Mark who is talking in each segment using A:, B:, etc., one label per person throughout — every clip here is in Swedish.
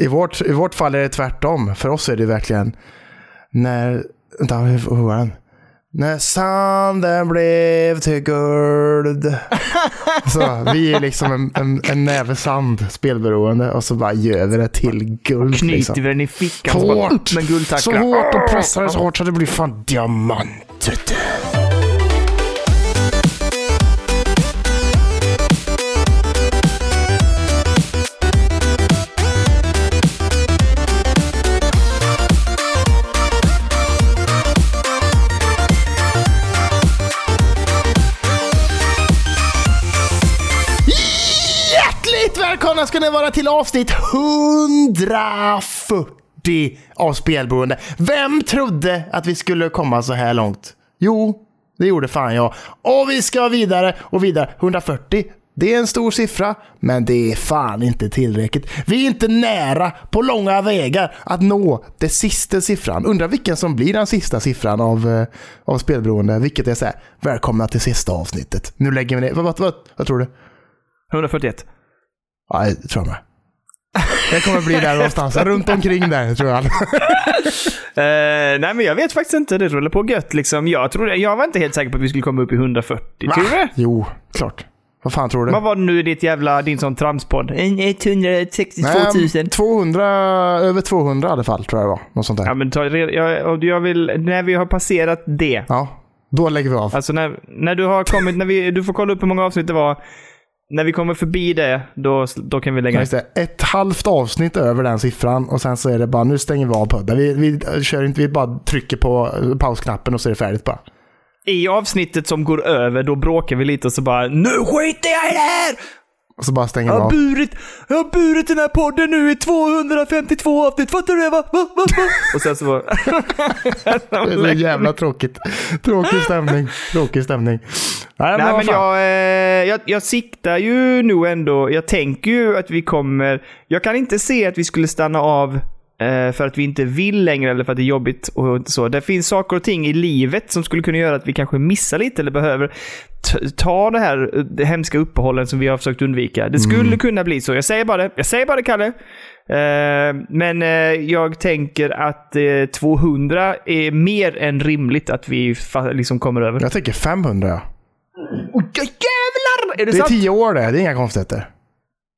A: I vårt, I vårt fall är det tvärtom. För oss är det verkligen när... Vänta, hur hur var den? När sanden blev till guld. så vi är liksom en, en, en näve sand spelberoende och så bara gör vi det till guld.
B: Knyter
A: Liksom.
B: vi den i fickan så bara
A: Hårt!
B: upp med guldtacklan.
A: Så hårt och pressar det så hårt så det blir fan diamant. vet du. Hjärtligt välkomna ska ni vara till avsnitt 140 av Spelberoende. Vem trodde att vi skulle komma så här långt? Jo, det gjorde fan jag. Och vi ska vidare och vidare. 140, det är en stor siffra, men det är fan inte tillräckligt. Vi är inte nära på långa vägar att nå den sista siffran. Undrar vilken som blir den sista siffran av, eh, av Spelberoende, vilket är så här. Välkomna till sista avsnittet. Nu lägger vi ner. Vad, vad, vad, vad tror du?
B: 141.
A: Ja, det tror jag med. Det kommer bli där någonstans. Runt omkring där tror jag.
B: Eh, nej, men jag vet faktiskt inte. Det rullar på gött liksom. Jag, trodde, jag var inte helt säker på att vi skulle komma upp i 140. Tror du?
A: Jo, klart. Vad fan tror du?
B: Vad var det nu i ditt jävla, din sån tramspodd? En 162
A: Nej, 200, över 200 i alla fall tror jag det var. Något sånt där.
B: Ja, men ta reda, jag, och jag vill, när vi har passerat det.
A: Ja, då lägger vi av.
B: Alltså när, när du har kommit, när vi, du får kolla upp hur många avsnitt det var. När vi kommer förbi det, då, då kan vi lägga
A: Just det, ett halvt avsnitt över den siffran och sen så är det bara nu stänger vi av podden. Vi, vi eh, kör inte, vi bara trycker på eh, pausknappen och så är det färdigt bara.
B: I avsnittet som går över, då bråkar vi lite och så bara Nu skiter jag i det här!
A: Och så bara stänger
B: Jag
A: vi
B: har
A: av.
B: burit, jag har burit den här podden nu i 252 avsnitt, fattar du det? Va? Va? Va? Va? Och sen så
A: Det är så jävla tråkigt. Tråkig stämning. Tråkig stämning. Nej,
B: Nej,
A: vad
B: men
A: fan.
B: jag, eh, jag, jag siktar ju nu ändå. Jag tänker ju att vi kommer... Jag kan inte se att vi skulle stanna av eh, för att vi inte vill längre eller för att det är jobbigt och så. Det finns saker och ting i livet som skulle kunna göra att vi kanske missar lite eller behöver t- ta det här eh, det hemska uppehållen som vi har försökt undvika.
A: Mm.
B: Det skulle kunna bli så. Jag säger bara det. Jag säger bara det, Kalle. Eh, men eh, jag tänker att eh, 200 är mer än rimligt att vi fa- liksom kommer över.
A: jag tänker 500 ja.
B: Oj, jävlar! Är det,
A: Det är
B: sant?
A: tio år det, det är inga konstigheter.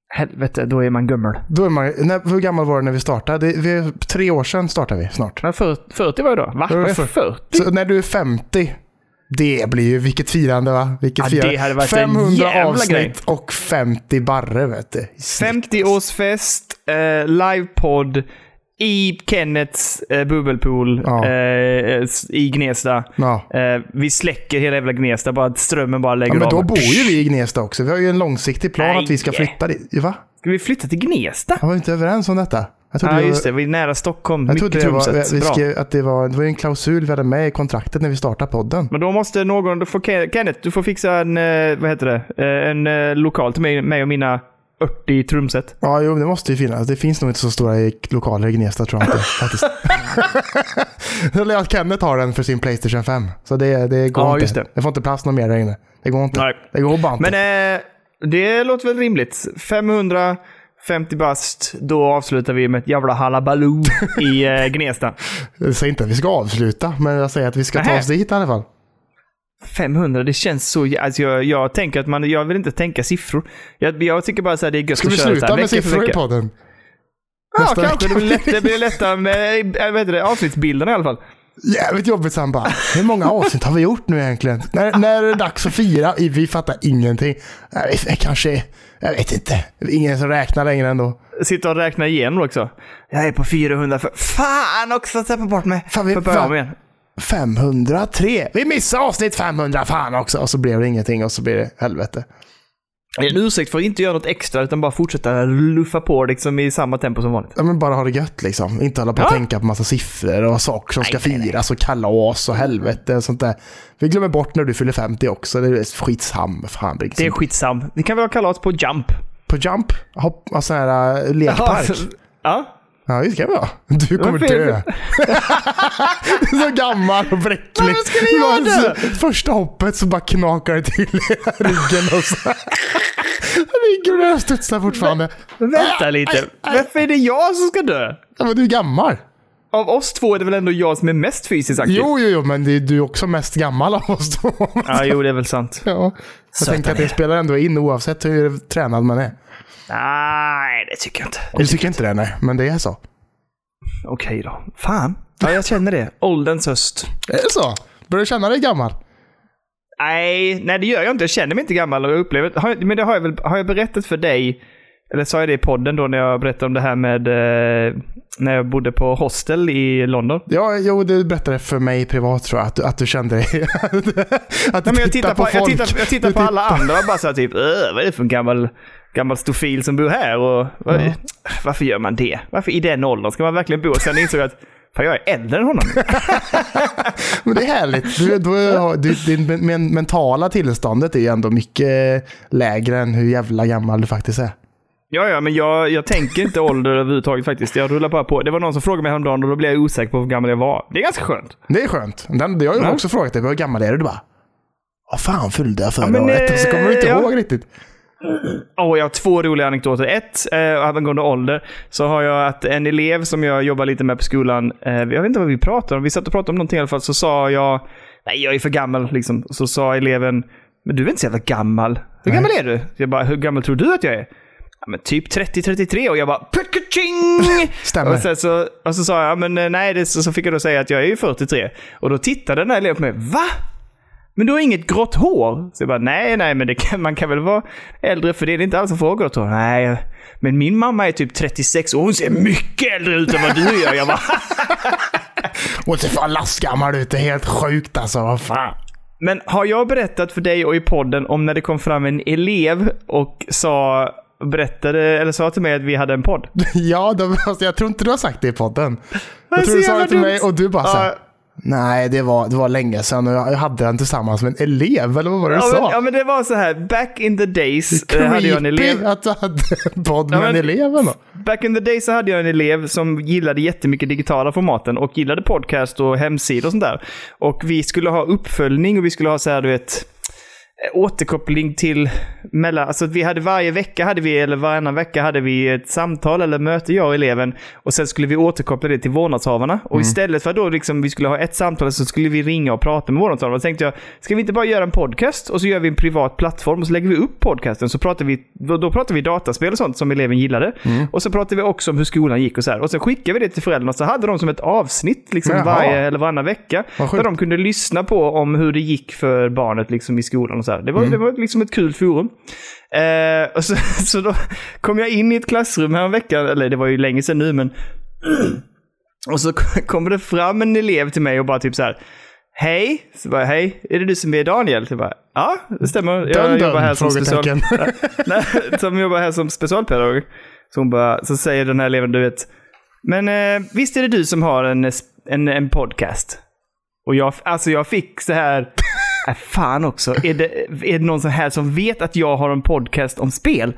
B: Helvete, då är man gummel.
A: Då är man, när, hur gammal var du när vi startade? Det, vi, tre år sedan startade vi snart.
B: Men 40 var det då? Va?
A: Då är
B: Var
A: det
B: jag
A: fyr-
B: 40?
A: Så när du är 50, det blir ju, vilket firande va? Vilket
B: Ja, det
A: firande.
B: hade varit en
A: 500
B: jävla
A: avsnitt
B: grej.
A: och 50 barre vet du. I snitt.
B: 50-årsfest, eh, livepodd i Kennets eh, bubbelpool
A: Ja.
B: eh, s- i Gnesta.
A: Ja.
B: Eh, vi släcker hela jävla Gnesta, bara att strömmen bara lägger
A: ja, men
B: av.
A: då bor ju vi i Gnesta också. Vi har ju en långsiktig plan
B: Nej.
A: att vi ska flytta dit. Va?
B: Ska vi flytta till Gnesta?
A: Jag var inte överens om detta. Jag
B: Ja,
A: trodde, vi-
B: just det. Vi är nära Stockholm.
A: Jag
B: Mycket
A: trodde det, var,
B: Tromsö.
A: vi
B: Bra.
A: skrev att det, var, det var ju en klausul vi hade med i kontraktet när vi startade podden.
B: Men då måste någon... Då får Ken, Kenneth, du får fixa en... eh, Vad heter det? Eh, En eh, lokal till mig, mig och mina 40 trumset.
A: Ja, jo, det måste ju finnas. Det finns nog inte så stora i- lokaler i Gnesta tror jag inte. Faktiskt. Eller att Kenneth har den för sin Playstation 5. Så det, det går
B: Ja,
A: inte.
B: just det.
A: får inte plats någon mer där inne. Det går inte.
B: Nej.
A: Det går bara inte.
B: Men eh, det låter väl rimligt. 550 bast, då avslutar vi med ett jävla halabaloo i eh, Gnesta.
A: Jag säger inte att vi ska avsluta, men jag säger att vi ska ta
B: Nähä.
A: oss dit i alla fall.
B: 500, det känns så... jä- Alltså jag, jag tänker att man... Jag vill inte tänka siffror. Jag, jag tycker bara så här, det är gött
A: Ska
B: att
A: vi
B: köra så
A: sluta
B: här,
A: med
B: vecka för
A: siffror i
B: vecka.
A: podden?
B: Ja,
A: Nästa
B: kanske. Det
A: vecka.
B: blir, lätt, det blir lättare med äh, vad heter det, avsnittsbilderna i alla fall.
A: Jävligt jobbigt sen bara. Hur många avsnitt har vi gjort nu egentligen? När, när är det dags att fira? I- Vi fattar ingenting. Nej, vi- kanske... Jag vet inte. Ingen som räknar längre ändå.
B: Sitta och räkna igenom också. Jag är på 400. För... Fan också, tappa bort mig.
A: Fan, vi-
B: Får börja
A: fan.
B: om igen.
A: 503. Vi missade avsnitt 500 fan också. Och så blev det ingenting och så blir det helvete.
B: Det är en ursäkt för att inte göra något extra, utan bara fortsätta luffa på liksom i samma tempo som vanligt.
A: Ja, men bara ha det gött liksom. Inte hålla på och
B: Ja.
A: tänka på massa siffror och saker som ska firas och kalas och helvete och sånt där. Vi glömmer bort när du fyller 50 också. Det är skitsam. Fan, det
B: Det är
A: är...
B: skitsam. Vi kan väl ha kalas på jump?
A: alltså eh,
B: alltså,
A: På jump, hopp, och sån här äh, lekpark.
B: Ja.
A: Ja, det ska vara. Du kommer
B: Varför är
A: dö. så gammal och bräcklig.
B: Varför skulle jag
A: Men så-
B: dö?
A: Första hoppet så bara knakar det till i ryggen och så. Ligger där och studsar fortfarande. Äh,
B: Vänta lite. Varför är det jag som ska dö?
A: Ja, äh, men du är gammal.
B: Av oss två är det väl ändå jag som är mest fysiskt aktiv?
A: Jo, jo, jo, men det är du är också mest gammal av oss två.
B: Ja, jo, det är väl sant.
A: Ja. Jag
B: Satan
A: tänker att det
B: är.
A: spelar ändå in oavsett hur tränad man är.
B: Nej, det tycker jag inte.
A: Jag tycker inte det, nej. Men det är så.
B: Okej då. Fan. Ja, jag känner det. Ålderns höst.
A: Det är så. Börjar du känna dig gammal?
B: Nej, nej det gör jag inte. Jag känner mig inte gammal och jag upplever... Har, jag- men det har jag väl... Har jag berättat för dig? Eller sa jag det i podden då när jag berättade om det här med... Eh, när jag bodde på hostel i London?
A: Ja, jo, du berättade för mig privat tror jag, att du, att du kände dig... att du
B: Nej, men jag
A: tittar
B: tittar på, jag
A: folk.
B: tittar, jag tittar
A: Du
B: på alla andra och bara så här typ, "Äh, vad är det för en gammal, gammal stofil som bor här? Och, vad,
A: Ja.
B: Varför gör man det? Varför i den åldern ska man verkligen bo? Sen insåg jag att fan, jag är äldre än honom.
A: Men det är härligt. Du, du, har- du, din men- men- mentala tillståndet är ju ändå mycket lägre än hur jävla gammal du faktiskt är.
B: ja, ja, men jag, jag tänker inte ålder överhuvudtaget faktiskt. Jag rullar bara på. Det var någon som frågade mig häromdagen och då blev jag osäker på hur gammal jag var. Det är ganska skönt.
A: Det är skönt. Den, jag har ju
B: Ja.
A: också frågat dig, hur gammal är du? Du bara, vad fan fyllde jag förra
B: men,
A: året? Och så kommer du inte
B: eh, ja.
A: ihåg riktigt.
B: Åh, jag har två roliga anekdoter. Ett, eh, angående ålder, så har jag att en elev som jag jobbar lite med på skolan, eh, jag vet inte vad vi pratade om, vi satt och pratade om någonting i alla fall, så sa jag, nej jag är för gammal, liksom. Så sa eleven, men du är inte så jävla gammal. Hur gammal är du? Jag bara, hur gammal tror du att jag är? Ja, men typ 30-33 och jag bara, puckaching!
A: Stämmer.
B: Och, sen så, och så sa jag, men eh, nej, det, så, så fick jag då säga att jag är ju 43. Och då tittade den här eleven på mig, va? Men du har inget grått hår? Så jag bara, nej, nej, men det kan, man kan väl vara äldre för det är det inte alls som får ha grått hår. Nej, men min mamma är typ 36 och hon ser mycket äldre ut än vad du gör. Jag bara,
A: Och så fan lastgammal ut, det är helt sjukt alltså. Vad fan.
B: men har jag berättat för dig och i podden om när det kom fram en elev och sa, berättade, eller sa till mig att vi hade en podd?
A: Ja, då, alltså, jag tror inte du har sagt det i podden.
B: är
A: Jag tror
B: så
A: du sa
B: jävla
A: det till mig
B: dumt.
A: och du bara
B: Ja.
A: såhär, nej det var, det var länge sedan och jag jag hade den tillsammans med en elev, eller vad var det du
B: Ja
A: sa?
B: men, ja, men det var så här, back in the days eh, hade jag en elev.
A: Creepy att du hade en podd med
B: Ja, men-
A: en elev ändå.
B: Back in the day så hade jag en elev som gillade jättemycket digitala formaten och gillade podcast och hemsidor och sånt där. Och vi skulle ha uppföljning och vi skulle ha så här, du vet, Eh, återkoppling till mellan, alltså att vi hade varje vecka hade vi, eller varannan vecka hade vi ett samtal eller möte jag och eleven och sen skulle vi återkoppla det till vårdnadshavarna. Och istället för att då liksom vi skulle ha ett samtal så skulle vi ringa och prata med vårdnadshavarna. Så tänkte jag, ska vi inte bara göra en podcast och så gör vi en privat plattform och så lägger vi upp podcasten så pratar vi, då, då pratar vi dataspel och sånt som eleven gillade. Och så pratar vi också om hur skolan gick och så här. Och sen skickar vi det till föräldrarna så hade de som ett avsnitt liksom
A: Jaha.
B: varje eller varannan vecka.
A: Vad sjukt.
B: Där de de kunde lyssna på om hur det gick för barnet liksom i skolan och så här. Det var,
A: Mm.
B: det var liksom ett kul forum. Eh, och så, så då kom jag in i ett klassrum häromveckan, eller det var ju länge sedan nu men. Och så kommer det fram en elev till mig och bara typ så här. Hej, så bara, hej, är det du som är Daniel? Jag bara, ja, det stämmer. Jag
A: Dun,
B: jobbar här
A: dun,
B: som special...
A: frågetecken.
B: Nej, som jobbar här som specialpedagog. Så, hon bara, så säger den här eleven, du vet. Men eh, visst är det du som har en, eh, sp- en, en podcast? Och jag, alltså jag fick så här... Äh, fan också. Är det, är det någon sån här som vet att jag har en podcast om spel?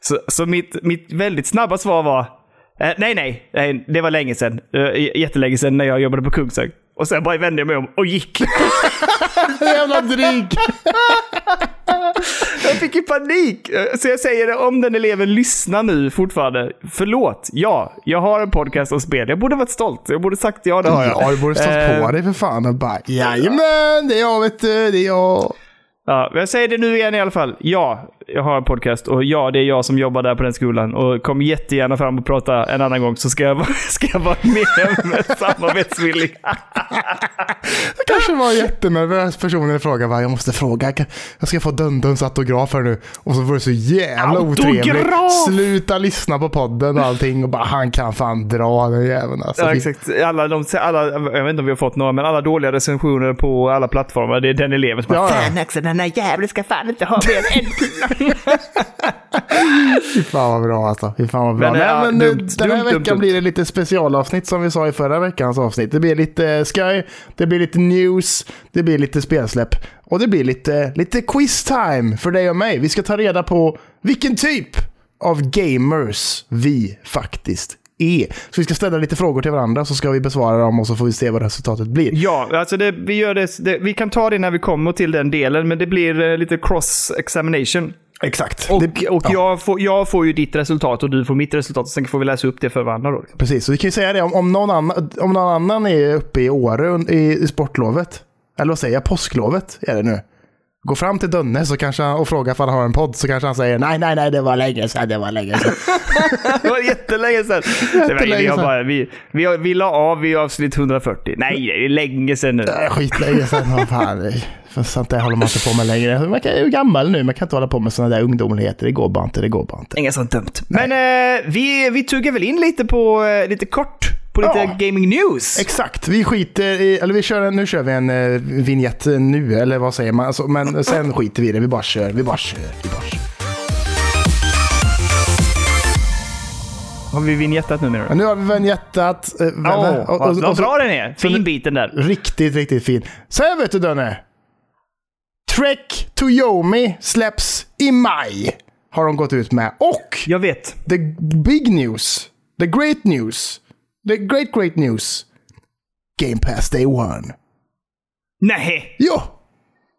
B: Så, så mitt, mitt väldigt snabba svar var... Eh, nej, nej, nej, det var länge sedan. Eh, j- jättelänge sedan när jag jobbade på Kungsög. Och sen bara vände jag mig om och gick.
A: Jävla dryg.
B: Jag fick ju panik. Så jag säger det, om den eleven lyssnar nu fortfarande. Förlåt, ja, jag har en podcast om spel. Jag borde varit stolt. Jag borde sagt ja, det har jag. Eh,
A: Ja, du borde stått på dig för fan och bara, jajamän, det är jag vet du, det är jag.
B: Ja, men jag säger det nu igen i alla fall. Ja, jag har en podcast och ja, det är jag som jobbar där på den skolan. Och kom jättegärna fram och prata en annan gång så ska jag, vara- ska jag vara med med samarbetsvillig.
A: Jag kanske var jättenervös personen i fråga, bara, jag måste fråga, kan- jag ska få Dunduns autograf här nu. Och så var det så jävla otrevlig.
B: Autograf!
A: Sluta lyssna på podden och allting och bara, han kan fan dra den jäveln alltså.
B: Ja, exakt. Alla, de, alla, jag vet inte om vi har fått några, men alla dåliga recensioner på alla plattformar, det är den eleven som bara,
A: Ja, ja.
B: Fan också, den här jäveln ska fan inte ha mer än en
A: Fy fan vad bra alltså. Fy fan vad bra.
B: Men,
A: Nej,
B: ja,
A: men
B: dumt,
A: eh, den här
B: dumt, dumt,
A: veckan
B: dumt.
A: blir det lite specialavsnitt som vi sa i förra veckans avsnitt. Det blir lite sky, det blir lite news, det blir lite spelsläpp och det blir lite, lite quiz time för dig och mig. Vi ska ta reda på vilken typ av gamers vi faktiskt E. Så vi ska ställa lite frågor till varandra så ska vi besvara dem och så får vi se vad resultatet blir.
B: Ja, alltså det, vi, gör det, det, vi kan ta det när vi kommer till den delen, men det blir eh, lite cross-examination.
A: Exakt.
B: Och,
A: Det-
B: och
A: ja.
B: jag, får, jag får ju ditt resultat och du får mitt resultat. Och sen får vi läsa upp det för varandra. Då. liksom.
A: Precis, så vi kan ju säga det om, om, någon, annan, om någon annan är uppe i Åre un- i, i sportlovet. Eller vad säger jag? Påsklovet är det nu. Gå fram till Dönne så kanske han, och fråga om han har en podd så kanske han säger nej, nej, nej, det var länge sedan, det var länge sedan.
B: Det var jättelänge sedan. Det var,
A: Jättelänge
B: vi, har
A: sedan.
B: bara, vi, vi, har, vi la av vid avsnitt 140. Nej, det är länge sedan nu.
A: Äh, Skitlänge sedan, vad fan. För sånt där håller man inte på med längre. Man kan, är ju gammal nu, man kan inte hålla på med sådana där ungdomligheter. Det går bara inte, det går bara inte.
B: Inget sånt dumt. Men eh, vi, vi tuggar väl in lite på eh, lite kort på lite
A: Ja.
B: gaming news.
A: Exakt, vi skiter i, eller vi kör en, nu kör vi en eh, vignett nu, eller vad säger man? Alltså, men sen skiter vi i det, vi bara kör, vi bara kör, vi bara kör.
B: har vi vinjettat nu menar du?
A: Men nu har vi vignettat. eh, vä-
B: Åh,
A: vä- och- och-
B: vad
A: och så-
B: bra den är.
A: så-
B: Fin biten där.
A: Riktigt, riktigt fin. Sen vet du Dönne. Trek to Yomi släpps i maj. Har de gått ut med. Och
B: Jag vet.
A: the big news. The great news. The great great news. Game Pass Day One.
B: Nej,
A: Jo!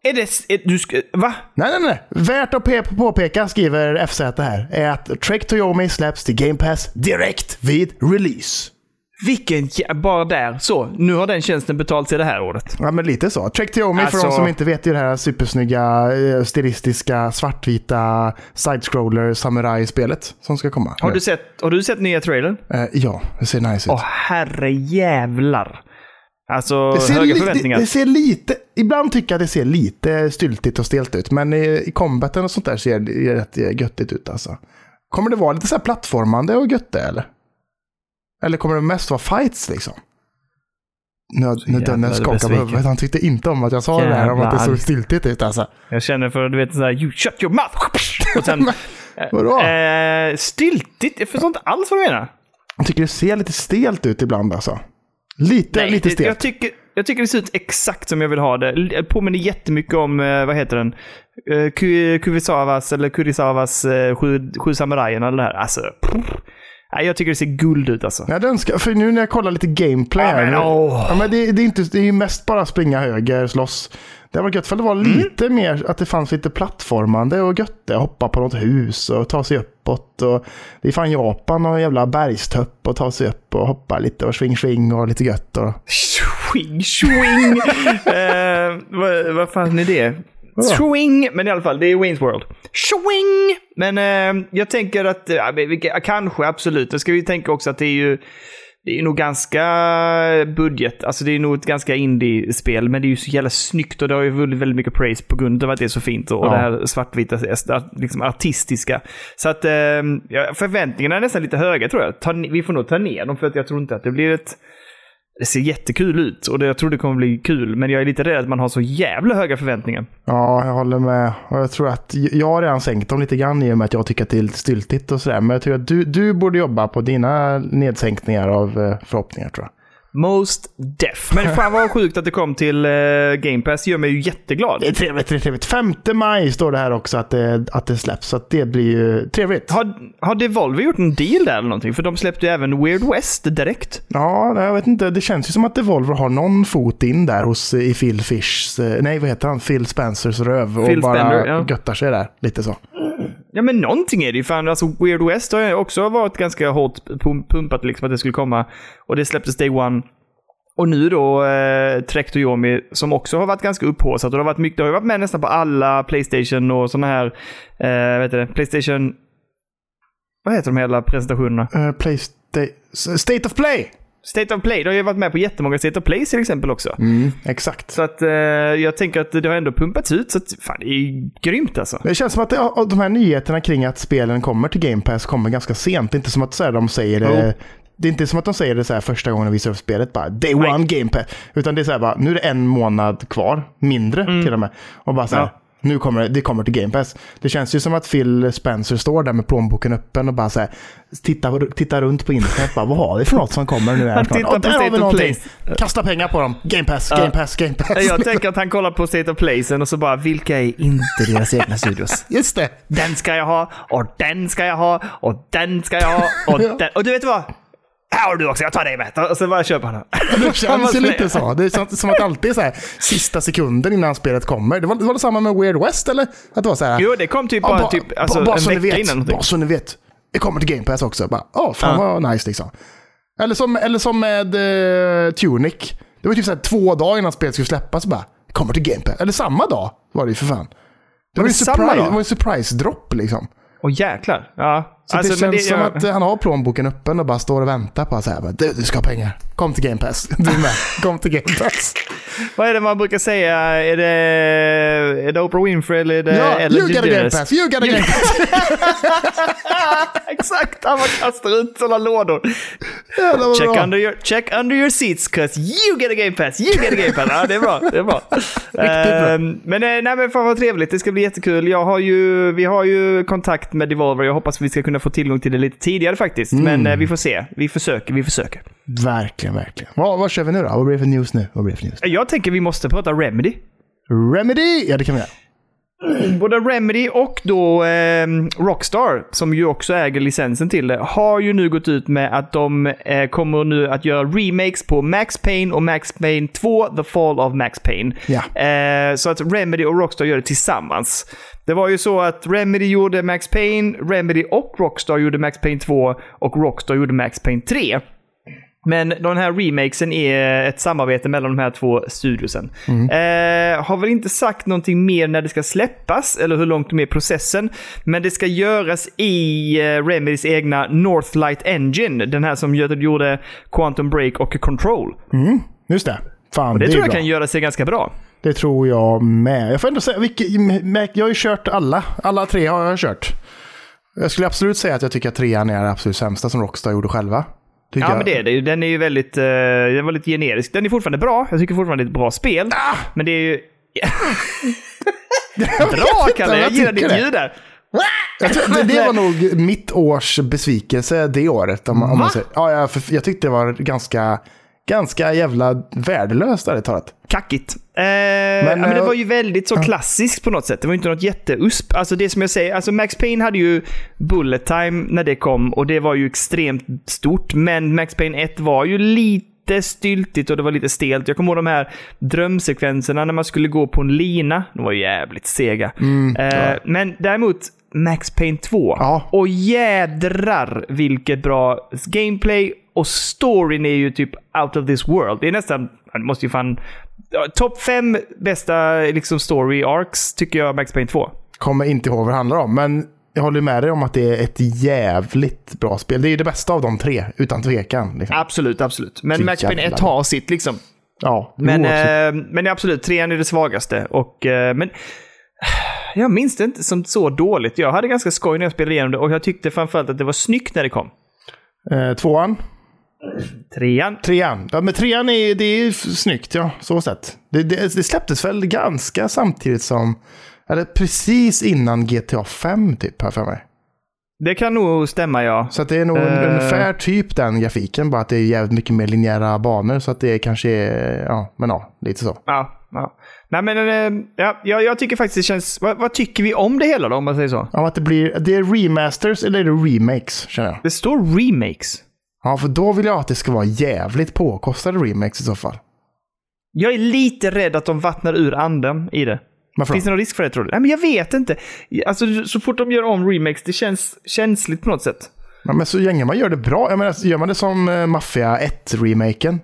B: är det... Är, du ska, va?
A: Nej, nej, nej. Värt att pe- påpeka, skriver FZ här, är att Trek to Yomi släpps till Game Pass direkt vid release.
B: Vilken jä- Bara där. Så, nu har den tjänsten betalt sig det här året.
A: Ja, men lite så. Trek Tiomi, för
B: Alltså-
A: de som inte vet, är ju det här supersnygga, eh, stilistiska, svartvita side-scroller samurai-spelet som ska komma.
B: Har du sett, har du sett nya trailern?
A: Eh, ja, det ser nice ut.
B: Åh, herrejävlar. Alltså,
A: det, ser
B: höga
A: li-
B: förväntningar.
A: Det, det ser lite... Ibland tycker jag det ser lite styltigt och stelt ut, men i, i combaten och sånt där ser det ju rätt eh, göttigt ut alltså. Kommer det vara lite så här plattformande och gött det, eller? Eller kommer det mest vara fights liksom? Nu, nu
B: jävla
A: Dönnes skakar på
B: besviken.
A: huvudet. Han tyckte inte om att jag sa det här om
B: Jävla
A: att det såg
B: arg.
A: styltigt ut alltså.
B: Jag känner för, du vet, så här, you shut your mouth! Och sen,
A: Vadå?
B: eh, styltigt? Jag förstår inte alls vad du menar.
A: Jag tycker det ser lite stelt ut ibland alltså. Lite, lite
B: det, jag,
A: stelt.
B: tycker, jag tycker det ser ut exakt som jag vill ha det. Det påminner jättemycket om, eh, vad heter den? Eh, Ku- Kuvisawas eller Kurisawas eh, sju, sju samurajerna eller det här. Alltså, pff. Nej, jag tycker det ser guld ut alltså.
A: Jag önskar, för nu när jag kollar lite gameplay
B: Ja,
A: här.
B: men,
A: nu-
B: åh.
A: ja, men det, det, är inte, det är ju mest bara springa höger, slåss. Det hade varit gött för det var
B: Mm.
A: lite mer att det fanns lite plattformande och gött. det. Hoppa på något hus och ta sig uppåt. Och det är fan Japan och jävla bergstopp och ta sig upp och hoppa lite och swing swing och lite gött. Och,
B: Swing, swing! eh, vad, vad fan är det? Swing! Men i alla fall, det är Wayne's World. Swing! Men eh, jag tänker att, eh, men vilka- kanske absolut. Då ska vi tänka också att det är ju, det är nog ganska budget. Alltså det är nog ett ganska indie-spel, men det är ju så jävla snyggt och det har ju vunnit väldigt mycket praise på grund av att det är så fint och, och
A: Ja.
B: det här svartvita, liksom artistiska. Så att eh, ja, förväntningarna är nästan lite höga tror jag. Ta, vi får nog ta ner dem för att jag tror inte att det blir ett det ser jättekul ut och det, jag tror det kommer bli kul, men jag är lite rädd att man har så jävla höga förväntningar.
A: Ja, jag håller med. Och jag tror att jag har redan sänkt dem lite grann i och med att jag tycker att det är lite styltigt och sådär. Men jag tycker att du, du borde jobba på dina nedsänkningar av eh, förhoppningar tror jag.
B: Most deaf. Men fan vad sjukt att det kom till eh, Game Pass. gör mig ju jätteglad.
A: Det är trevligt, det är trevligt. 5 maj står det här också att det, att det släpps, så att det blir ju trevligt.
B: Har, har Devolver gjort en deal där eller någonting? För de släppte ju även Weird West direkt.
A: Ja, nej, jag vet inte. Det känns ju som att Devolver har någon fot in där hos eh, i Phil Fish, eh, nej vad heter han, Phil Spencers röv och
B: Phil
A: bara
B: Spender, ja.
A: göttar sig där. Lite så.
B: Ja men någonting är det ju. Fan, alltså Weird West har ju också varit ganska hårt pum- pumpat liksom att det skulle komma. Och det släpptes Day One. Och nu då eh, Trek Yomi som också har varit ganska upphaussat. Och det har, varit mycket, det har ju varit med nästan på alla Playstation och sådana här, eh, vad heter det, Playstation... Vad heter de hela presentationerna?
A: Eh, Playsta- State of Play!
B: State of Play. Det har ju varit med på jättemånga State of Play till exempel också.
A: Mm. Exakt.
B: Så att eh, jag tänker att det har ändå pumpats ut. Så att, fan, det är ju grymt alltså.
A: Det känns som att det, ja, de här nyheterna kring att spelen kommer till Game Pass kommer ganska sent. Det är inte som att så här, de säger det. Det är inte som att de säger det så här första gången de visar upp spelet bara Day
B: Nej.
A: One Game Pass. Utan det är så här bara, nu är det en månad kvar, mindre till och med. Och bara så här,
B: Mm. Ja.
A: nu kommer det, det kommer till Game Pass. Det känns ju som att Phil Spencer står där med plånboken öppen och bara så här, tittar, tittar runt på internet. Bara, vad har vi för något som kommer nu? Här snart?
B: tittar
A: "Ja,
B: på
A: där har
B: State
A: vi
B: of
A: någonting." Kasta pengar på dem. Game Pass, Game Pass, Game Pass.
B: Jag tänker att han kollar på State of Playsen och så bara, vilka är inte deras egna studios?
A: Just det.
B: Den ska jag ha, och den ska jag ha, och den ska jag ha, och den... Och du vet vad? här har du också, jag tar dig med. Och så bara köper han den.
A: Det känns ju lite så. Det känns som att alltid är så här, sista sekunden innan spelet kommer. Det var, det var detsamma med Weird West eller? Att det var så här,
B: Jo, det kom typ
A: ja,
B: bara
A: ba-
B: typ, alltså,
A: ba- bara
B: en
A: så ni
B: vecka
A: vet,
B: innan någonting.
A: Bara så ni vet. Det kommer till Game Pass också. Bara, åh, fan vad nice liksom. Eller som, eller som med eh, Tunic. Det var typ så här, två dagar innan spelet skulle släppas. Bara, det kommer till Game Pass. Eller samma dag var det ju för fan. Det var,
B: det
A: ju
B: samma
A: surprise,
B: dag?
A: det var ju surprise drop liksom.
B: Åh jäklar. Ja.
A: Så det
B: Alltså, men
A: känns som
B: ja.
A: att eh, han har plånboken öppen och bara står och väntar på att säga du, du ska ha pengar. Kom till Game Pass. Du med. Kom till Game Pass.
B: Vad är det man brukar säga? Är det, är det Oprah Winfrey Eh, eller är det
A: Ja,
B: Ellen
A: you got a Game
B: DeGeneres?
A: Pass. You got a Game Pass.
B: Exakt, han bara kastar ut sådana lådor.
A: Jävlar vad
B: Check
A: bra.
B: under, your, check under your seats, cause you get a game pass, you get a game pass. Ja, det är bra. Det är bra.
A: bra.
B: Ehm, men, eh, nej, men fan vad trevligt, det ska bli jättekul. Jag har ju, vi har ju kontakt med Devolver, jag hoppas vi ska kunna få tillgång till det lite tidigare faktiskt.
A: Mm.
B: Men eh, vi får se, vi försöker, vi försöker.
A: Verkligen, verkligen. Vad, vad kör vi nu då? Vad blir det för news nu? Vad blir det för news?
B: Jag tänker vi måste prata Remedy.
A: Remedy! Ja, det kan vi göra.
B: Både Remedy och då ehm, Rockstar, som ju också äger licensen till det, har ju nu gått ut med att de eh, kommer nu att göra remakes på Max Payne och Max Payne 2, The Fall of Max Payne.
A: Ja.
B: Eh, så att Remedy och Rockstar gör det tillsammans. Det var ju så att Remedy gjorde Max Payne, Remedy och Rockstar gjorde Max Payne 2 och Rockstar gjorde Max Payne 3. Men den här remakesen är ett samarbete mellan de här två studiosen.
A: Mm.
B: Eh, har väl inte sagt någonting mer när det ska släppas eller hur långt med processen. Men det ska göras i eh, Remedys egna Northlight Engine. Den här som gö- gjorde Quantum Break och Control.
A: Just det. Fan,
B: Det,
A: det, är
B: tror jag
A: bra.
B: kan göra sig ganska bra.
A: Det tror jag med. Jag får ändå säga, vilket, jag har ju kört alla. Alla tre har jag kört. Jag skulle absolut säga att jag tycker att trean är det absolut sämsta som Rockstar gjorde själva. Tycker
B: Ja,
A: jag.
B: men det är det ju. Den är ju väldigt, eh, den var lite generisk. Den är fortfarande bra. Jag tycker fortfarande det är ett bra spel.
A: Ah!
B: Men det är ju... bra,
A: inte
B: Kalle!
A: vad
B: Jag
A: jag
B: gillar
A: tycker
B: ditt
A: det.
B: ljud där.
A: Jag tror, det, det var nog mitt års besvikelse det året. Om, om
B: Va?
A: man säger. Ja, jag, för, jag tyckte det var ganska, ganska jävla värdelöst, ärligt talat.
B: Kackigt. Eh, men, men det
A: eh,
B: var ju väldigt så klassiskt på något sätt. Det var ju inte något jätteusp. Alltså det som jag säger, alltså Max Payne hade ju bullet time när det kom och det var ju extremt stort. Men Max Payne 1 var ju lite styltigt och det var lite stelt. Jag kommer ihåg de här drömsekvenserna när man skulle gå på en lina. De var ju jävligt sega. Eh, Men däremot Max Payne 2.
A: Ja.
B: Och jädrar vilket bra gameplay och storyn är ju typ out of this world. Det är nästan, man måste ju fan... ja, Topp fem bästa liksom, story arcs tycker jag Max Payne 2.
A: Kommer inte ihåg vad det handlar om, men jag håller med dig om att det är ett jävligt bra spel. Det är ju det bästa av de tre, utan tvekan. Liksom.
B: Absolut, absolut. Men
A: Fy
B: Max Payne 1
A: jävlar.
B: har sitt liksom.
A: Ja,
B: Men,
A: jo, absolut.
B: eh, men absolut, trean är det svagaste. Och, eh, men jag minns det inte som så dåligt. Jag hade ganska skoj när jag spelade igenom det och jag tyckte framförallt att det var snyggt när det kom.
A: Eh, tvåan?
B: Trean?
A: Trean. Ja, men trean är, det är snyggt, ja. Så sett. Det, det, det släpptes väl ganska samtidigt som... Eller precis innan GTA 5, typ, har jag för mig.
B: Det kan nog stämma, ja.
A: Så att det är nog
B: Eh.
A: ungefär typ den grafiken, bara att det är jävligt mycket mer linjära banor. Så att det kanske är... Ja, men ja, lite så.
B: Ja, ja. Nej, men, eh, ja, jag, jag tycker faktiskt det känns... Vad, vad tycker vi om det hela då, om man säger så?
A: Ja, att det blir... Det är remasters eller är det remakes, känner jag.
B: Det står remakes.
A: Ja, för då vill jag att det ska vara jävligt påkostade remakes i så fall.
B: Jag är lite rädd att de vattnar ur anden i det.
A: Varför
B: Finns
A: då?
B: det någon risk för det tror du? Nej, men jag vet inte. Alltså, så fort de gör om remakes, det känns känsligt på något sätt.
A: Ja, men så länge man gör det bra. Jag menar, gör man det som eh, Mafia 1-remaken,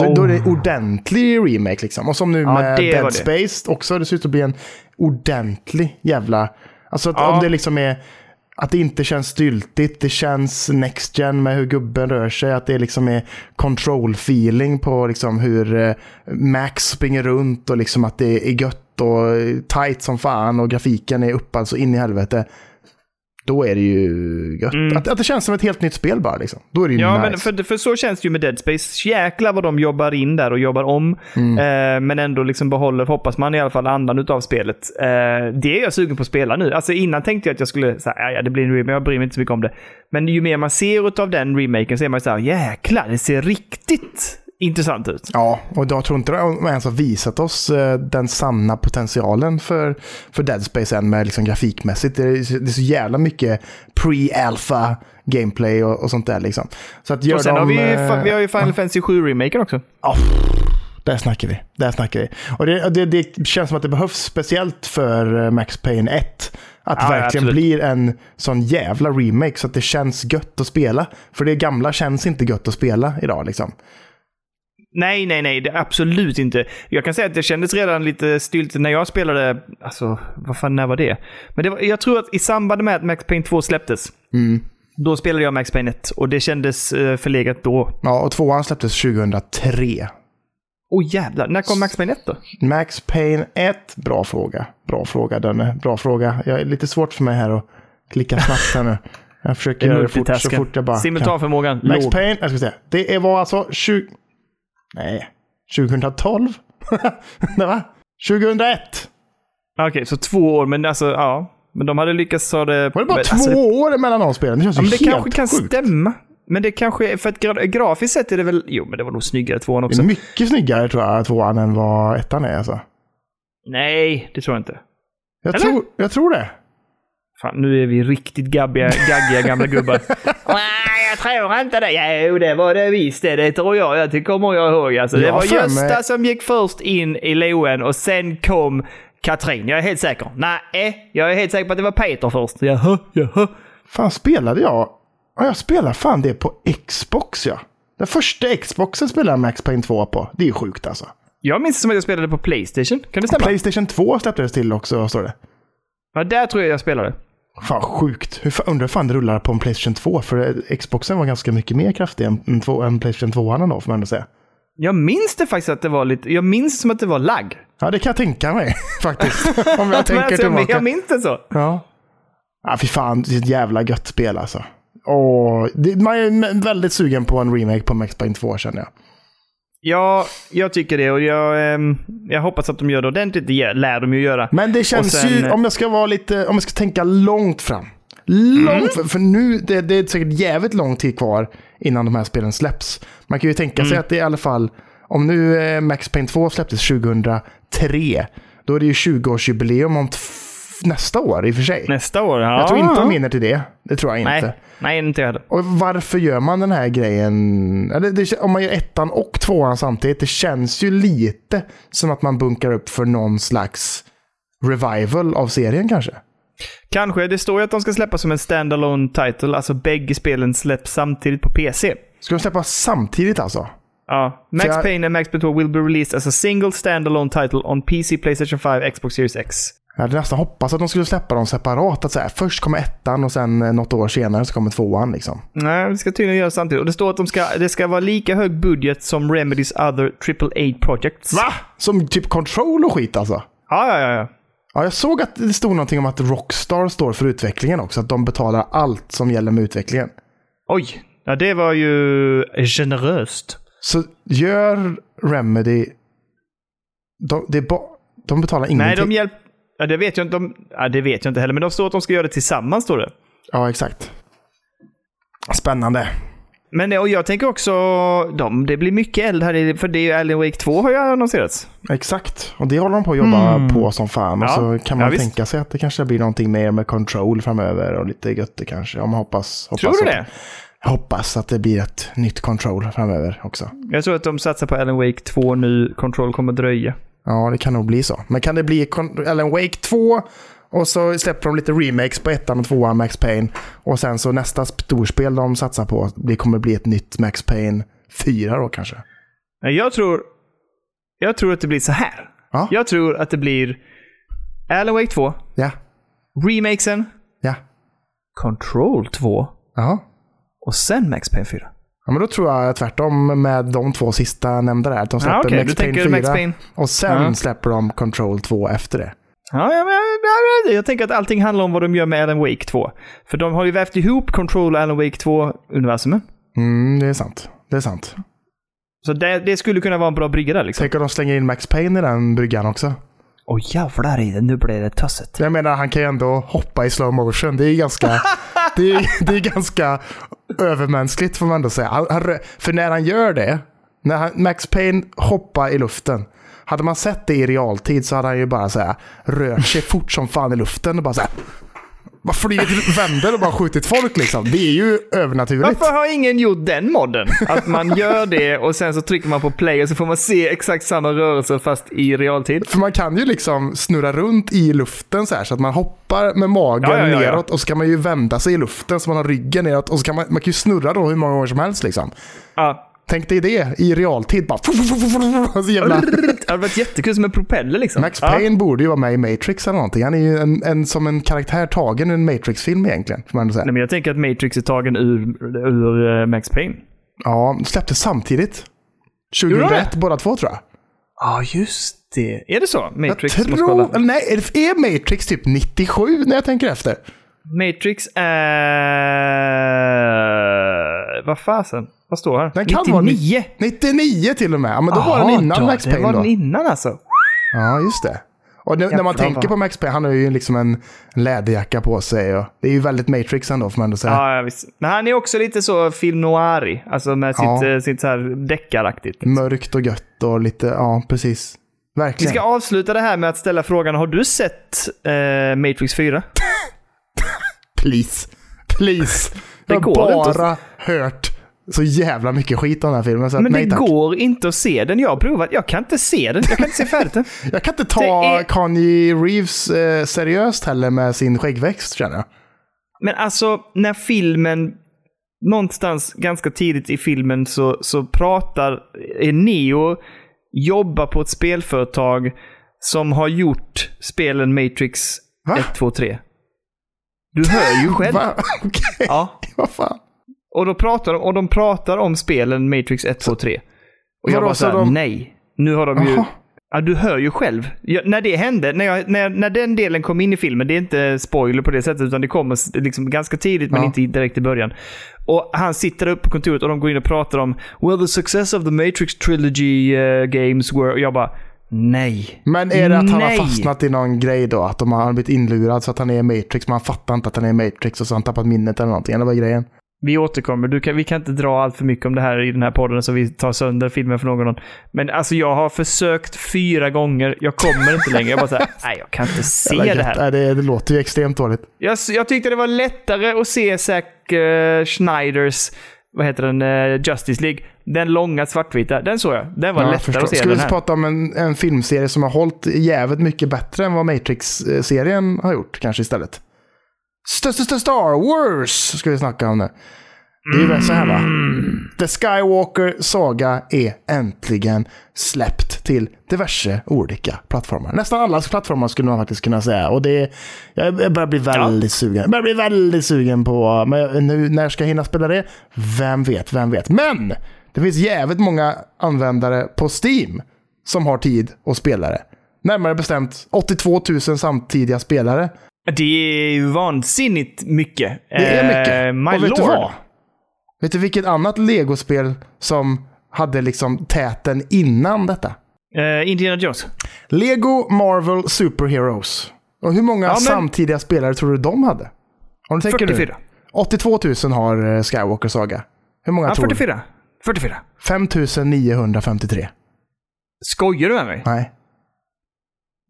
A: då, då är det ordentlig remake liksom. Och som nu med
B: Oh. det var
A: Dead
B: det.
A: Space också, det ser ut att bli en ordentlig jävla... Alltså att
B: Ja.
A: om det liksom är... Att det inte känns styltigt, det känns next gen med hur gubben rör sig, att det liksom är control-feeling på liksom hur eh, Max springer runt och liksom att det är gött och eh, tight som fan och grafiken är uppad så in i helvete. Då är det ju gött. Att, att det känns som ett helt nytt spel bara liksom. Då är det ju
B: Mm. Ja,
A: nice.
B: men för, för så känns det ju med Dead Space. Jäklar vad de jobbar in där och jobbar om.
A: Mm.
B: Eh, men ändå liksom behåller, hoppas man i alla fall, andan utav spelet. Eh, det är jag sugen på att spela nu. Alltså innan tänkte jag att jag skulle säga ja, ja, det blir en remake, jag bryr mig inte så mycket om det. Men ju mer man ser utav den remaken så är man ju såhär, jäklar, det ser riktigt intressant ut.
A: Ja, och jag tror inte de ens har visat oss eh, den sanna potentialen för, för Dead Space än med liksom grafikmässigt. Det är, så- det är så jävla mycket pre-alpha gameplay och, och sånt där liksom. Så att gör
B: Och sen
A: de,
B: har vi, ju
A: eh,
B: fa- vi har ju Final Fantasy 7-remaken också.
A: Ja, pff, där snackar vi. Där snackar vi. Och det, det, det känns som att det behövs speciellt för eh, Max Payne 1. Att det
B: Ja, ja,
A: verkligen
B: absolut.
A: blir en sån jävla remake så att det känns gött att spela. För det gamla känns inte gött att spela idag liksom.
B: Nej, nej, nej, det är absolut inte. Jag kan säga att det kändes redan lite stylt när jag spelade, alltså, vad fan, när var det? Men det var, jag tror att i samband med att Max Payne 2 släpptes,
A: Mm.
B: då spelade jag Max Payne 1 och det kändes eh, förlegat då.
A: Ja, och tvåan släpptes 2003.
B: Åh oh, jävlar, när kom Max Payne 1 då?
A: Max Payne 1, bra fråga. Bra fråga, Danne. Bra fråga. Jag är lite svårt för mig här att klicka snabbt här nu. Jag försöker göra det fort, så fort jag bara kan.
B: Simultanförmågan.
A: Max
B: låg.
A: Payne, jag ska säga. Det var alltså 20... Nej, 2012? Nej, va? 2001?
B: Okej, så två år, men alltså, ja. Men de hade lyckats ha det...
A: Var det bara
B: men,
A: två
B: alltså,
A: år mellan de spelen? Det känns
B: Ja,
A: ju
B: men det
A: helt
B: kanske kan
A: sjukt.
B: stämma. Men det kanske är, för att gra- grafiskt sett är det väl, jo men det var nog snyggare tvåan
A: Det
B: också.
A: är mycket snyggare tror jag, tvåan än vad ettan är alltså.
B: Nej, det tror jag inte.
A: Jag,
B: Eller?
A: tror, jag tror det.
B: Fan, nu är vi riktigt gabbiga, gaggiga gamla gubbar. Nej, jag tror inte det. Jo, det var det visst det. Det tror jag. Jag tycker- kommer jag ihåg. Alltså, det
A: Jag
B: var
A: för mig-
B: Gösta som gick först in i loen och sen kom Katrin. Jag är helt säker. Nej, jag är helt säker på att det var Peter först. Jaha, jaha.
A: Fan, spelade jag? Ja, jag spelade fan det på Xbox, ja. Den första Xboxen spelade jag Max Payne 2 på. Det är ju sjukt alltså.
B: Jag minns det som att jag spelade på Playstation. Kan det stämma?
A: Playstation 2 släpptes till också, står det.
B: Ja, där tror jag jag spelade.
A: Fan, sjukt. Hur fan, undrar hur fan det rullar på en Playstation 2, för eh, Xboxen var ganska mycket mer kraftig än, än, två, än Playstation 2 ändå, får man ändå säga.
B: Jag minns det faktiskt att det var lite... Jag minns det som att det var lagg.
A: Ja, det kan jag tänka mig faktiskt. Om jag
B: Men
A: tänker
B: alltså, jag,
A: tillbaka.
B: jag minns det så.
A: Ja. Ja, fy fan. Det är ett jävla gött spel alltså. Åh, det, man är väldigt sugen på en remake på Max Payne 2 känner jag.
B: Ja, jag tycker det och jag, ehm, jag hoppas att de gör det ordentligt. Det lär de ju göra.
A: Men det känns
B: Och sen-
A: ju, om jag ska vara lite, om jag ska tänka långt fram. Långt
B: Mm.
A: fram, för nu, det, det är säkert jävligt lång tid kvar innan de här spelen släpps. Man kan ju tänka
B: Mm.
A: sig att det i alla fall, om nu eh, Max Payne 2 släpptes 2003, då är det ju 20-årsjubileum om tf- nästa år i och för sig.
B: Nästa år? Ja.
A: Jag tror inte de hinner till det. Det tror jag inte.
B: Nej, nej inte jag heller.
A: Och varför gör man den här grejen? Eller det, om man gör ettan och tvåan samtidigt, det känns ju lite som att man bunkar upp för någon slags revival av serien kanske.
B: Kanske. Det står ju att de ska släppa som en standalone title. Alltså bägge spelen släpps samtidigt på PC.
A: Ska de släppa samtidigt alltså?
B: Ja. Max
A: För jag-
B: Payne and Max Payne 2 will be released as a single standalone title on PC, Playstation 5, Xbox Series X.
A: Jag hade nästan hoppats att de skulle släppa dem separat. Att så här, först kommer ettan och sen eh, något år senare så kommer tvåan. Liksom.
B: Nej, det ska tydligen göras samtidigt. Och det står att de ska, det ska vara lika hög budget som Remedys other AAA projects.
A: Som typ Control och skit alltså.
B: Ja, ja, ja, ja.
A: Ja, jag såg att det stod någonting om att Rockstar står för utvecklingen också. Att de betalar allt som gäller med utvecklingen.
B: Oj. Ja, det var ju generöst.
A: Så gör Remedy... De, det är ba, de betalar
B: Nej,
A: ingenting.
B: de hjälp... Ja, det vet jag inte. De... Ja, det vet jag inte heller. Men de står att de ska göra det tillsammans, står det.
A: Ja, exakt. Spännande.
B: Men det- och jag tänker också... De, det blir mycket eld här, i- för det är ju Alan Wake 2 har ju annonserats.
A: Exakt. Och det håller de på att jobba på som fan. Och
B: Hmm. Ja,
A: så kan
B: ja,
A: man
B: visst.
A: tänka sig att det kanske blir någonting mer med control framöver och lite götte kanske. Om man hoppas, hoppas
B: Tror du
A: att,
B: det?
A: Jag hoppas att det blir ett nytt control framöver också.
B: Jag tror att de satsar på Alan Wake 2 nu. Control kommer dröja.
A: Ja, det kan nog bli så. Men kan det bli Con- Alan Wake 2 och så släpper de lite remakes på ettan och tvåan Max Payne. Och sen så nästa storspel de satsar på det kommer bli ett nytt Max Payne 4 då kanske.
B: Nej, Jag tror... Jag tror att det blir så här.
A: Ja.
B: Jag tror att det blir Alan Wake 2,
A: Ja,
B: remakesen,
A: ja,
B: Control 2
A: jaha.
B: och sen Max Payne 4.
A: Ja, men då tror jag tvärtom med de två sista nämnda där. Att de släpper
B: Ja, okej.
A: Max
B: Du
A: Payne
B: tänker
A: 4
B: Max Payne.
A: och sen
B: Ja.
A: släpper de Control 2 efter det.
B: Ja, ja, men, ja, men, jag tänker att allting handlar om vad de gör med Alan Wake 2. För de har ju vävt ihop Control och Alan Wake 2-universumen.
A: Mm, det är sant. Det är sant.
B: Så det, det skulle kunna vara en bra brygga där liksom.
A: Tänk om de slänger in Max Payne i den bryggan också.
B: Åh jävlar i det, nu blir det tösset.
A: Jag menar, han kan ju ändå hoppa i slow motion. Det är ju ganska, det är, det är ganska övermänskligt får man ändå säga. Han, han, rö- för när han gör det, När han, Max Payne hoppar i luften. Hade man sett det i realtid så hade han ju bara så här, rört sig fort som fan i luften och bara så här, bara flugit vänder och bara skjutit folk liksom. Det är ju övernaturligt.
B: Varför har ingen gjort den modden? Att man gör det och sen så trycker man på play och så får man se exakt samma rörelse fast i realtid.
A: För man kan ju liksom snurra runt i luften så här så att man hoppar med magen
B: Ja, ja, ja, ja.
A: neråt och så kan man ju vända sig i luften så man har ryggen neråt och så kan man, man kan ju snurra då hur många gånger som helst liksom.
B: Ja.
A: Tänk dig det i realtid bara. Så jävla...
B: Det hade varit jättekul som en propeller liksom.
A: Max
B: Ja.
A: Payne borde ju vara med i Matrix eller någonting. Han är ju en, en, som en karaktär tagen ur en Matrix-film egentligen. Får man ändå säga.
B: Nej, men jag tänker att Matrix är tagen ur, ur eh, Max Payne.
A: Ja, släpptes samtidigt.
B: det?
A: 2001 båda två tror jag.
B: Ja, just det. Är det så? Matrix,
A: jag
B: måste kolla.
A: tror... eller Nej, är- är Matrix typ 97 när jag tänker efter?
B: Matrix är... Vad fasen? Vad står här?
A: Den kan vara
B: 99!
A: 99 till och med. Ja, men då var den
B: Jaha,
A: innan
B: då,
A: Max
B: Det var
A: Payne då.
B: den innan alltså.
A: Ja, just det. Och nu, när man
B: Jävlar,
A: tänker
B: vad-
A: på Max Payne, han har ju liksom en läderjacka på sig. Och det är ju väldigt Matrix ändå, får man ändå säga.
B: Ja, ja, visst. Men han är också lite så film noirig. Alltså med sitt,
A: Ja.
B: eh, sitt så här deckaraktigt.
A: Mörkt och gött och lite, ja precis.
B: Vi
A: Verkligen.
B: ska avsluta det här med att ställa frågan, har du sett eh, Matrix 4?
A: Please. Please. Jag har
B: går inte att-
A: bara hört så jävla mycket skit om den här filmen. Så att,
B: Men
A: nej,
B: det
A: tack.
B: går inte att se den. Jag har provat. Jag kan inte se den. Jag kan inte se färdigt den.
A: Jag kan inte ta
B: Det är-
A: Kanye Reeves eh, seriöst heller med sin skäggväxt känner jag.
B: Men alltså, när filmen... Någonstans ganska tidigt i filmen så, så pratar eh, Neo, jobbar på ett spelföretag som har gjort spelen Matrix
A: Va?
B: 1, 2, 3. Du hör ju själv.
A: Va? Okej,
B: Ja.
A: vad fan.
B: Och, då pratar de, och de pratar om spelen Matrix 1, 2, 3. Och jag
A: Vadå,
B: bara
A: så
B: såhär,
A: de-
B: nej. Nu har de ju...
A: Jaha.
B: Ja, du hör ju själv. Jag, när det hände, när, jag, när, när den delen kom in i filmen, det är inte spoiler på det sättet, utan det kommer s- liksom ganska tidigt, men
A: Ja.
B: inte direkt i början. Och han sitter upp på kontoret och de går in och pratar om “Well, the success of the Matrix trilogy eh, games were...” Och jag bara, nej.
A: Men är det att han
B: Nej.
A: har fastnat i någon grej då? Att de har blivit inlurad så att han är i Matrix, men han fattar inte att han är i Matrix och så har han tappat minnet eller någonting. Eller vad är grejen?
B: Vi återkommer. Du kan, vi kan inte dra allt för mycket om det här i den här podden så vi tar sönder filmen för någon. Men alltså jag har försökt fyra gånger. Jag kommer inte längre. Jag bara såhär, nej jag kan inte se
A: Eller
B: det
A: gött.
B: här.
A: Nej, det, det låter ju extremt dåligt.
B: Jag, jag tyckte det var lättare att se Zack eh, Schneiders, vad heter den, eh, Justice League. Den långa svartvita, den såg jag. Den var
A: Ja, jag
B: lättare
A: förstår.
B: att se
A: Ska
B: än
A: vi
B: den här.
A: prata om en, en filmserie som har hållit jävligt mycket bättre än vad Matrix-serien har gjort kanske istället? St- st- st- Star Wars ska vi snacka om nu. Det är
B: Mm.
A: ju väl så här va? The Skywalker Saga är äntligen släppt till diverse olika plattformar. Nästan alla plattformar skulle man faktiskt kunna säga. Och det, jag jag börjar bli väldigt sugen. Jag börjar bli väldigt sugen på, men jag- nu, när ska jag hinna spela det? Vem vet, vem vet. Men! Det finns jävligt många användare på Steam som har tid och spelare. Närmare bestämt 82 000 samtidiga spelare.
B: Det är ju vansinnigt mycket. Eh,
A: Det är mycket.
B: my
A: och vet du
B: lord.
A: vad? Vet du vilket annat legospel som hade liksom täten innan detta?
B: Eh, Indiana Jones.
A: Lego Marvel Super Heroes. Och hur många
B: men-
A: samtidiga spelare tror du de hade? Om du tänker
B: 44.
A: Nu, 82 000 har eh, Skywalker Saga. Hur många
B: Ja,
A: tror du?
B: 44. 44.
A: 5 953.
B: Skojar du med mig?
A: Nej.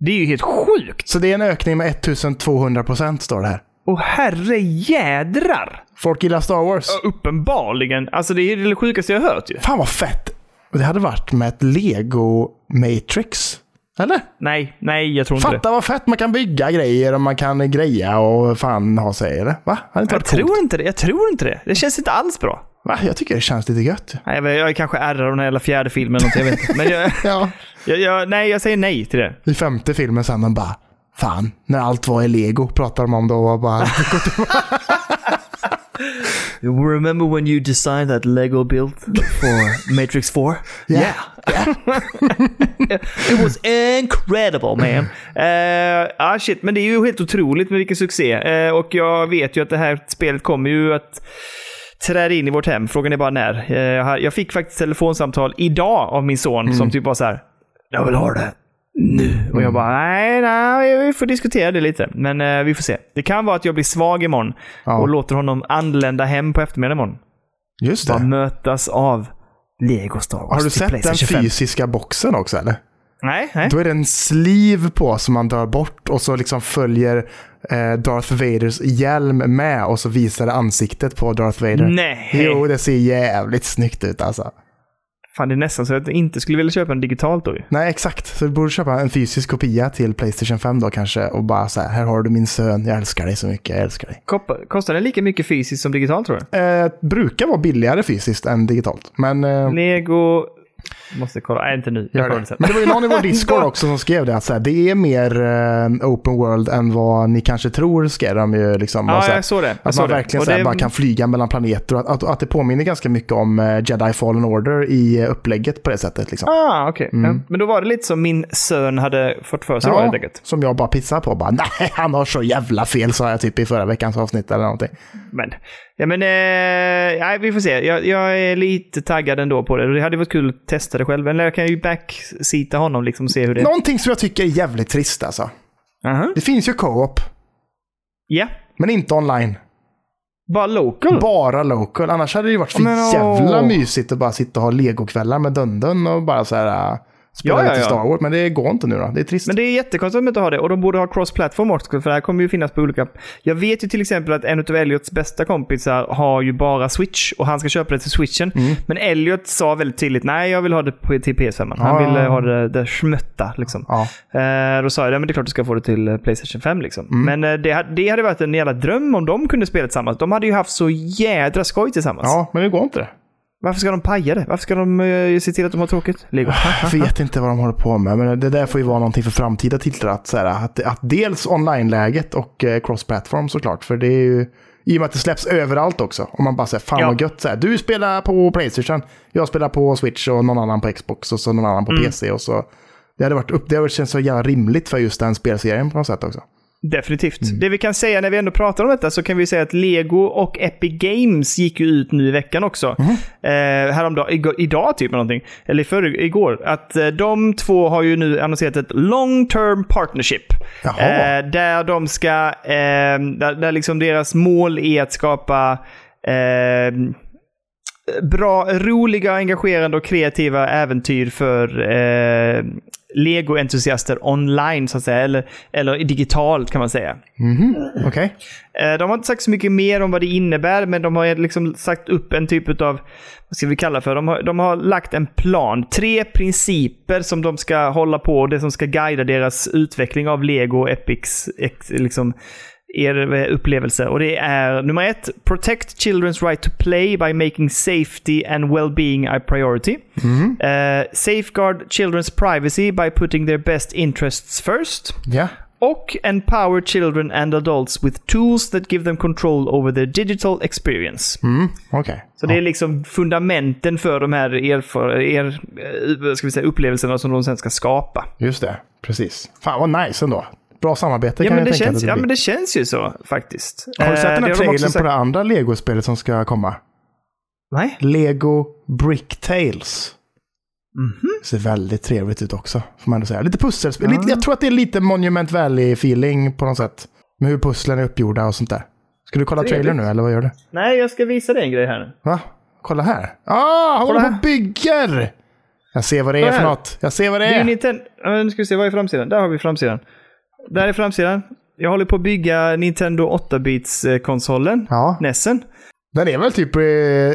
B: Det är ju helt sjukt.
A: Så det är en ökning med 1200 procent står det här.
B: Och herre jädrar!
A: Folk gillar Star Wars.
B: Uppenbarligen. Alltså det är det sjukaste jag hört ju.
A: Fan vad fett! Det hade varit med ett Lego Matrix. Eller?
B: Nej, nej jag tror inte det.
A: Fatta vad fett man kan bygga grejer och man kan greja och fan ha sig. Eller? Va? Har det inte
B: Jag
A: varit coolt?
B: tror inte det. Jag tror inte det. Det känns inte alls bra.
A: Va? Jag tycker det känns lite gött.
B: Nej, men jag är kanske ärrar av den här jävla fjärde filmen eller någonting, jag vet inte. Men jag,
A: Ja.
B: jag, jag, nej, jag säger nej till det.
A: I femte filmen sen de bara, fan, när allt var i lego pratar de om då och bara,
B: You remember when you designed that Lego build for Matrix 4?
A: yeah.
B: It was incredible man.
A: Mm.
B: Eh, ah shit, men det är ju helt otroligt med vilken succé. Eh, och jag vet ju att det här spelet kommer ju att träda in i vårt hem. Frågan är bara när. Eh, jag har- jag fick faktiskt telefonsamtal idag av min son
A: Mm.
B: som typ var så här. Jag vill ha det. Nu. Och jag bara, nej, nej, vi får diskutera det lite. Men eh, vi får se. Det kan vara att jag blir svag imorgon
A: Ja.
B: och låter honom anlända hem på eftermiddagen imorgon.
A: Just
B: Bara
A: det.
B: mötas av Lego Star Wars
A: Har du
B: till
A: sett den
B: Playstation 25.
A: fysiska boxen också eller?
B: Nej, nej.
A: Då är det en sleeve på som man drar bort och så liksom följer eh, Darth Vaders hjälm med och så visar det ansiktet på Darth Vader.
B: Nej.
A: Jo, det ser jävligt snyggt ut alltså.
B: Fan, det är nästan så att jag inte skulle vilja köpa den digitalt då ju.
A: Nej, exakt. Så du borde köpa en fysisk kopia till Playstation 5 då kanske och bara så här, här har du min son, jag älskar dig så mycket, jag älskar dig.
B: Koppa- Kostar den lika mycket fysiskt som digitalt tror du?
A: Eh, brukar vara billigare fysiskt än digitalt, men... Eh,
B: Lego... Måste kolla. Nej, inte nu. Jag
A: Gör
B: kollar
A: det.
B: det sen.
A: Men det var ju någon i vår Discord också som skrev det, att så här, det är mer eh, open world än vad ni kanske tror, skrev de ju. Liksom, och så
B: Ja,
A: här,
B: jag såg det. Jag
A: att
B: såg
A: man
B: det.
A: verkligen
B: Och
A: så här,
B: det-
A: bara kan flyga mellan planeter och att, att, att det påminner ganska mycket om eh, Jedi Fallen Order i eh, upplägget på det sättet. Liksom.
B: Ah, okej. Ja. Men då var det lite som min son hade fått för sig då,
A: Ja,
B: helt enkelt.
A: som jag bara pissar på. Bara, Nej, han har så jävla fel, sa jag typ i förra veckans avsnitt eller någonting.
B: Men, ja, men eh, nej, vi får se. Jag, jag är lite taggad ändå på det. Det hade varit kul att testa det själv. Eller jag kan ju backseata honom liksom och se hur det...
A: Någonting som jag tycker är jävligt trist alltså.
B: Aha.
A: Det finns ju co-op,
B: Ja,
A: men inte online.
B: bara local.
A: Bara local. Annars hade det ju varit så
B: Men, åh.
A: jävla mysigt att bara sitta och ha legokvällar med Dundun och bara så här äh, spela
B: Ja, ja,
A: lite
B: ja.
A: Star Wars. Men det går inte nu då. Det är trist.
B: Men det är jättekonstigt att de inte har det. Och de borde ha cross-platform också, för det här kommer ju finnas på olika... Jag vet ju till exempel att en av Elliots bästa kompisar har ju bara Switch och han ska köpa det till Switchen.
A: Mm.
B: Men Elliot sa väldigt tydligt nej, jag vill ha det på, till PS5. Han
A: Ja, ja,
B: ville
A: ja.
B: ha det, det smötta liksom.
A: Ja.
B: Eh, då sa jag, ja, men det är klart du ska få det till eh, Playstation 5 liksom.
A: Mm.
B: Men eh, det, ha- det hade varit en jävla dröm om de kunde spela tillsammans. De hade ju haft så jädra skoj tillsammans.
A: ja, men det går inte det.
B: Varför ska de paja det? Varför ska de eh, se till att de har tråkigt? Lego.
A: Jag vet inte vad de håller på med, men det där får ju vara någonting för framtida titlar. Att, så här, att, att dels online-läget och eh, cross-platform såklart. För det är ju, i och med att det släpps överallt också. Om man bara säger fan
B: Ja.
A: vad gött, så här, du spelar på Playstation, jag spelar på Switch och någon annan på Xbox och så någon annan på
B: Mm.
A: PC. Och så, det hade varit upp, det hade känts så jävla rimligt för just den spelserien på något sätt också.
B: Definitivt. Det vi kan säga när vi ändå pratar om detta så kan vi säga att Lego och Epic Games gick ju ut nu i veckan också. Eh, häromdagen, igår, idag typ eller någonting. Eller i förr, igår. Att eh, de två har ju nu annonserat ett long term partnership.
A: Jaha.
B: Eh, där de ska, eh, där, där liksom deras mål är att skapa eh, bra, roliga, engagerande och kreativa äventyr för eh, Lego-entusiaster online, så att säga. Eller, eller digitalt, kan man säga.
A: Okej.
B: Eh, de har inte sagt så mycket mer om vad det innebär, men de har liksom sagt upp en typ av, vad ska vi kalla för, de har, de har lagt en plan. Tre principer som de ska hålla på och det som ska guida deras utveckling av Lego och Epics ex, liksom, er eh, upplevelse. Och det är nummer ett, Protect children's right to play by making safety and well-being a priority. Eh, safeguard children's privacy by putting their best interests first.
A: Ja.
B: Och empower children and adults with tools that give them control over their digital experience.
A: Mm. Okej.
B: Så det är liksom fundamenten för de här erfar- er, eh, vad ska vi säga, upplevelserna som de sen ska skapa.
A: Just det. Precis. Fan vad nice ändå. Bra samarbete
B: Ja
A: kan
B: men, det
A: jag tänka
B: känns,
A: att
B: ja,
A: det
B: men
A: blir.
B: det känns ju så faktiskt.
A: Har du
B: Eh,
A: sett den här
B: det har de också
A: trailern på
B: sagt-
A: det andra Lego-spelet som ska komma?
B: Nej?
A: Lego Brick Tales.
B: Mhm.
A: Ser väldigt trevligt ut också, får man ändå säga. Lite pusselspel. Lite, jag tror att det är lite Monument Valley-feeling på något sätt. Med hur pusslen är uppgjorda och sånt där. Ska du kolla trailern nu eller vad gör du?
B: Nej, jag ska visa dig en grej här nu.
A: Va? Kolla här. Ah, han håller på
B: Kolla här.
A: och bygger! Jag ser vad det är
B: Kolla
A: för
B: här.
A: något. Jag ser vad det
B: Det är ju
A: är.
B: Nintendo... Nu ska vi se, vad är framsidan? Där har vi framsidan. Där är framsidan. Jag håller på att bygga Nintendo eh, 8-bits-konsolen.
A: Ja,
B: Nessen.
A: den är väl typ i,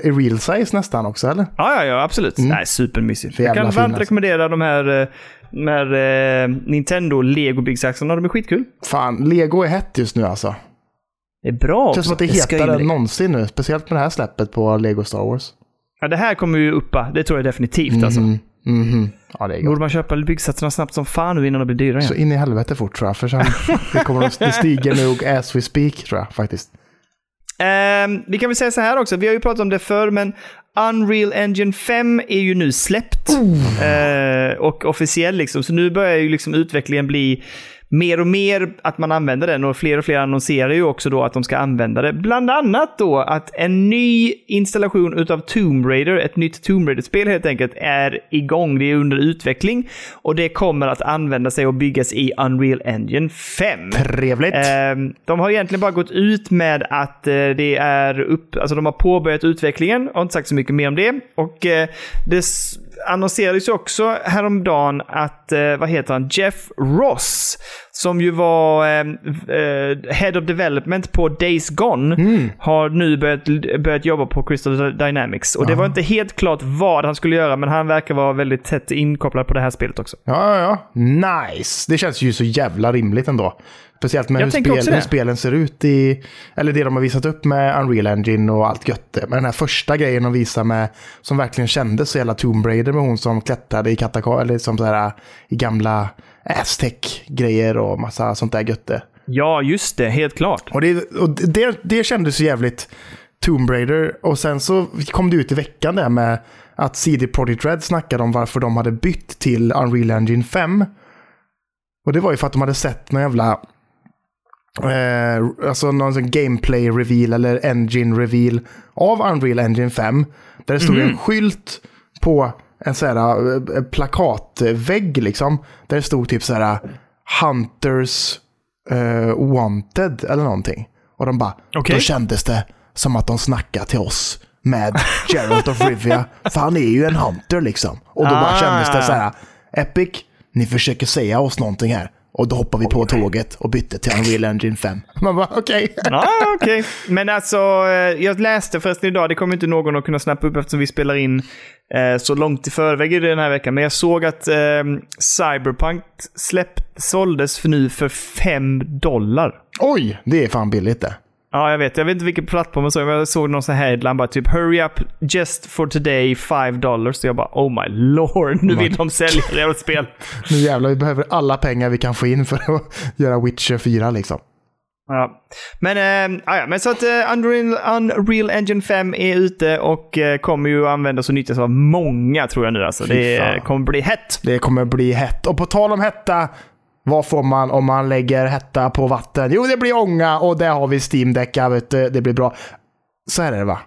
A: i real size nästan också, eller?
B: Ja, ja, ja absolut. Nej, supermysigt.
A: Mm. För
B: Jag
A: jävla
B: kan varmt
A: fin, alltså.
B: rekommendera de här, eh, de här eh, Nintendo Lego byggsaxarna. De är skitkul.
A: Fan, Lego är hett just nu alltså.
B: Alltså, Det är bra
A: Det känns som att det är
B: Jag ska
A: hetare
B: in-
A: än någonsin nu. Speciellt med det här släppet på Lego Star Wars.
B: ja, Det här kommer ju uppa. Det tror jag definitivt. Alltså.
A: Mm. Mhm. Ja, det är gott.
B: Borde man köpa byggsatserna snabbt som fan nu innan de blir dyra
A: Så
B: igen?
A: in i helvete fort tror jag, för sen det kommer de, det stiger nog as we speak tror jag faktiskt.
B: Ehm, vi kan väl säga så här också. Vi har ju pratat om det förr, men Unreal Engine 5 är ju Ehm, nu släppt. Eh, och officiell liksom. Så nu börjar ju liksom utvecklingen bli mer och mer att man använder den och fler och fler annonserar ju också då att de ska använda det. Bland annat då att en ny installation utav Tomb Raider, ett nytt Tomb Raider-spel helt enkelt, är igång. Det är under utveckling och det kommer att använda sig och byggas i Unreal Engine 5.
A: Trevligt.
B: Ehm, De har egentligen bara gått ut med att eh, det är upp, alltså de har påbörjat utvecklingen, Jag har inte sagt så mycket mer om det. Och eh, det s- annonserades ju också häromdagen att, eh, vad heter han, Jeff Ross, som ju var eh, eh, Head of Development på Days Gone, har nu börjat, börjat jobba på Crystal Dynamics. Och det var inte helt klart vad han skulle göra, men han verkar vara väldigt tätt inkopplad på det här spelet också.
A: Ja, ja, ja. Nice. Det känns ju så jävla rimligt ändå. Speciellt med
B: Jag
A: hur,
B: tänker också
A: spel,
B: det.
A: hur spelen ser ut i... Eller det de har visat upp med Unreal Engine och allt götte. Men den här första grejen de visar med, som verkligen kändes så jävla Tomb Raider med hon som klättrade i katakom, eller som så här, i gamla Aztec-grejer och massa sånt där götte.
B: Ja, just det, helt klart.
A: Och det, och det, det kändes ju jävligt Tomb Raider. Och sen så kom det ut i veckan där med att CD Projekt Red snackade om varför de hade bytt till Unreal Engine 5. Och det var ju för att de hade sett någon jävla... Eh, alltså någon sån gameplay reveal eller engine reveal av Unreal Engine 5. Där det stod
B: Mhm.
A: en skylt på en sån här eh, plakatvägg liksom. Där det stod typ så här Hunters eh, Wanted eller någonting. Och de bara,
B: Okej.
A: då kändes det som att de snackade till oss med Geralt of Rivia. För han är ju en hunter liksom. Och då bara
B: Ah.
A: kändes det så här, Epic, ni försöker säga oss någonting här. Och då hoppar vi på tåget och bytte till Unreal Engine 5. Man bara, okej.
B: Ja, okej. Men alltså, eh, jag läste förresten idag, det kommer inte någon att kunna snappa upp eftersom vi spelar in eh, så långt i förväg i den här veckan. Men jag såg att eh, Cyberpunk släpp, såldes för nu för 5 dollar.
A: Oj, det är fan billigt det.
B: Ja, jag vet. Jag vet inte vilken plattform jag såg, men jag såg någon sån här headline bara typ “Hurry up just for today, 5 dollars”. Så jag bara “Oh my lord, nu vill de sälja det jävla spel”.
A: Nu jävlar, vi behöver alla pengar vi kan få in för att göra Witcher 4 liksom.
B: Ja. Men, eh, ja, ja, men så att eh, Unreal, Unreal Engine 5 är ute och eh, kommer ju användas och nyttjas av många tror jag nu alltså.
A: Fy
B: Det
A: fan.
B: eh, kommer bli hett.
A: Det kommer bli hett. Och på tal om hetta, vad får man om man lägger hetta på vatten? Jo, det blir ånga och där har vi Steam-däckar, vet du. Det blir bra. Så här är det va?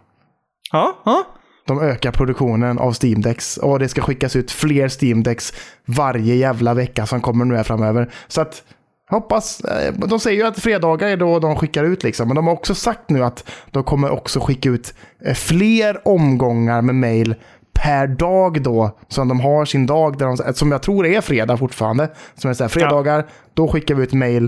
B: Ja, ja.
A: De ökar produktionen av Steam Decks och det ska skickas ut fler Steam Decks varje jävla vecka som kommer nu här framöver. Så att hoppas, eh, de säger ju att fredagar är då de skickar ut liksom, men de har också sagt nu att de kommer också skicka ut eh, fler omgångar med mail per dag då, som de har sin dag, där de, som jag tror är fredag fortfarande. Som är så här, fredagar, då skickar vi ut mail,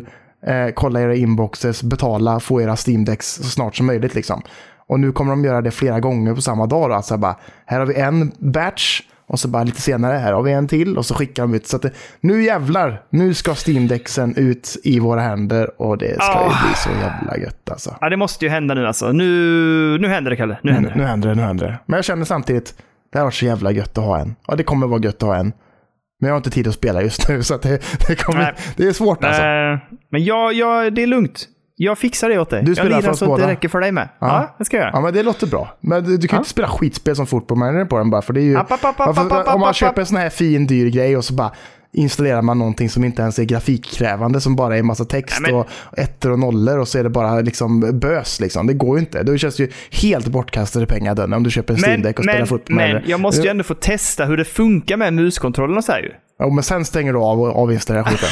A: eh, kolla era inboxes, betala, få era Steam Decks så snart som möjligt liksom. Och nu kommer de göra det flera gånger på samma dag. Då. Alltså bara, här har vi en batch och så bara lite senare här har vi en till och så skickar de ut. Så att det, nu jävlar, nu ska Steam-dexen ut i våra händer och det ska
B: Ah.
A: ju bli så jävla gött alltså.
B: ja, det måste ju hända nu alltså. Nu, nu händer det Kalle. Nu händer
A: Nu,
B: det.
A: nu händer det, nu händer det. Men jag känner samtidigt, det har varit så jävla gött att ha en. Ja, det kommer vara gött att ha en. Men jag har inte tid att spela just nu så att det, det,
B: Nej.
A: kommer, det är svårt alltså.
B: Eh, men jag, jag, det är lugnt. Jag fixar det åt dig.
A: Du
B: jag
A: spelar
B: lirar
A: för oss
B: så att det
A: båda.
B: räcker för dig med. Ja, det ska jag
A: Ja,
B: göra.
A: men det låter bra. Men du, du kan ju inte spela skitspel som Football Manager på den bara, för det är ju...
B: App, app, app, app,
A: Varför-
B: app, app,
A: om man
B: app, app.
A: köper en sån här fin, dyr grej och så bara installerar man någonting som inte ens är grafikkrävande, som bara är en massa text
B: Nej, men-
A: och ettor och nollor och så är det bara liksom bös. Liksom. Det går ju inte. Det känns ju helt bortkastade pengar den om du köper en Steam
B: Men,
A: Deck och spelar
B: men,
A: Football
B: men
A: Manager.
B: jag måste ju ändå få testa hur det funkar med muskontrollen och så här ju.
A: Ja, men sen stänger du av och avinstallerar skiten.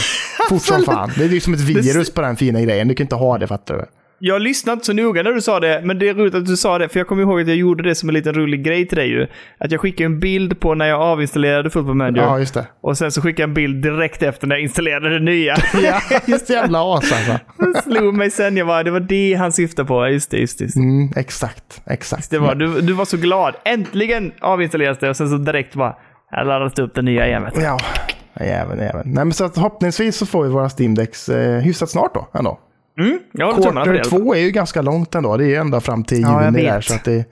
A: Fort som fan. Det är ju som ett virus på den fina grejen. Du kan inte ha det, fattar du?
B: Jag lyssnade inte så noga när du sa det, men det är roligt att du sa det, för jag kommer ihåg att jag gjorde det som en liten rolig grej till dig ju. Att jag skickade en bild på när jag avinstallerade Football Manager.
A: Ja, just det.
B: Och sen så skickade jag en bild direkt efter när jag installerade det nya.
A: Ja, just jävla as alltså.
B: Det slog mig sen, jag bara, det var det han syftade på. Ja, Just det, just det. Just det.
A: Mm, exakt, exakt.
B: det var, du, du var så glad. Äntligen avinstalleras det och sen så direkt bara, jag har laddat upp den nya igen. vet du.
A: Ja, jäveln, jäveln. Nej, men så att hoppningsvis så får vi våra Steam Decks eh, hyfsat snart då, ändå.
B: Mm, jag håller tummarna för
A: Quarter
B: det.
A: två är ju ganska långt ändå. Det är ju ända fram till
B: Ja, jag
A: juni
B: vet.
A: där. Så att det,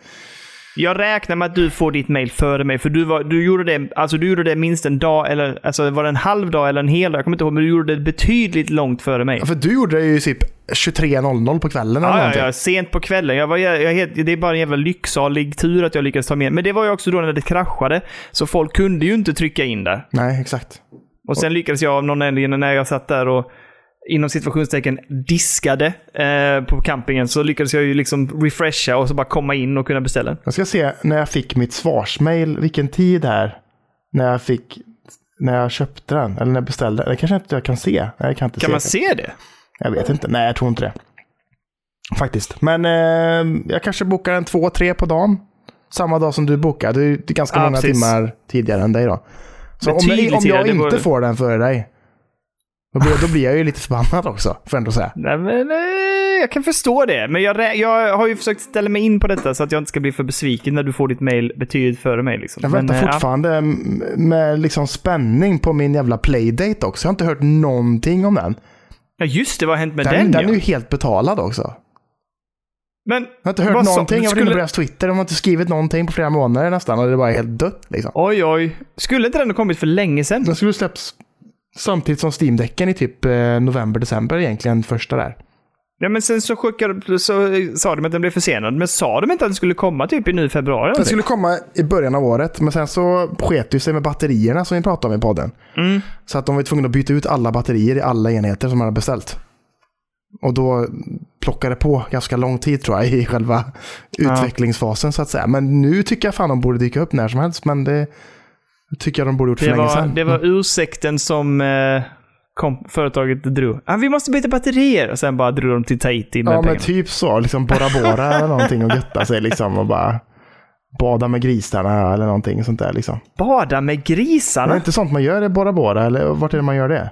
B: Jag räknar med att du får ditt mail före mig, för du, var, du, gjorde, det, alltså du gjorde det minst en dag, eller alltså var det en halv dag eller en hel dag? Jag kommer inte ihåg, men du gjorde det betydligt långt före mig.
A: för du gjorde det ju typ 23.00 på kvällen eller
B: Ja, ja,
A: någonting.
B: ja, sent på kvällen. Jag var, jag, jag, helt- det är bara en jävla lycksalig tur att jag lyckades ta med Men det var ju också då när det kraschade, så folk kunde ju inte trycka in där.
A: Nej, exakt.
B: Och sen lyckades jag av någon anledning när jag satt där och inom situationstecken diskade eh, på campingen så lyckades jag ju liksom refresha och så bara komma in och kunna beställa.
A: Jag ska se när jag fick mitt svarsmail, vilken tid här. När jag fick, när jag köpte den, eller när jag beställde den. Det kanske inte jag kan se. Nej, jag kan inte
B: Kan
A: se.
B: man se det?
A: Jag vet inte. Nej, jag tror inte det. Faktiskt. Men eh, jag kanske bokar en två, tre på dagen. Samma dag som du bokar. Det är det är ganska
B: Ja,
A: många
B: precis.
A: tidigare tidigare än dig då. Så om,
B: Betydligt
A: jag- om jag
B: tidigare, det
A: inte
B: var-
A: får den före dig, då blir, då blir jag ju lite förbannad också, får jag ändå säga.
B: Nej, men, eh, jag kan förstå det. Men jag, rä- jag har ju försökt ställa mig in på detta så att jag inte ska bli för besviken när du får ditt mail betydligt före mig. Liksom.
A: Jag
B: Men,
A: väntar
B: eh, ja.
A: fortfarande m- med liksom spänning på min jävla playdate också. Jag har inte hört någonting om den.
B: Ja, just det. Vad har hänt med
A: Den,
B: den?
A: den, är
B: ja.
A: ju helt betalad också. Jag
B: Men
A: har inte hört
B: Vad sa-
A: någonting. Jag har varit inne på
B: skulle-
A: deras Twitter. De har inte skrivit någonting på flera månader nästan. Och det är bara helt dött liksom.
B: oj, oj. Skulle inte den ha kommit för länge sedan?
A: Den skulle släpps samtidigt som Steam-däcken i typ eh, november, december egentligen. Första där.
B: Ja, men sen så, chockade, så eh, sa de att den blev försenad. Men sa de inte att den skulle komma typ i nu i februari? eller
A: Den
B: någonting?
A: skulle komma i början av året. Men sen så sket det sig med batterierna som vi pratade om i podden.
B: Mm.
A: Så att de var tvungna att byta ut alla batterier i alla enheter som man hade beställt. Och då plockade det på ganska lång tid tror jag i själva
B: Ja.
A: utvecklingsfasen så att säga. Men nu tycker jag fan de borde dyka upp när som helst. Men det tycker jag de borde gjort för
B: Det
A: länge
B: var,
A: sedan.
B: det var ursäkten som eh, kom, företaget drog. Ah, vi måste byta batterier! Och sen bara drog de till Tahiti med
A: ja men
B: pengarna.
A: typ så. Liksom Bora Bora eller någonting och götta sig liksom och bara bada med grisarna eller någonting sånt där liksom.
B: Bada med
A: Det är
B: grisarna?
A: inte sånt man gör i Bora Bora eller vart är det man gör det?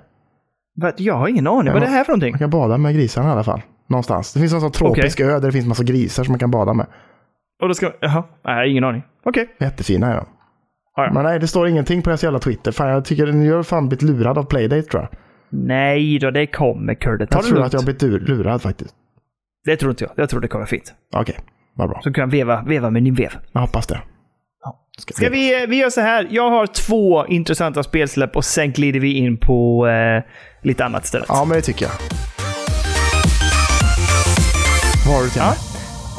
B: Va? Jag har ingen aning. Vad är det här för någonting?
A: Man kan bada med grisarna i alla fall. Någonstans. Det finns en sån tropisk ö där det finns massa grisar som man kan bada med.
B: Och då ska Jaha. Nej, jag har ingen aning. Okej.
A: Jättefina är de.
B: Ja, ja.
A: Men nej, det står ingenting på deras jävla Twitter. Fan, jag tycker nu har jag fan blivit lurad av Playdate tror jag.
B: Nej då, det kommer Kurre. Ta
A: Jag
B: det
A: tror
B: lugnt.
A: att jag har blivit ur- lurad faktiskt.
B: Det tror inte jag. Jag tror det kommer fint.
A: Okej, vad bra.
B: Så kan jag veva, veva med din vev.
A: Jag hoppas det.
B: Ja.
A: Ska
B: Ska vi, vi gör så här. Jag har två intressanta spelsläpp och sen glider vi in på eh, lite annat istället.
A: Ja, men det tycker jag. Vad har du till mig?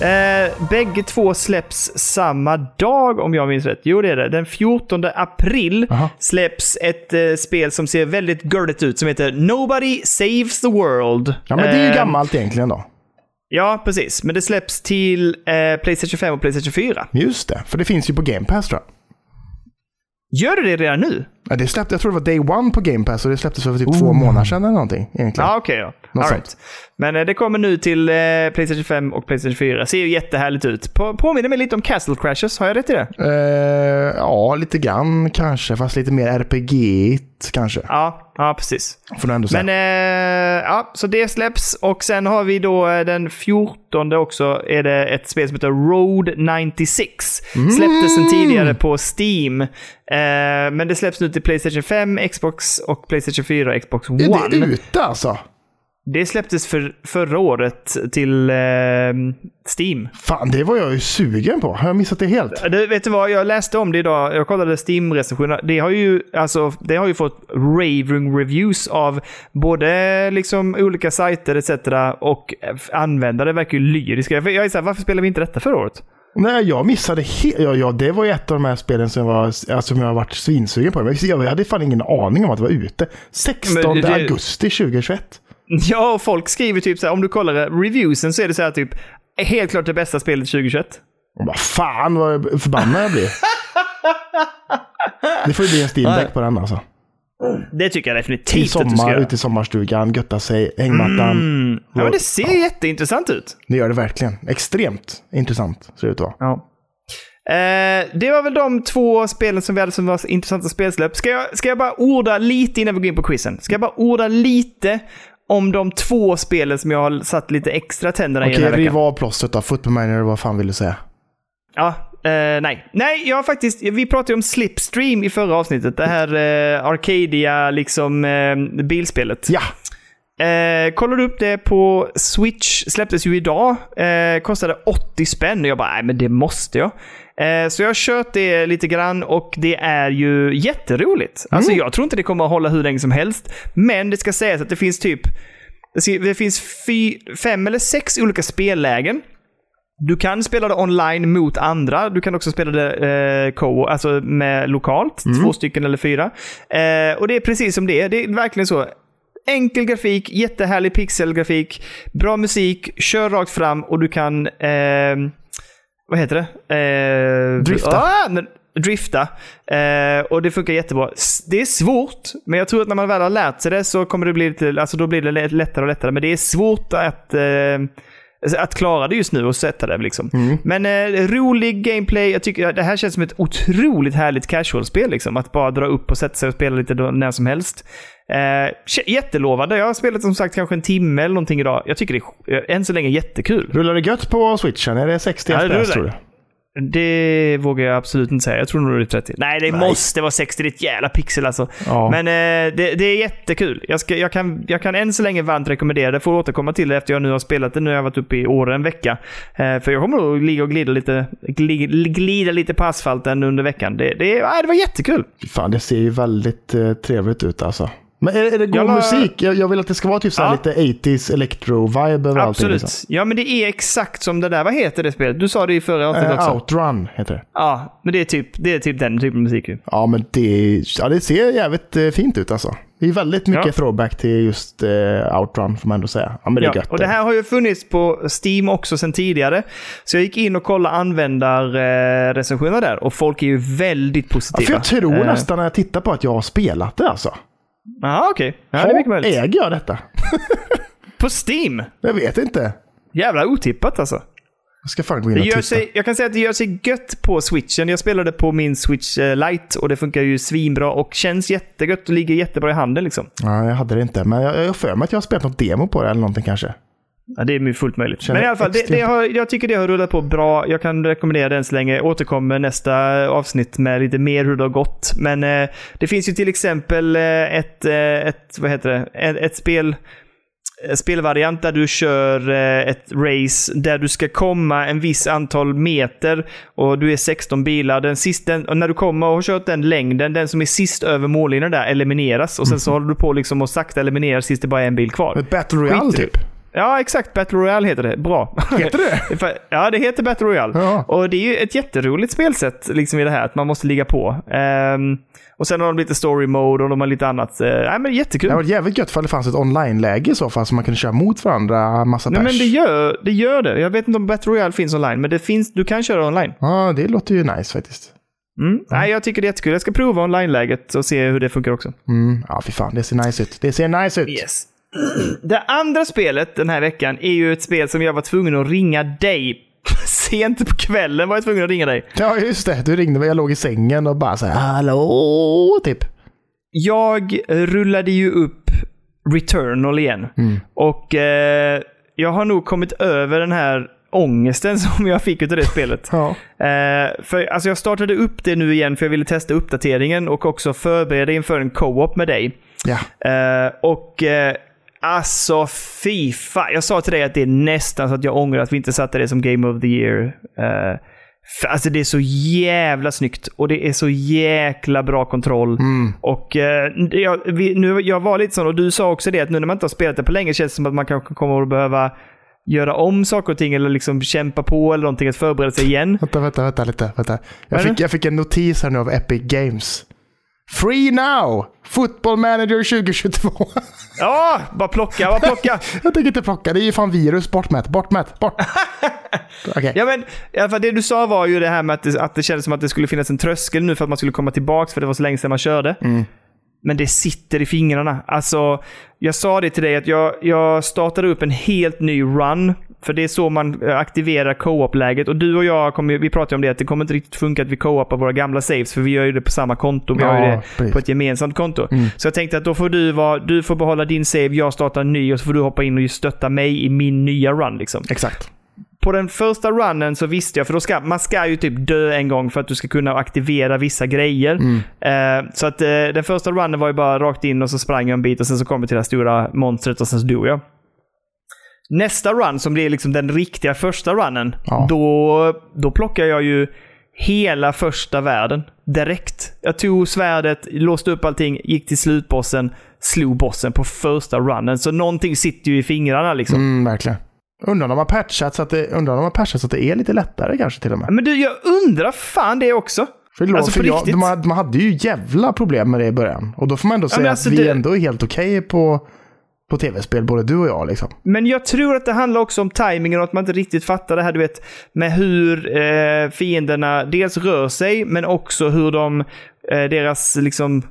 B: Eh, bägge två släpps samma dag om jag minns rätt. Jo, det är det. Den 14 april
A: Aha.
B: släpps ett eh, spel som ser väldigt görligt ut som heter Nobody Saves the World.
A: Ja, men det är ju
B: Eh,
A: gammalt egentligen då.
B: Ja, precis. Men det släpps till eh, Playstation 5 och Playstation 4.
A: Just det, för det finns ju på Game Pass tror jag.
B: Gör det det redan nu?
A: Ja, det släppte, jag tror det var Day One på Game Pass och det släpptes för typ två månader sedan eller någonting. Egentligen.
B: Oh. Ja, okej då.
A: Något
B: All right. Men eh, det kommer nu till eh, Playstation 5 och Playstation 4. Ser ju jättehärligt ut. På, påminner mig lite om Castle Crashers. Har jag rätt i det?
A: Eh, ja, lite grann kanske, fast lite mer RPG-igt kanske.
B: Ja, ja precis.
A: Får du ändå säga.
B: Men eh, ja, så det släpps och sen har vi då eh, den 14 också är det ett spel som heter Road 96.
A: Mm.
B: Släpptes sen tidigare på Steam. Eh, men det släpps nu till Playstation 5, Xbox och Playstation 4 och Xbox One.
A: är det ute alltså?
B: Det släpptes för, förra året till eh, Steam.
A: Fan, det var jag ju sugen på. Har jag missat det helt?
B: Det, vet du vad, jag läste om det idag. Jag kollade Steam-recensionerna. Det har ju, alltså, det har ju fått raving reviews av både liksom, olika sajter etc. och eh, användare verkar ju lyriska. Jag jag är såhär, varför spelade vi inte detta förra året?
A: Nej, jag missade helt. Ja, ja, det var ju ett av de här spelen som jag, var, alltså, som jag har varit svinsugen på. Men jag hade fan ingen aning om att det var ute. 16
B: Men det- det-
A: augusti 2021.
B: Ja, och folk skriver typ såhär, om du kollar reviewsen så är det såhär typ, helt klart det bästa spelet 2021.
A: Och Bara, fan vad förbannad jag blir. det får ju bli en steam Deck på den alltså.
B: Det tycker jag
A: I
B: definitivt att du ska
A: sommar,
B: göra. Mm.
A: ute i sommarstugan, götta sig, hängmattan.
B: Ja, men det ser jätteintressant ut.
A: Det gör det verkligen. Extremt intressant ser det ut att vara.
B: Ja. Eh, det var väl de två spelen som vi hade som var intressanta spelsläpp. Ska jag, ska jag bara orda lite innan vi går in på quizen? Ska jag bara orda lite om de två spelen som jag har satt lite extra tänderna i
A: Okej,
B: den här
A: riv
B: veckan?
A: av plåstret då. Football Manager, vad fan vill du säga?
B: Ja, eh, nej. Nej, jag har faktiskt... Vi pratade ju om Slipstream i förra avsnittet. Det här eh, Arcadia, liksom eh, bilspelet.
A: Ja,
B: Eh, kollade upp det på Switch, släpptes ju idag. Eh, kostade 80 spänn och jag bara, nej men det måste jag. Eh, så jag har kört det lite grann och det är ju jätteroligt. Alltså jag tror inte det kommer att hålla hur länge som helst. Men det ska sägas att det finns typ, det ska- det finns fy, fem eller sex olika spellägen. Du kan spela det online mot andra. Du kan också spela det eh, co alltså med lokalt, två stycken eller fyra. Eh, och det är precis som det är. Det är verkligen så. Enkel grafik, jättehärlig pixelgrafik, bra musik, kör rakt fram och du kan... ehm, vad heter det? Eh,
A: Drifta.
B: Ah, men, drifta. Eh, och det funkar jättebra. S- Det är svårt, men jag tror att när man väl har lärt sig det så kommer det bli lite, alltså då blir det lä- lättare och lättare. Men det är svårt att, eh, alltså att klara det just nu och sätta det. Liksom. Men eh, rolig gameplay. Jag tycker att det här känns som ett otroligt härligt casual-spel. Liksom. Att bara dra upp och sätta sig och spela lite då, när som helst. Eh, kä- jättelovande. Jag har spelat som sagt kanske en timme eller någonting idag. Jag tycker det är eh, än så länge jättekul.
A: Rullar det gött på switchen? Är det 60
B: Ja, det
A: FPS tror
B: rullar.
A: du?
B: Det vågar jag absolut inte säga. Jag tror nog det är 30. Nej, det måste vara 60. Det är ett jävla pixel alltså.
A: Ja.
B: Men eh, det, det är jättekul. Jag, ska, jag, kan, jag kan än så länge varmt rekommendera det. Får återkomma till det efter jag nu har spelat det. Nu har jag varit uppe i Åre en vecka. Eh, för jag kommer att ligga och glida lite, glida, glida lite på asfalten under veckan. Det, det, ah, det var jättekul.
A: Fan, det ser ju väldigt eh, trevligt ut alltså. Men är, är det god
B: Jag la-
A: musik? Jag, jag vill att det ska vara typ så här
B: Ja.
A: lite 80s electro-vibe över allting.
B: Absolut.
A: Liksom.
B: Ja, men det är exakt som det där. Vad heter det spelet? Du sa det i förra avsnittet
A: Eh,
B: också.
A: Outrun heter det.
B: Ja, men det är, typ, det är typ den typen av musik. ju.
A: Ja, men det, ja, det ser jävligt eh, fint ut alltså. Det är väldigt mycket
B: Ja.
A: throwback till just eh, Outrun får man ändå säga. Ja, men det är
B: Ja,
A: gött.
B: och det här har ju funnits på Steam också sedan tidigare. Så jag gick in och kollade användarrecensionerna där och folk är ju väldigt
A: ja,
B: positiva.
A: för jag tror
B: Eh,
A: nästan när jag tittar på att jag har spelat det alltså.
B: Jaha, okej. Ja, det är mycket möjligt.
A: äger jag detta?
B: På Steam!
A: Jag vet inte.
B: Jävla otippat alltså.
A: Jag ska fan gå in och
B: Det gör
A: titta.
B: sig, jag kan säga att det gör sig gött på switchen. Jag spelade på min switch eh, lite och det funkar ju svinbra och känns jättegött och ligger jättebra i handen liksom.
A: Ja, jag hade det inte, men jag jag har för mig att jag har spelat något demo på det eller någonting kanske.
B: Ja, det är ju fullt möjligt.
A: Känner
B: Men i alla fall, det,
A: extremt-
B: det har, jag tycker det har rullat på bra. Jag kan rekommendera det än så länge. Återkommer nästa avsnitt med lite mer hur det har gått. Men eh, det finns ju till exempel eh, ett, eh, ett, vad heter det? Ett, ett spel eh, spelvariant där du kör eh, ett race där du ska komma en viss antal meter och du är 16 bilar. Den sista, den, och när du kommer och har kört den längden, den som är sist över mållinjen där elimineras och sen
A: Mhm.
B: så håller du på liksom och sakta elimineras tills det bara är en bil kvar.
A: Ett Battle Royale
B: Skit i det.
A: typ.
B: Ja, exakt. Battle Royale heter det. Bra.
A: Heter det?
B: För- ja, det heter Battle Royale.
A: Ja.
B: Och det är ju ett jätteroligt spelsätt liksom i det här, att man måste ligga på. Ehm, och sen har de lite story mode och de har lite annat. Uh, nej, men jättekul.
A: Det var jävligt gött för det fanns ett online-läge i så fall, så man kunde köra mot varandra, massa
B: nej,
A: pers.
B: men det gör, det gör det. Jag vet inte om Battle Royale finns online, men det finns, du kan köra online.
A: Ja, det låter ju nice faktiskt.
B: Mm. Nej, jag tycker det är jättekul. Jag ska prova online-läget och se hur det funkar också.
A: Mm. Ja, fy fan, det ser nice ut. Det ser nice ut.
B: Yes. Det andra spelet den här veckan är ju ett spel som jag var tvungen att ringa dig. Sent på kvällen var jag tvungen att ringa dig.
A: Ja, just det. Du ringde mig, jag låg i sängen och bara så här, hallå, typ.
B: jag rullade ju upp Returnal igen. Och eh, jag har nog kommit över den här ångesten som jag fick utav det spelet.
A: Ja.
B: Eh, för, alltså jag startade upp det nu igen för jag ville testa uppdateringen och också förbereda inför en co-op med dig.
A: Ja.
B: Eh, och eh, alltså fy fan. Jag sa till dig att det är nästan så att jag ångrar att vi inte satte det som Game of the Year. Eh, för, alltså det är så jävla snyggt och det är så jäkla bra kontroll. Och eh, det- jag, vi, nu, jag var lite sån, och du sa också det, att nu när man inte har spelat det på länge känns det som att man kanske kommer att behöva göra om saker och ting eller liksom kämpa på eller någonting, att förbereda sig igen.
A: Vänta, vänta, vänta lite. Vänta. Jag,
B: Vad är
A: fick, jag fick en notis här nu av Epic Games. Free now! Football Manager 2022.
B: Ja, bara plocka, bara plocka!
A: jag tänker inte plocka, det är ju fan virus. Bort med det, bort med det, bort. Okej.
B: Ja, men, i alla fall, det du sa var ju det här med att det, att det kändes som att det skulle finnas en tröskel nu för att man skulle komma tillbaka för det var så länge sedan man körde.
A: Mm.
B: Men det sitter i fingrarna. Alltså, jag sa det till dig att jag, jag startade upp en helt ny run. För det är så man eh, aktiverar co-op-läget. Och du och jag kommer, ju- vi pratade om det, att det kommer inte riktigt funka att vi co-opar våra gamla saves. För vi gör ju det på samma konto. Vi har ju
A: Ja,
B: det
A: precis. Mm.
B: på ett gemensamt konto. Så jag tänkte att då får du, vara, du får behålla din save, jag startar en ny och så får du hoppa in och stötta mig i min nya run. Liksom
A: Exakt.
B: på den första runnen så visste jag, för då ska, man ska ju typ dö en gång för att du ska kunna aktivera vissa grejer. Eh, så att eh, den första runnen var ju bara rakt in och så sprang jag en bit och sen så kom vi till det här stora monstret och sen så dog jag. Nästa run, som blir liksom den riktiga första runnen,
A: Ja.
B: då, då plockar jag ju hela första världen direkt. Jag tog svärdet, låste upp allting, gick till slutbossen, slog bossen på första runnen. Så någonting sitter ju i fingrarna liksom.
A: Mm, verkligen. Undrar om de har patchat så att det, undrar om de har patchat så att det är lite lättare kanske till och med.
B: Men du, jag undrar fan det också.
A: För, det låter-
B: Alltså, på
A: för jag,
B: riktigt.
A: man, man hade ju jävla problem med det i början. Och då får man ändå säga
B: men alltså,
A: att vi
B: det-
A: ändå är helt okej på på tv-spel, både du och jag. Liksom.
B: Men jag tror att det handlar också om tajmingen och att man inte riktigt fattar det här du vet med hur eh, fienderna dels rör sig men också hur de, eh, deras liksom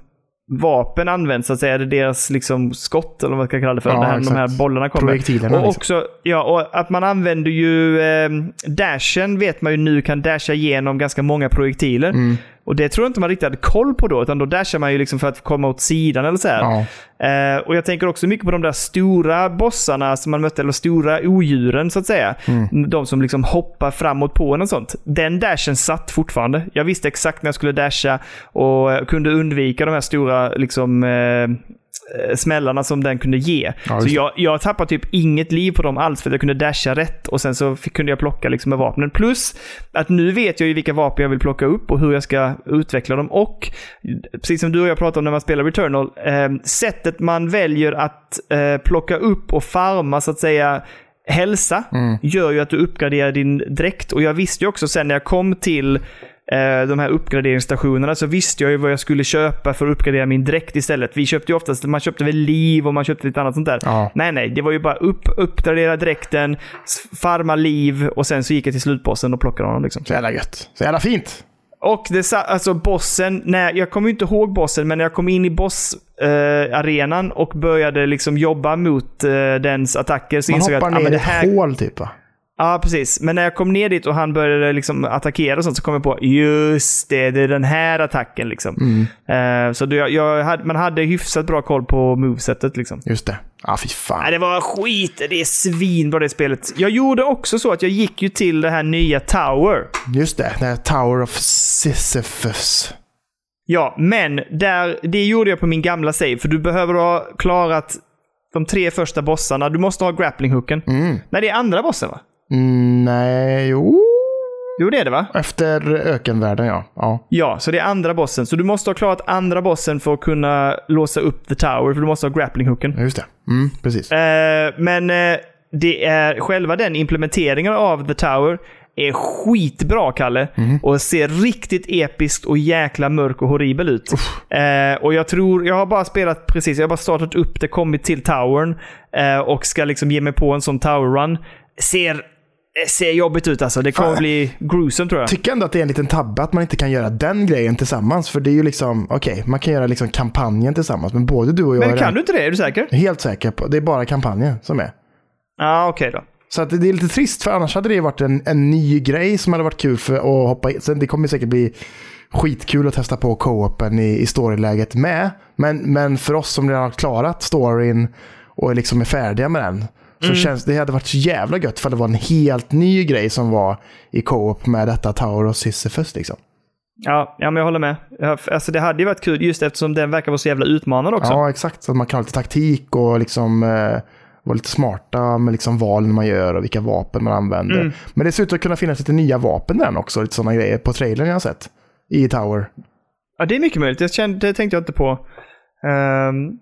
B: vapen används så att säga. Det är deras liksom skott eller vad man ska kalla det för.
A: Ja,
B: det här, de
A: exakt.
B: här bollarna kommer.
A: Projektilerna,
B: Och
A: liksom.
B: också, ja, och att man använder ju eh, dashen vet man ju nu kan dasha igenom ganska många projektiler.
A: Mm.
B: Och det tror jag inte man riktigt hade koll på då, utan då dashar man ju liksom för att komma åt sidan eller så här.
A: Ja.
B: Eh, och jag tänker också mycket på de där stora bossarna som man mötte, eller stora odjuren så att säga.
A: Mm.
B: De som liksom hoppar framåt på en och sånt. Den dashen satt fortfarande. Jag visste exakt när jag skulle dasha och eh, kunde undvika de här stora liksom, eh, eh, smällarna som den kunde ge.
A: Ja,
B: så
A: just det.
B: Alltså, jag, jag tappade typ inget liv på dem alls för att jag kunde dasha rätt och sen så fick, kunde jag plocka liksom med vapnen. Plus att nu vet jag ju vilka vapen jag vill plocka upp och hur jag ska utveckla dem. Och precis som du och jag pratade om när man spelar Returnal, eh, sättet man väljer att eh, plocka upp och farma så att säga hälsa gör ju att du uppgraderar din dräkt. Och jag visste ju också sen när jag kom till eh, de här uppgraderingsstationerna så visste jag ju vad jag skulle köpa för att uppgradera min dräkt istället. Vi köpte ju oftast, man köpte väl liv och man köpte lite annat sånt där.
A: Ja.
B: Nej, nej, det var ju bara upp, uppgradera dräkten, s- farma liv och sen så gick jag till slutbossen och plockade honom liksom.
A: Så jävla gött. Så jävla fint.
B: Och det sa, alltså bossen, nej, jag kommer ju inte ihåg bossen, men när jag kom in i bossarenan eh, arenan och började liksom jobba mot eh, dens attacker så
A: Man
B: insåg jag
A: hoppar
B: att ah,
A: ner
B: men
A: i
B: det
A: ett
B: här
A: hål typ va?
B: Ja, precis. Men när jag kom ner dit och han började liksom attackera och sånt så kom jag på just det, det är den här attacken. Liksom.
A: Mm.
B: Eh, så det, jag, jag hade, man hade hyfsat bra koll på movesetet. Liksom.
A: Just det. Ja, ah, fy
B: Nej,
A: fan.
B: det var skit. Det är svinbra det spelet. Jag gjorde också så att jag gick ju till det här nya Tower.
A: Just det. Det här Tower of Sisyphus.
B: Ja, men där, det gjorde jag på min gamla save, för du behöver ha klarat de tre första bossarna. Du måste ha grapplinghooken.
A: Mm.
B: Nej, det är andra bossen va?
A: Mm, nej, jo.
B: Jo, det är det va?
A: Efter ökenvärlden ja. ja.
B: Ja, så det är andra bossen. Så du måste ha klarat andra bossen för att kunna låsa upp the tower, för du måste ha grapplinghucken.
A: Just det. Mm, precis.
B: Eh, men eh, det är själva den implementeringen av the tower är skitbra, Kalle. Och ser riktigt episkt och jäkla mörk och horribel ut. Eh, och jag tror, jag har bara spelat precis, jag har bara startat upp det, kommit till towern eh, och ska liksom ge mig på en sån tower run. Ser, eh, ser jobbigt ut alltså. Det kommer
A: Fan.
B: bli gruesome tror jag.
A: tycker ändå att det är en liten tabbe att man inte kan göra den grejen tillsammans. För det är ju liksom, okej, man kan göra liksom kampanjen tillsammans. Men både du och jag
B: Men
A: är
B: kan du inte det? Är du säker?
A: helt säker på, det är bara kampanjen som är.
B: Ja, okej då.
A: Så att det det är lite trist, för annars hade det varit en, en ny grej som hade varit kul för att hoppa in. Sen det kommer säkert bli skitkul att testa på co-open i, i storyläget med. Men, men för oss som redan har klarat storyn och liksom är färdiga med den. Så känns det hade varit så jävla gött för det var en helt ny grej som var i co-op med detta Tower och Sisyphus liksom.
B: Ja, ja, men jag håller med. Ja, f- Alltså, det hade ju varit kul just eftersom den verkar vara så jävla utmanande också.
A: Ja, exakt. Så att man kan ha lite taktik och liksom eh, vara lite smarta med liksom valen man gör och vilka vapen man använder.
B: Mm.
A: Men det ser ut att kunna finnas lite nya vapen där också, lite sådana grejer på trailern jag har sett. I Tower.
B: Ja, det är mycket möjligt. Jag kände, det tänkte jag inte på ehm,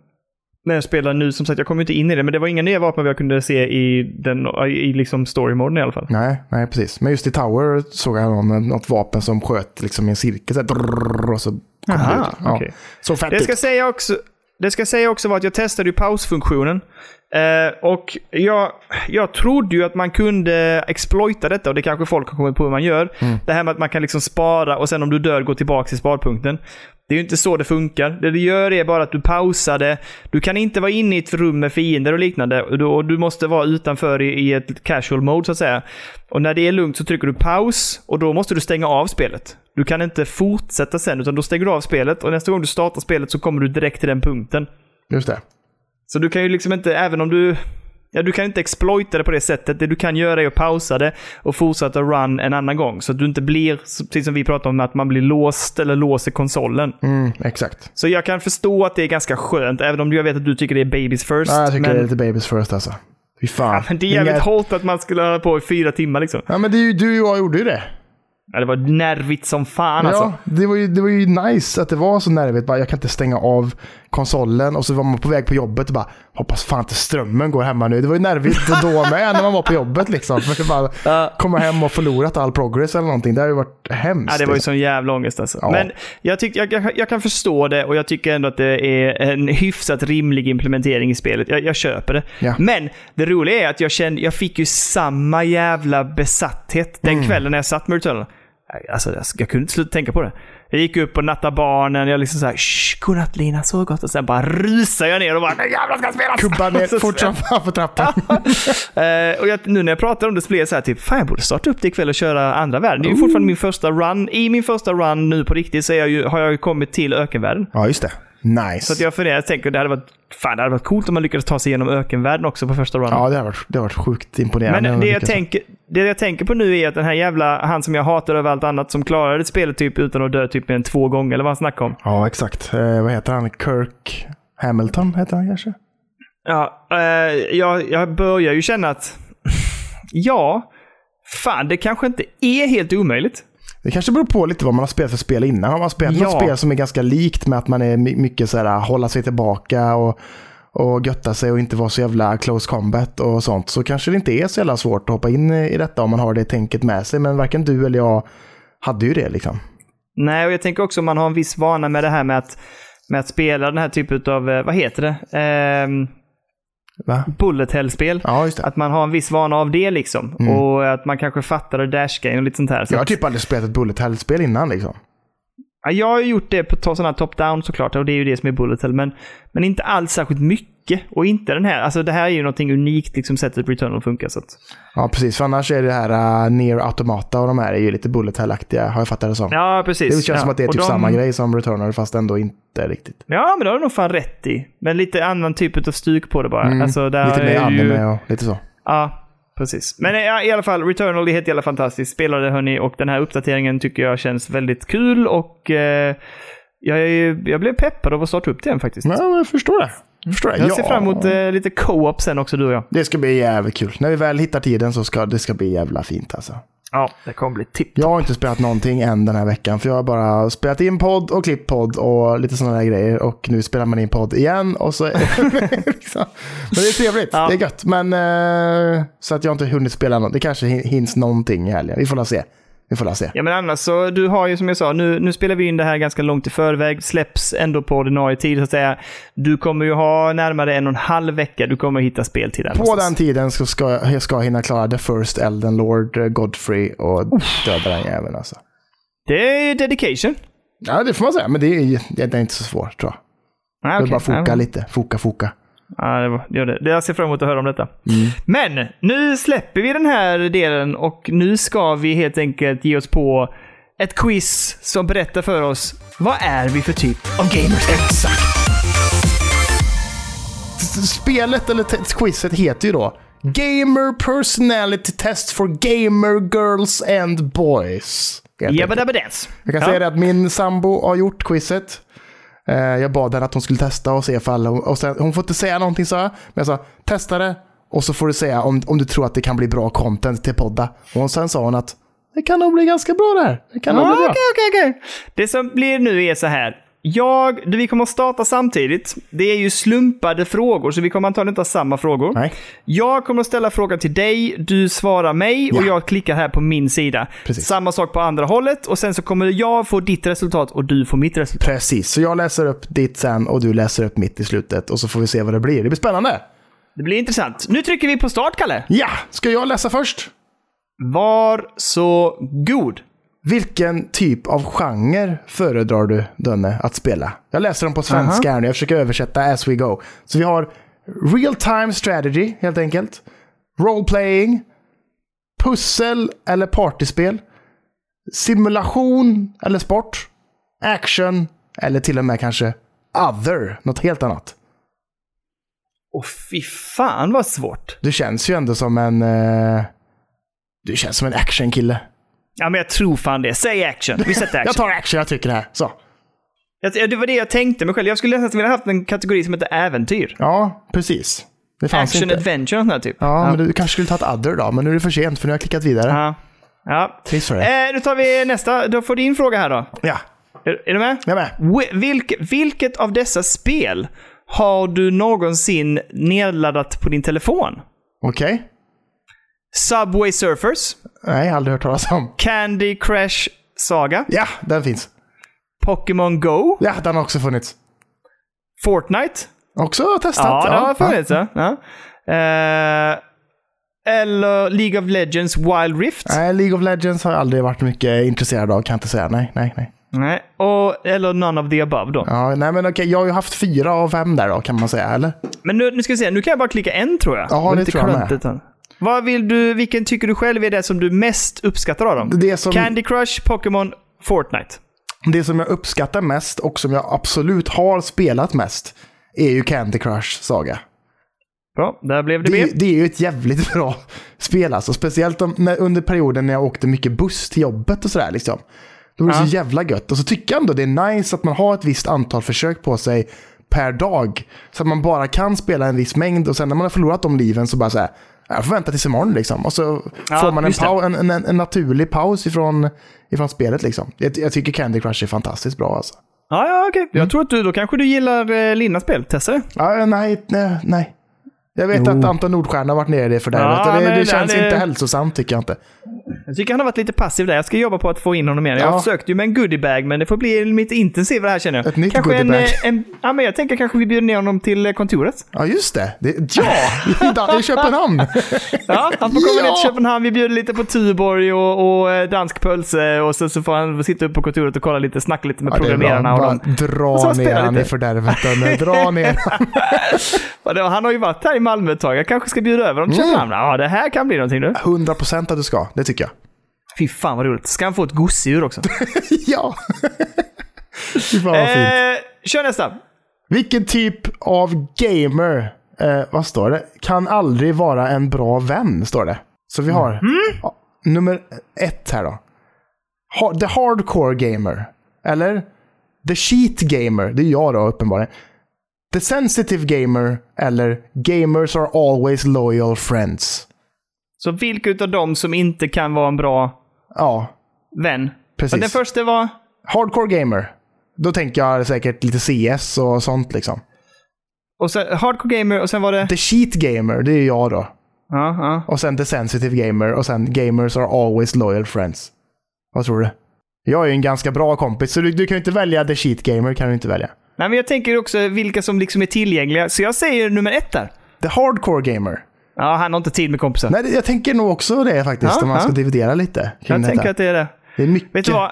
B: när jag spelar nu. Som sagt, jag kom ju inte in i det, men det var inga nya vapen jag kunde se i, den, i liksom story-moden i alla fall.
A: Nej, nej precis. Men just i Tower såg jag någon, något vapen som sköt liksom i en cirkel så här, drrrr, och så kom det
B: Aha,
A: ut. Ja.
B: okej.
A: Så fett
B: Det
A: ut.
B: ska säga också, det ska säga också var att jag testade ju pausfunktionen. Eh, och jag, jag trodde ju att man kunde exploita detta och det kanske folk har kommit på hur man gör. Det här med att man kan liksom spara och sen om du dör gå tillbaka till sparpunkten. Det är ju inte så det funkar. Det du gör är bara att du pausar det. Du kan inte vara inne i ett rum med fiender och liknande. Och du, och du måste vara utanför i, i ett casual mode så att säga. Och när det är lugnt så trycker du paus och då måste du stänga av spelet. Du kan inte fortsätta sen utan då stänger du av spelet och nästa gång du startar spelet så kommer du direkt till den punkten.
A: Just det.
B: Så du kan ju liksom inte, även om du... Ja, du kan inte exploita det på det sättet. Det du kan göra är att pausa det och fortsätta run en annan gång. Så att du inte blir, så- precis som vi pratade om, att man blir låst eller låser konsolen.
A: Mm, exakt.
B: Så jag kan förstå att det är ganska skönt, även om jag vet att du tycker det är babies first.
A: Ja, jag tycker
B: men,
A: det är lite babies first alltså. Fy fan.
B: men det är jävligt
A: Inga-
B: hårt att man skulle hålla på i fyra timmar liksom.
A: Ja, men det är ju, du och jag gjorde ju det.
B: Ja, det var nervigt som fan alltså.
A: Ja, det var, ju, det var ju nice att det var så nervigt. Bara, jag kan inte stänga av konsolen och så var man på väg på jobbet och bara hoppas fan inte strömmen går hemma nu. Det var ju nervigt då med när man var på jobbet liksom. För att bara komma hem och förlorat all progress eller någonting. Det har ju varit hemskt.
B: Ja, det var ju sån jävla ångest alltså.
A: Ja.
B: Men jag, tyck, jag, jag, jag kan förstå det och jag tycker ändå att det är en hyfsat rimlig implementering i spelet. Jag, jag köper det.
A: Ja.
B: Men det roliga är att jag, kände, jag fick ju samma jävla besatthet den
A: Mm.
B: kvällen när jag satt med Returnal. Alltså, jag, jag kunde inte sluta tänka på det. Jag gick upp och nattade barnen. Jag liksom såhär “Shh, godnatt Lina, så gott” och sen bara rusade jag ner och bara “Nu jävlar ska jag spela!”
A: Kubban
B: Och så-
A: ner fort som fan på trappan.
B: Eh, och jag, nu när jag pratar om det så blir jag så här typ, fan jag borde starta upp det ikväll och köra andra världen. Det är ju fortfarande min första run. I min första run nu på riktigt så är jag ju, har jag ju kommit till ökenvärlden.
A: Ja, just det. Nice.
B: Så att jag funderar, jag tänker det hade varit, fan det hade varit coolt om man lyckades ta sig igenom ökenvärlden också på första runnen.
A: Ja, det har varit, det har varit sjukt imponerande.
B: Men
A: om
B: det jag,
A: lyckas.
B: tänker, det jag tänker på nu är att den här jävla, han som jag hatar över allt annat, som klarade spelet typ utan att dö typ mer än två gånger, eller vad han snackade om.
A: Ja, exakt. Eh, vad heter han? Kirk Hamilton heter han kanske?
B: Ja, eh, jag, jag börjar ju känna att, ja, fan det kanske inte är helt omöjligt.
A: Det kanske beror på lite vad man har spelat för spel innan. Har man spelat
B: Ja.
A: något spel som är ganska likt med att man är my- mycket så här, äh, hålla sig tillbaka och, och götta sig och inte vara så jävla close combat och sånt så kanske det inte är så jävla svårt att hoppa in i i detta om man har det tänket med sig. Men varken du eller jag hade ju det liksom.
B: Nej, och jag tänker också om man har en viss vana med det här med att, med att spela den här typen av, eh, vad heter det, Ehm,
A: Va?
B: bullet hell-spel.
A: Ja, just det.
B: Att man har en viss vana av det liksom.
A: Mm.
B: Och att man kanske fattar och dashgame och lite sånt här. Så
A: Jag har
B: att,
A: typ aldrig spelat ett Bullet Hell-spel innan liksom.
B: ja, jag har ju gjort det på sådana top-down såklart, och det är ju det som är bullet hell. Men, men inte alls särskilt mycket. Och inte den här. Alltså det här är ju någonting unikt, liksom sättet Returnal funkar. Så att,
A: Ja, precis. För annars är det här uh, Near Automata och de här är ju lite Bullet Hell-aktiga, har jag fattat det som.
B: ja, precis.
A: Det känns
B: ja.
A: som att det är
B: Och
A: typ
B: de-
A: samma grej som Returnal fast ändå inte riktigt.
B: Ja, men det har du nog fan rätt i. Men lite annan typ av stuk på det bara. Alltså, där
A: Mm. lite
B: är
A: mer
B: ju...
A: anime och lite så.
B: Ja, precis. Men eh, ja, i alla fall, Returnal är helt jävla fantastiskt. Spela det hörni och den här uppdateringen tycker jag känns väldigt kul och eh, jag, är- jag blev peppad av att starta upp det igen faktiskt.
A: Ja, men jag förstår det. Jag, förstår det.
B: Jag
A: ja.
B: ser fram emot eh, lite co-op sen också du och jag.
A: Det ska bli jävligt kul. När vi väl hittar tiden så ska det ska bli jävla fint alltså.
B: Ja, det kommer bli tipp.
A: Jag har inte spelat någonting än den här veckan för jag har bara spelat in podd och klippt podd och lite sådana där grejer och nu spelar man in podd igen och så... liksom. Men det är trevligt,
B: Ja.
A: det är gött. Men eh, så att jag inte hunnit spela något. Det kanske hin- hinns någonting i helgen. Vi får la se. Vi får la se.
B: Ja men annars så, du har ju som jag sa, nu, nu spelar vi in det här ganska långt i förväg, släpps ändå på ordinarie tid så att säga. Du kommer ju ha närmare en och en halv vecka, du kommer hitta speltid där
A: På
B: någonstans.
A: den tiden så ska jag, jag ska hinna klara The First Elden Lord eh, Godfrey och döda den jäveln alltså.
B: Det är ju dedication.
A: Ja, det får man säga. Men det är, det är inte så svårt tror jag.
B: Ah,
A: Det är
B: okej.
A: bara
B: Ja,
A: foka lite. Foka, foka.
B: Ja, det var, det gör det. Det- Jag ser fram emot att höra om detta.
A: Mm.
B: Men nu släpper vi den här delen och nu ska vi helt enkelt ge oss på ett quiz som berättar för oss vad är vi för typ av gamers? Exakt.
A: Spelet, eller te- quizet, heter ju då Gamer Personality Test for Gamer Girls and Boys. helt
B: Jabba
A: enkelt.
B: dabba dance.
A: Jag kan
B: Ja.
A: säga det att min sambo har gjort quizet. Eh, Jag bad henne att hon skulle testa och se ifall hon... Och sen, hon får inte säga någonting sa jag. Men jag sa testa det och så får du säga om, om du tror att det kan bli bra content till podda. Och sen sa hon att det kan nog bli ganska bra det här. Det kan nog
B: Ja,
A: bli
B: Okej,
A: bra.
B: okej, okej. Det som blir nu är så här. Jag, du, vi kommer att starta samtidigt. Det är ju slumpade frågor, så vi kommer antagligen inte ha samma frågor.
A: Nej.
B: Jag kommer att ställa frågan till dig, du svarar mig och
A: Ja.
B: jag klickar här på min sida.
A: Precis.
B: Samma sak på andra hållet och sen så kommer jag få ditt resultat och du får mitt resultat.
A: Precis, så jag läser upp ditt sen och du läser upp mitt i slutet och så får vi se vad det blir. Det blir spännande.
B: Det blir intressant. Nu trycker vi på start, Kalle.
A: Ja, ska jag läsa först?
B: Var så god.
A: Vilken typ av genre föredrar du, Dönne, att spela? Jag läser dem på svenska här nu. Jag försöker översätta as we go. Så vi har real time strategy, helt enkelt. Role playing. Pussel eller partyspel. Simulation eller sport. Action eller till och med kanske other, något helt annat.
B: Åh fy fan vad svårt.
A: Du känns ju ändå som en... Eh, du känns som en actionkille.
B: Ja, men jag tror fan det. Säg action. Vi sätter action.
A: Jag tar action, jag trycker här. Så.
B: Jag, det var det jag tänkte mig själv. Jag skulle nästan vilja haft en kategori som heter äventyr.
A: Ja, precis. Det fanns
B: Action,
A: inte.
B: adventure och sånt här typ.
A: Ja, men du kanske skulle ta ett other då, men nu är det för sent för nu har jag klickat vidare.
B: Ja. Eh, ja.
A: Trist för dig.
B: Eh, då tar vi nästa. Då får du din fråga här då.
A: Ja.
B: Är, är du med?
A: Jag är
B: Wi- Vilke, vilket av dessa spel har du någonsin nedladdat på din telefon?
A: Okej.
B: Subway Surfers,
A: Nej, aldrig hört talas om.
B: Candy Crush Saga,
A: Ja, den finns.
B: Pokémon Go,
A: Ja, den har också funnits.
B: Fortnite.
A: Också testat.
B: Ja, det har funnits. Ja. Ja. Eh, eller League of Legends Wild Rift.
A: Nej, League of Legends har jag aldrig varit mycket intresserad av, kan jag inte säga. Nej, nej, nej.
B: Nej. Och, eller None of the above då.
A: Ja, nej men okej, jag har ju haft fyra av fem där då, kan man säga, eller?
B: Men nu, nu ska vi se, nu kan jag bara klicka en tror jag.
A: Ja,
B: var
A: det
B: lite
A: tror jag med.
B: kluntigt här. Vad vill du, vilken tycker du själv är det som du mest uppskattar av dem?
A: Det som,
B: Candy Crush, Pokémon, Fortnite.
A: det som jag uppskattar mest och som jag absolut har spelat mest är ju Candy Crush Saga.
B: Bra, där blev det,
A: Det,
B: B.
A: det är ju ett jävligt bra spel alltså. Speciellt om, när, under perioden när jag åkte mycket buss till jobbet och sådär liksom. Då var det
B: Ja.
A: så jävla gött. Och så tycker jag ändå det är nice att man har ett visst antal försök på sig per dag. Så att man bara kan spela en viss mängd och sen när man har förlorat de liven så bara så här. Jag får vänta tills imorgon liksom. Och så
B: Ja,
A: får man en,
B: just det.
A: pau- en, en, en naturlig paus ifrån, ifrån spelet liksom. Jag, jag tycker Candy Crush är fantastiskt bra alltså.
B: Ja, ja, okej.
A: Mm.
B: Jag tror att du, då kanske du gillar eh, Linnas spel. Testa det.
A: Ja, nej, nej, nej. Jag vet att Anton Nordstjärna har varit nere i det fördärvet.
B: Ja,
A: och det,
B: men
A: det
B: det-
A: känns
B: det-
A: inte hälsosamt tycker jag inte.
B: Jag tycker han har varit lite passiv där. Jag ska jobba på att få in honom igen. Jag
A: Ja.
B: försökte ju med en goodiebag, men det får bli mitt intensiva här känner jag.
A: Ett nytt
B: kanske en,
A: goodiebag.
B: eh, en, ja, men Jag tänker kanske vi bjuder ner honom till eh, kontoret.
A: Ja, just det. det ja, i, Dan- i Köpenhamn.
B: Ja, han får komma
A: Ja!
B: ner till Köpenhamn, vi bjuder lite på Tuborg och, och eh, dansk pölse och så, så får han sitta upp på kontoret och kolla lite, snacka lite med
A: Ja, det är bra.
B: programmerarna. Och
A: Bara
B: dem. Och
A: dra
B: så spela
A: ner han i
B: lite.
A: fördärvet. Danne. Dra ner han.
B: Och det- Han har ju varit här i Malmö ett tag, jag kanske ska bjuda över honom till
A: Mm.
B: Köpenhamn. Ja, det här kan bli någonting nu.
A: 100 procent att du ska. Det tycker jag.
B: Fy fan vad roligt. Ska han få ett gosedjur också?
A: Ja. Fy fan vad fint.
B: eh, kör nästa.
A: Vilken typ av gamer, eh, vad står det? Kan aldrig vara en bra vän, står det. Så vi har ja, nummer ett här då. Ha, the hardcore gamer. Eller? The cheat gamer. Det är jag då uppenbarligen. The sensitive gamer. Eller gamers are always loyal friends.
B: Så vilka utav dem som inte kan vara en bra
A: Ja,
B: vän?
A: Precis.
B: Och Den första var...
A: hardcore gamer. Då tänker jag säkert lite CS och sånt liksom.
B: Och sen, hardcore gamer och sen var det...
A: The cheat gamer, det är jag då.
B: Ja, ja.
A: Och sen The Sensitive Gamer och sen Gamers Are Always Loyal Friends. Vad tror du? Jag är ju en ganska bra kompis, så du, du kan ju inte välja The Cheat Gamer. kan du inte välja.
B: Nej, men jag tänker också vilka som liksom är tillgängliga. Så jag säger nummer ett där.
A: The Hardcore Gamer.
B: Ja, han har inte tid med kompisar.
A: Nej, det- jag tänker nog också det faktiskt,
B: Ja,
A: om man
B: ja.
A: ska dividera lite. kring
B: jag
A: detta.
B: tänker att det är det.
A: Det är mycket.
B: Vet du vad?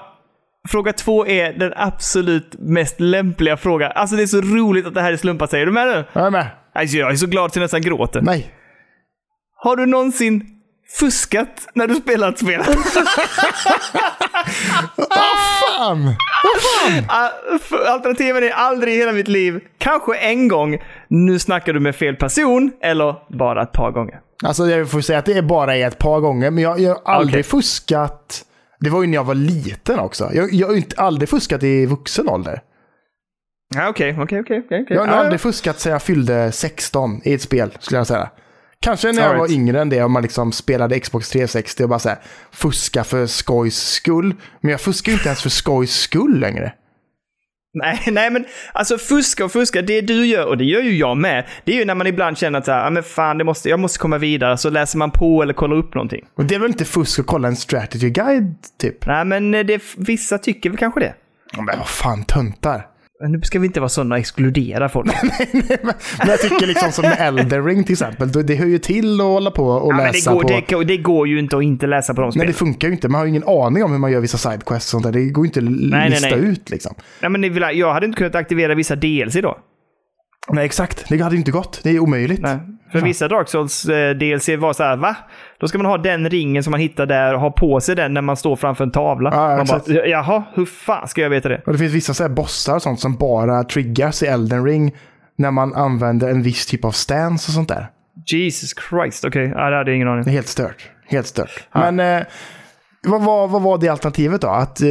B: Fråga två är den absolut mest lämpliga frågan. Alltså det är så roligt att det här är slumpat sig. Är du med nu?
A: Jag är med.
B: Alltså, jag är så glad så jag nästan gråter.
A: Nej.
B: Har du någonsin fuskat när du spelat spel?
A: Fan!
B: Ah, för- Alternativen är aldrig i hela mitt liv. Kanske en gång. Nu snackar du med fel person eller bara ett par gånger.
A: Alltså jag får säga att det är bara är ett par gånger, men jag, jag har aldrig
B: Okej.
A: fuskat. Det var ju när jag var liten också. Jag, jag har ju inte, aldrig fuskat i vuxen ålder.
B: Ja, okej, okej, okej, okej. okej.
A: Jag har nog
B: Ja,
A: aldrig fuskat sedan jag fyllde 16 i ett spel, skulle jag säga. Kanske när jag
B: Alright.
A: var yngre än det, om man liksom spelade Xbox 360 och bara så här, fuska för skojs skull. Men jag fuskar ju inte ens för skojs skull längre.
B: Nej, nej, men alltså fuska och fuska, det du gör, och det gör ju jag med, det är ju när man ibland känner att så här, ah, men fan, det måste, jag måste komma vidare, så läser man på eller kollar upp någonting.
A: Och det är väl inte fusk att kolla en strategy guide, typ?
B: Nej, men eh, det, vissa tycker väl kanske det.
A: Ja, Men vad fan, töntar.
B: Men Nu ska vi inte vara sådana och exkludera folk.
A: Men jag tycker liksom som med Elder Ring till exempel, då- det hör ju till att hålla på och
B: ja, men det,
A: läsa
B: går,
A: på.
B: det, det går ju inte att inte läsa på de
A: Nej,
B: spelen.
A: det funkar ju inte. Man har ju ingen aning om hur man gör vissa sidequests och sånt där. Det går ju inte att l-
B: nej,
A: lista
B: nej.
A: ut liksom.
B: Nej, men det är väl- jag hade inte kunnat aktivera vissa DLC då.
A: Nej, exakt. Det hade ju inte gått. Det är omöjligt.
B: Nej. För vissa Dark Souls eh, DLC var så här, va? Då ska man ha den ringen som man hittar där och ha på sig den när man står framför en tavla.
A: Ja, ja,
B: man bara,
A: exakt.
B: jaha, hur fan ska jag veta det?
A: Och det finns vissa så här bossar och sånt som bara triggas i Elden Ring när man använder en viss typ av stance och sånt där.
B: Jesus Christ, okej. Ja, det hade jag ingen aning
A: Det
B: om.
A: är helt stört. Helt stört. Men eh, vad, var, vad var det alternativet då? Att eh,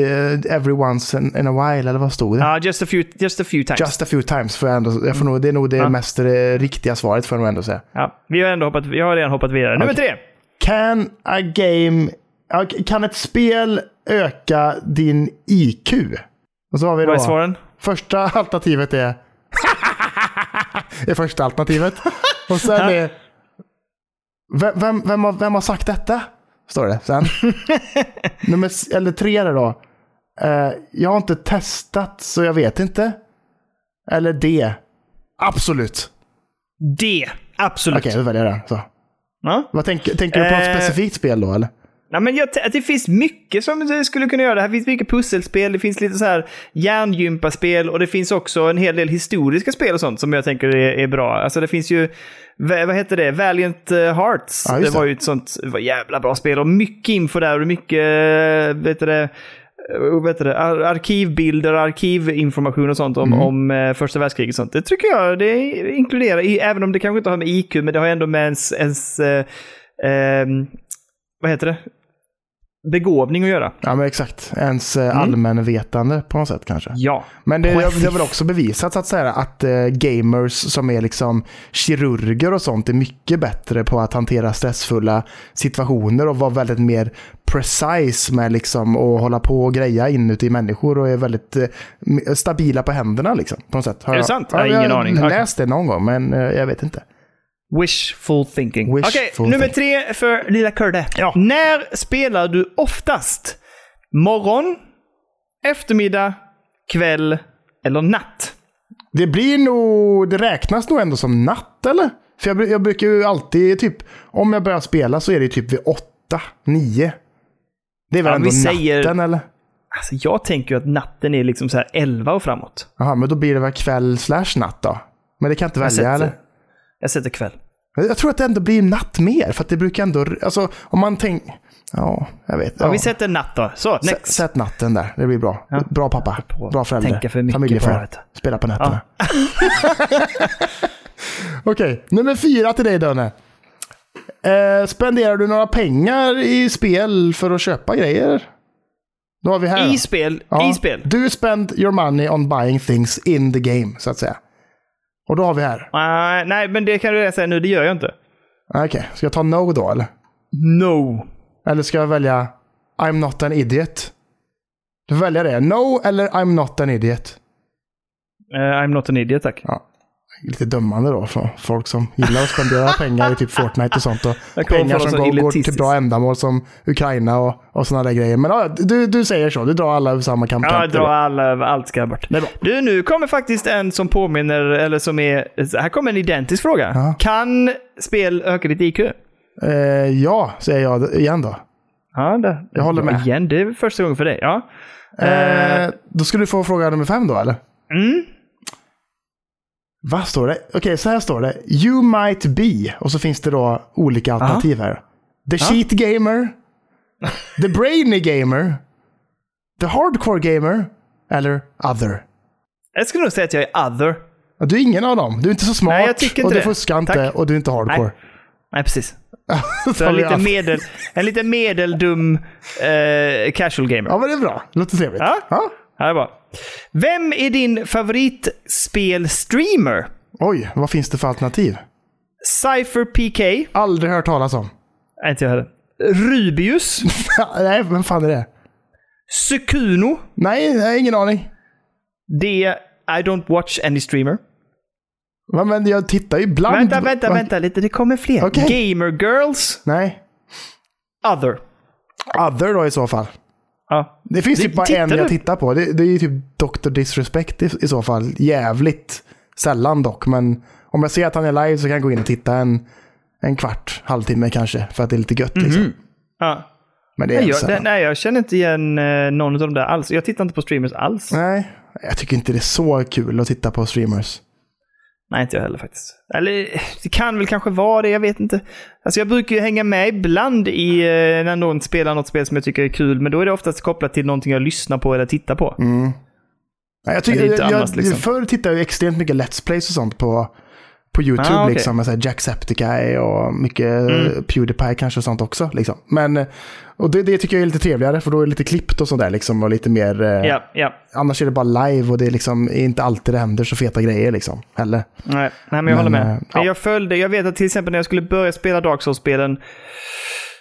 A: every once in, in a while, eller vad stod det?
B: Ja, just, a few, just a few times.
A: Just a few times, får jag ändå, jag får nog, det är nog det mest eh, riktiga svaret får jag nog ändå säga.
B: Ja, vi har ändå hoppat, jag har redan hoppat vidare. Nummer tre.
A: Can a game... ja, Kan ett spel öka din IQ? Och så har vi
B: Vad är
A: då...
B: svaren?
A: Första alternativet är... är första alternativet. Och sen är... Vem, vem, vem, har, vem har sagt detta? Står det sen. Nummer, s- eller tre där då. Eh, jag har inte testat så jag vet inte. Eller D. Absolut.
B: D. Absolut.
A: Okej, då väljer jag den. Så.
B: Ja.
A: Vad tänker, tänker du på
B: Eh.
A: ett specifikt spel då eller?
B: Nej, men jag, t- att det finns mycket som du skulle kunna göra. Det här finns mycket pusselspel, det finns lite så här hjärngympaspel och det finns också en hel del historiska spel och sånt som jag tänker är, är bra. Alltså det finns ju, vä- vad heter det, Valiant eh, Hearts.
A: Ja,
B: det
A: just
B: var
A: det.
B: ju ett sånt det var jävla bra spel och mycket info där och mycket, eh, vet du det, eh, vet du det, ar- arkivbilder, arkivinformation och sånt om,
A: Mm.
B: om eh, första världskriget och sånt. Det tycker jag det inkluderar, i- även om det kanske inte har med IQ, men det har ändå med ens, ens eh, ehm, vad heter det? begåvning att göra.
A: Ja men exakt. Ens eh, allmänvetande på något sätt kanske.
B: Ja.
A: Men det, det,
B: Precis.
A: det har väl också bevisat att, säga, att eh, gamers som är liksom kirurger och sånt är mycket bättre på att hantera stressfulla situationer och vara väldigt mer precise med liksom och hålla på och greja inuti människor och är väldigt eh, m- stabila på händerna liksom. På något sätt. Har
B: Är det
A: jag-
B: sant?
A: Ja,
B: Jag har ingen aning.
A: Jag har
B: Okej.
A: läst det någon gång men eh, jag vet inte.
B: Wishful thinking. Okej,
A: Wishful
B: nummer
A: thinking.
B: tre för lilla Kurre.
A: Ja.
B: När spelar du oftast? Morgon, eftermiddag, kväll eller natt?
A: Det blir nog, det räknas nog ändå som natt eller? För jag, bru- jag brukar ju alltid typ, om jag börjar spela så är det ju typ vid åtta, nio. Det är väl
B: Ja,
A: ändå
B: vi säger-
A: natten eller?
B: Alltså, jag tänker ju att natten är liksom så här 11 och framåt.
A: Jaha, men då blir det väl kväll slash natt då? Men det kan inte
B: sätter-
A: välja eller?
B: Jag sätter kväll.
A: Men Jag tror att det ändå blir natt mer, för att det brukar ändå, alltså om man tänker, ja, jag vet.
B: Ja.
A: Ja.
B: Vi sätter natt då. Så,
A: Sä-
B: next.
A: Sätt natten där, det blir bra. Bra pappa,
B: på att
A: bra förälder,
B: tänka för mycket på
A: familjefar,
B: det.
A: spela på nätterna. Okej, nummer fyra till dig Dönne. Eh, spenderar du några pengar i spel för att köpa grejer? Då har vi här.
B: I spel.
A: Ja.
B: I spel.
A: Du spend your money on buying things in the game, så att säga. Och då har vi här. Ah,
B: Nej, nej, men det kan du redan säga nu. Det gör jag inte.
A: Okej, ska jag ta no då eller?
B: No.
A: Eller ska jag välja I'm not an idiot? Du får välja det. No eller I'm not an idiot.
B: Eh, I'm not an idiot, tack.
A: Lite dömande då för folk som gillar att spendera pengar i typ Fortnite och sånt. Och
B: Jag kommer
A: pengar
B: få
A: som
B: någon sån
A: går, går till
B: elitistisk.
A: bra ändamål som Ukraina och, och sådana där grejer. Men ja, du, du säger så. Du drar alla över samma kam.
B: Ja,
A: kant.
B: dra alla över allt ska bort.
A: Det är bra.
B: Du, nu kommer faktiskt en som påminner, eller som är... Här kommer en identisk fråga.
A: Ja.
B: Kan spel öka ditt IQ?
A: Eh, ja, säger jag igen då.
B: Ja, det,
A: Jag håller med.
B: Igen, det är första gången för dig. Ja.
A: Eh, Då skulle du få fråga nummer fem då, eller?
B: Mm.
A: Vad står det? Okej, så här står det. You might be. Och så finns det då olika alternativ här. The cheat gamer. The brainy gamer. The hardcore gamer. Eller other.
B: Jag skulle nog säga att jag är other.
A: Ja, Du är ingen av dem. Du är inte så smart.
B: Nej, jag tycker inte
A: och du
B: det.
A: fuskar inte.
B: Tack.
A: Och du är inte hardcore.
B: Nej, precis.
A: Så
B: Så en,
A: vi
B: lite
A: har-
B: medel, en lite medeldum eh, casual gamer.
A: Ja, men det är bra. Det låter trevligt.
B: Ja. Ja, det är bra. Vem är din favoritspelstreamer?
A: Oj, vad finns det för alternativ?
B: Cypher PK?
A: Aldrig hört talas om.
B: Nej, inte jag heller. Rubius?
A: nej, vem fan är det?
B: Sukuno?
A: Nej, jag har ingen aning.
B: Det är I don't watch any streamer.
A: Va, Men jag tittar ju ibland.
B: Vänta, vänta,
A: Va-
B: vänta lite. Det kommer fler.
A: Okej.
B: Gamer girls.
A: Nej.
B: Other.
A: Other då i så fall.
B: Ja.
A: Det finns
B: Det-
A: ju bara
B: tittar
A: en
B: du?
A: jag tittar på. Det, det är ju typ Dr. Disrespect i, i så fall. Jävligt sällan dock, men om jag ser att han är live så kan jag gå in och titta en, en kvart, halvtimme kanske, för att det är lite gött. Liksom.
B: Mhm. ja.
A: Men det är
B: Nej, jag,
A: sällan.
B: det- nej, jag känner inte igen eh, någon av de där alls. Jag tittar inte på streamers alls.
A: Nej, jag tycker inte det är så kul att titta på streamers.
B: Nej, inte jag heller faktiskt. Eller det kan väl kanske vara det, jag vet inte. Alltså jag brukar ju hänga med ibland i eh, när någon spelar något spel som jag tycker är kul, men då är det oftast kopplat till någonting jag lyssnar på eller tittar på.
A: Nej, jag tycker,
B: Men det är
A: jag,
B: inte
A: jag,
B: annars, liksom.
A: Förr tittade jag extremt mycket Let's Plays och sånt på, på YouTube.
B: Ah, okej. Mm.
A: liksom, med så här Jacksepticeye och mycket eh, Pewdiepie kanske och sånt också. Liksom. Men, och det, det tycker jag är lite trevligare, för då är det lite klippt och sånt där. Liksom, och lite mer, eh,
B: Ja, ja.
A: Annars är det bara live och det är liksom inte alltid det händer så feta grejer. Liksom, heller.
B: Nej, nej men jag
A: Men,
B: håller
A: eh,
B: med.
A: ja.
B: Jag följde, jag vet att till exempel när jag skulle börja spela Dark Souls-spelen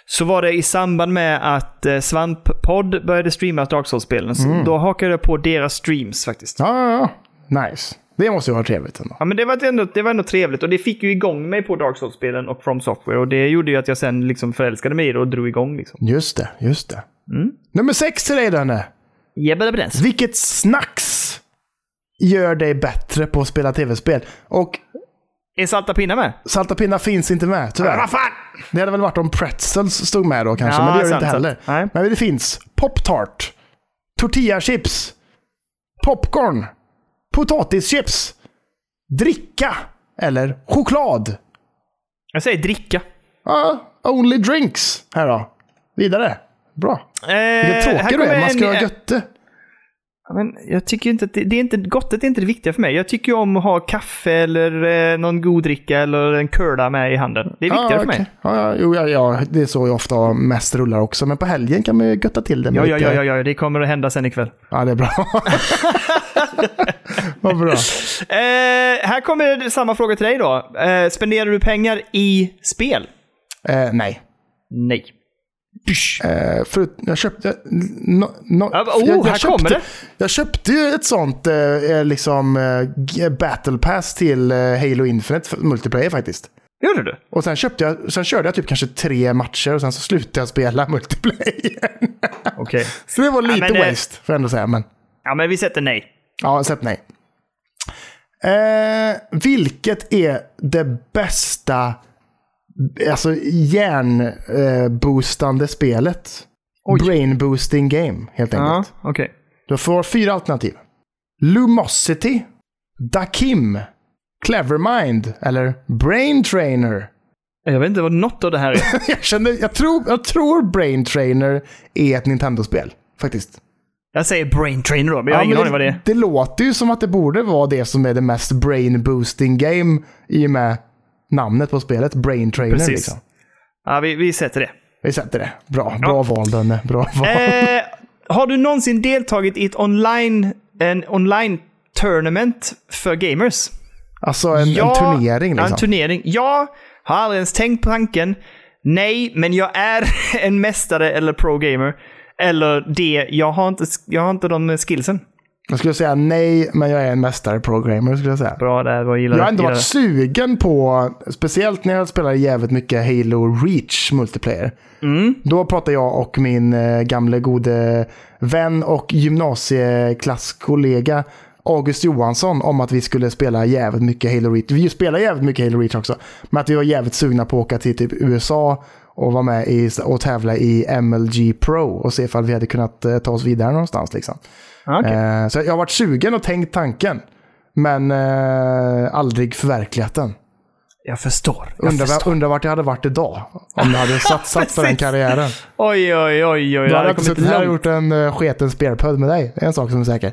B: så var det i samband med att eh, Svamppodd började streama Dark Souls-spelen. Så Då hakade jag på deras streams faktiskt.
A: Mm. Ja, ja, ja. Nice. Det måste ju vara trevligt ändå.
B: Ja, men det var, ändå, det var ändå trevligt och det fick ju igång mig på Dark Souls-spelen och From Software. Och det gjorde ju att jag sen liksom förälskade mig i det och drog igång. Liksom.
A: Just det, just det.
B: Mm.
A: Nummer sex till dig, Danne.
B: Jebba dabba dance.
A: Vilket snacks gör dig bättre på att spela tv-spel? Och
B: Är Salta Pinnar med?
A: salta pinnar finns inte med, tyvärr.
B: fan!
A: Det hade väl varit om pretzels stod med då kanske,
B: Ja,
A: men det gör det
B: Ah, sant,
A: inte heller.
B: sant. Nej.
A: Men det finns pop-tart, tortillachips, popcorn, potatischips, dricka eller choklad.
B: Jag säger dricka.
A: Ja, only drinks här då. Vidare. Bra.
B: Eh,
A: Vilken
B: här
A: tråkig du
B: kommer
A: är. Man ska
B: en- eh,
A: ha götte.
B: Ja, Men jag tycker inte att det, det är inte, gottet är inte det viktiga för mig. Jag tycker ju om att ha kaffe eller eh, någon god dricka eller en curla med i handen. Det är viktigare
A: ja,
B: för mig.
A: Ah, okej. Ja, ja, jo, ja, ja, det är så jag ofta mest rullar också. Men på helgen kan man ju götta till det. med
B: Ja, ja,
A: lite-
B: ja, ja, ja, det kommer att hända sen ikväll.
A: Ja, det är bra. Vad bra.
B: Eh, här kommer samma fråga till dig då. Eh, spenderar du pengar i spel?
A: Eh, nej.
B: Nej. Pysch.
A: Eh, förut, jag köpte... eh, No, no,
B: Ja, oh, här
A: köpte,
B: kommer det.
A: Jag köpte ju ett sånt eh, eh, liksom, eh, g- battle pass till eh, Halo Infinite för multiplayer faktiskt.
B: Gjorde du?
A: Och sen, köpte jag, sen körde jag typ kanske tre matcher och sen så slutade jag spela multiplayer.
B: Okej.
A: så det var lite
B: men, eh,
A: waste, får jag ändå säga. Men,
B: Ja, men vi sätter nej.
A: ja, släpp nej. Eh, vilket är det bästa alltså hjärnboostande eh, boostande spelet?
B: Oj.
A: Brain boosting game, helt enkelt.
B: Ja, okej.
A: Du får fyra alternativ. Lumosity, Dakim, Clevermind eller Brain Trainer.
B: Jag vet inte vad något av det här är.
A: Jag, känner, jag, tror, jag tror Brain Trainer är ett Nintendo-spel, faktiskt.
B: jag säger brain trainer då, men jag har ingen
A: men
B: aning vad det är.
A: Det låter ju som att det borde vara det som är det mest brain-boosting game i och med namnet på spelet, Brain Trainer.
B: Precis.
A: Liksom.
B: Ja, vi, vi sätter det.
A: Vi sätter det. Bra, bra val Danne. Bra val.
B: Eh, har du någonsin deltagit i ett online, en online tournament för gamers?
A: alltså en, en turnering
B: En
A: liksom.
B: turnering. Jag har aldrig ens tänkt på tanken. Nej, men jag är en mästare eller pro-gamer. Eller det, jag har inte, jag har inte de skillsen.
A: jag skulle säga nej, men jag är en mästare programmer skulle jag säga.
B: Bra där, vad gillar
A: Jag har ändå
B: gillar
A: varit sugen på, speciellt när jag spelade jävligt mycket Halo Reach multiplayer. Då pratade jag och min eh, gamle gode vän och gymnasieklasskollega August Johansson om att vi skulle spela jävligt mycket Halo Reach. Vi spelar jävligt mycket Halo Reach också. Men att vi var jävligt sugna på att åka till typ USA och vara med i, och tävla i MLG Pro och se ifall vi hade kunnat eh, ta oss vidare någonstans. Liksom.
B: Ja, okej.
A: Eh, Så jag har varit sugen och tänkt tanken. Men eh, aldrig förverkligat den.
B: Jag förstår. Jag
A: Undrar,
B: förstår.
A: undrar vart jag hade varit idag. Om jag hade satsat på den
B: Precis.
A: karriären.
B: Oj, oj, oj, oj.
A: Då hade
B: det hade
A: jag inte
B: kommit
A: suttit här och
B: långt.
A: gjort en eh, sketen spearpöd med dig. Det är en sak som är säker.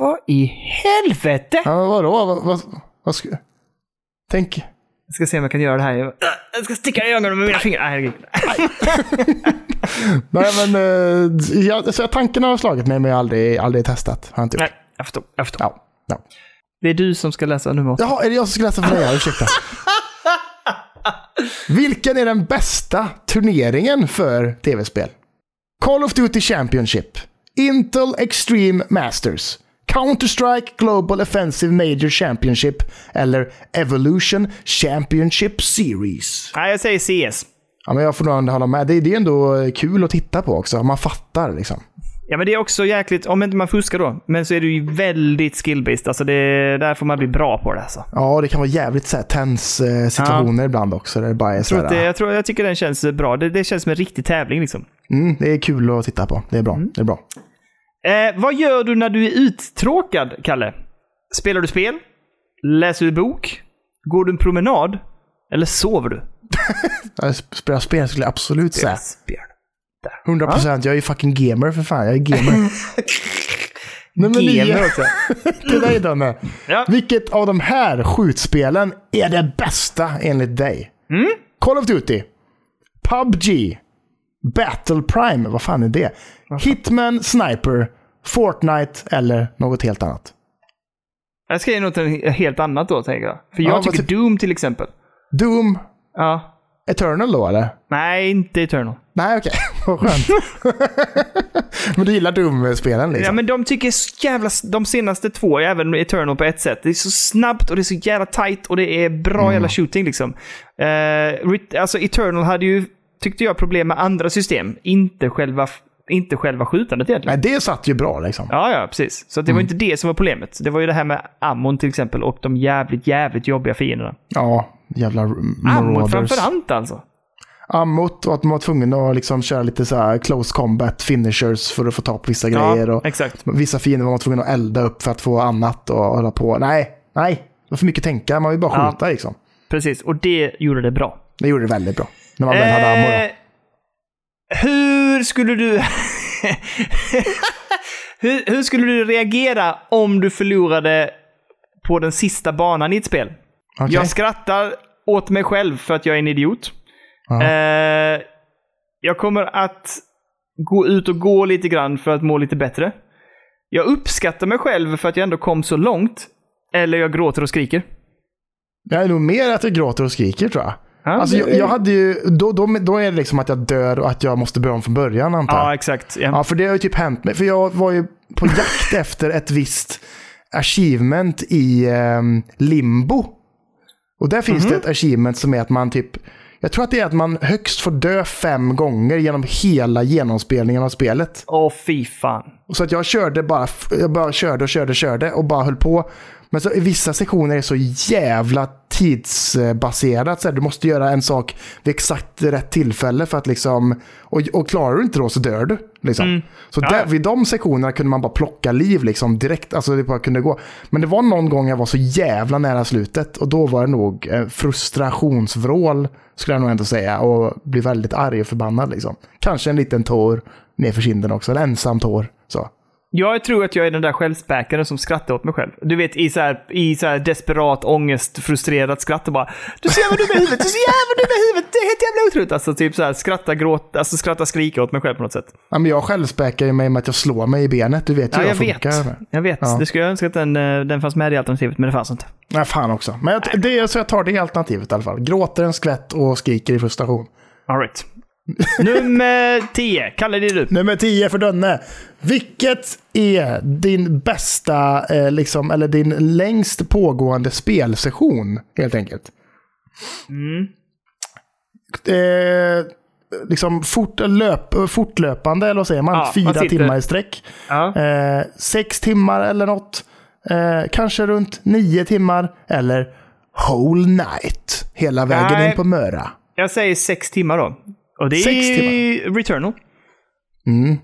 B: Vad i helvete?
A: Ja, men vadå? Vad, vad, vad sku... Tänk.
B: Jag ska se om jag kan göra det här. Jag- Jag ska sticka i ögonen med mina fingrar. Nej, herregud.
A: Nej, men, eh, jag, så tanken har slagit mig, men jag har aldrig, aldrig testat. Har jag inte gjort.
B: Nej, jag förstår. Jag förstår.
A: Ja, ja.
B: Det är du som ska läsa nummer åtta.
A: Jaha, är det jag som ska läsa för dig? Ja, Ursäkta. Vilken är den bästa turneringen för tv-spel? Call of Duty Championship, Intel Extreme Masters, Counter-Strike Global Offensive Major Championship eller Evolution Championship Series.
B: Nej, jag säger CS.
A: Ja, men jag får nog ändå hålla med. Det, det är ändå kul att titta på också. Man fattar liksom.
B: Ja, men det är också jäkligt, om inte man fuskar då, men så är det ju väldigt skill-based. Alltså det, där får man bli bra på det alltså.
A: Ja, det kan vara jävligt så här, tens eh, situationer ibland också. Där det bara är så
B: Jag,
A: här,
B: tror att det, jag, tror, jag tycker den känns bra. Det, det känns som en riktig tävling liksom.
A: mm, det är kul att titta på. Det är bra.
B: Mm.
A: Det är bra.
B: Eh, vad gör du när du är uttråkad, Kalle? Spelar du spel? Läser du bok? Går du en promenad? Eller sover du?
A: Ja, sp- Spela spel skulle jag absolut säga.
B: Spel.
A: 100 procent. Jag är ju fucking gamer för fan. Jag är gamer. Nummer
B: Gamer
A: nio
B: också.
A: till dig Danne.
B: Ja.
A: Vilket av de här skjutspelen är det bästa enligt dig? Call of Duty, PubG, Battle Prime, vad fan är det? Hitman, Sniper, Fortnite eller något helt annat?
B: Jag ska ge något helt annat då, tänker jag. För
A: Ja,
B: jag
A: vad
B: tycker
A: ty-
B: Doom till exempel.
A: Doom,
B: Ja.
A: Eternal då eller?
B: Nej, inte Eternal.
A: Nej, okej. Vad skönt. men du gillar Doom-spelen
B: Ja,
A: liksom?
B: men de tycker så jävla... De senaste två, även Eternal på ett sätt. Det är så snabbt och det är så jävla tight och det är bra
A: Mm.
B: jävla shooting liksom. Eh, Ret- alltså Eternal hade ju, tyckte jag, problem med andra system. Inte själva, inte själva skjutandet egentligen.
A: Nej, det satt ju bra liksom.
B: Ja, ja, precis. Så att det var
A: Mm.
B: inte det som var problemet. Det var ju det här med ammon till exempel och de jävligt, jävligt jobbiga fienderna.
A: Ja, jävla
B: Ammon
A: marauders.
B: framförallt alltså.
A: Ammot och att man var tvungen att liksom köra lite så här close combat finishers för att få ta på vissa grejer. Och
B: exakt.
A: vissa fiender var man tvungen att elda upp för att få annat och hålla på. Nej, nej. Det var för mycket tänka. Man vill bara
B: Ja.
A: skjuta liksom.
B: Precis, och det gjorde det bra.
A: Det gjorde det väldigt bra. När man väl hade ammo då.
B: Eh, Hur skulle du... hur, hur skulle du reagera om du förlorade på den sista banan i ett spel?
A: Okej.
B: Jag skrattar åt mig själv för att jag är en idiot.
A: Ja.
B: Eh, jag kommer att gå ut och gå lite grann för att må lite bättre. Jag uppskattar mig själv för att jag ändå kom så långt. Eller jag gråter och skriker.
A: Jag är nog mer att jag gråter och skriker tror jag.
B: Ja,
A: Alltså,
B: det-
A: jag, jag hade ju, då, då, då är det liksom att jag dör och att jag måste börja om från början antar jag.
B: Ja, exakt. Ja.
A: Ja, för det har ju typ hänt mig. För jag var ju på jakt efter ett visst achievement i ehm, limbo. Och där finns det ett achievement som är att man typ... Jag tror att det är att man högst får dö fem gånger genom hela genomspelningen av spelet.
B: Åh, fy fan.
A: Och Så att jag körde bara, f- jag bara körde och körde och körde och bara höll på. Men så, i vissa sektioner är det så jävla tidsbaserat. Så här, du måste göra en sak vid exakt rätt tillfälle för att liksom... Och, och klarar du inte då så dör du. Liksom. Så
B: Mm. Ja,
A: där,
B: ja.
A: vid de sektionerna kunde man bara plocka liv liksom, direkt. Alltså det bara kunde gå. Men det var någon gång jag var så jävla nära slutet och då var det nog eh, frustrationsvrål skulle jag nog ändå säga. Och bli väldigt arg och förbannad liksom. Kanske en liten tår nerför kinden också. Eller ensam tår. Så.
B: Jag tror att jag är den där självspäkaren som skrattar åt mig själv. Du vet, i så här, i så här desperat ångest, frustrerat skratt och bara Du ser vad dum i huvudet, du ser jävla dum i huvudet, det är helt jävla otroligt. Alltså typ så här skratta, gråta, alltså skratta, skrika åt mig själv på något sätt.
A: Ja, men jag självspäkar ju mig med att jag slår mig i benet. Du vet ju
B: Ja,
A: hur
B: jag
A: jag
B: vet.
A: funkar.
B: Jag vet.
A: Ja.
B: Det skulle jag önska att den, eh, den fanns med i alternativet, men det fanns inte.
A: Nej, fan också. Men jag, det är så jag tar det alternativet i alla fall. Gråter en skvätt och skriker i frustration.
B: Alright. Nummer 10. Kalle, det är du.
A: Nummer 10 för Dönne. Vilket är din bästa, eh, liksom, eller din längst pågående spelsession? Helt enkelt.
B: Mm.
A: Eh, liksom fort, löp, fortlöpande, eller vad säger man?
B: Ja, man
A: Fyra
B: sitter-
A: timmar i sträck.
B: Ja.
A: Eh, sex timmar eller något. Eh, kanske runt nio timmar. Eller whole night. Hela vägen
B: Nej.
A: in på Möra.
B: Jag säger sex timmar då. Och det är
A: Sex
B: timmar. Returnal.
A: Mm.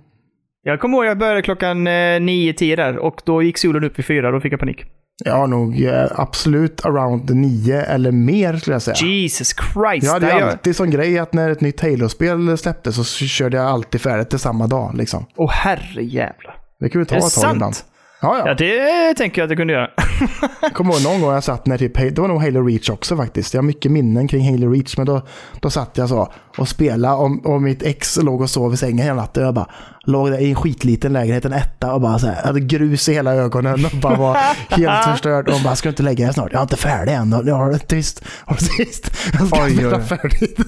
B: Jag kommer ihåg jag började klockan eh, 9-10 där och då gick solen upp i fyra, då fick jag panik.
A: Jag har nog eh, absolut around nio eller mer skulle jag säga.
B: Jesus Christ.
A: jag hade
B: där
A: ju
B: jag-
A: alltid sån grej att när ett nytt Halo-spel släpptes så körde jag alltid färdigt det samma dag. Liksom.
B: Åh herrejävlar.
A: Det kunde ta
B: Är det
A: ett tag ibland.
B: sant?
A: Ja, ja.
B: Ja, det tänker jag att jag kunde göra.
A: Jag kommer ihåg någon gång jag satt när typ, det var nog Halo Reach också faktiskt. Jag har mycket minnen kring Halo Reach, men då, då satt jag så och spelade och, och mitt ex låg och sov i sängen hela natten. Jag bara låg där i en skitliten lägenhet, en etta och bara så här, hade grus i hela ögonen och bara var helt förstörd. Och hon bara, ska du inte lägga dig snart? Jag är inte färdig än. Jag har det tyst. Har det tyst. Jag ska
B: Oj,
A: spela
B: oj.
A: färdigt.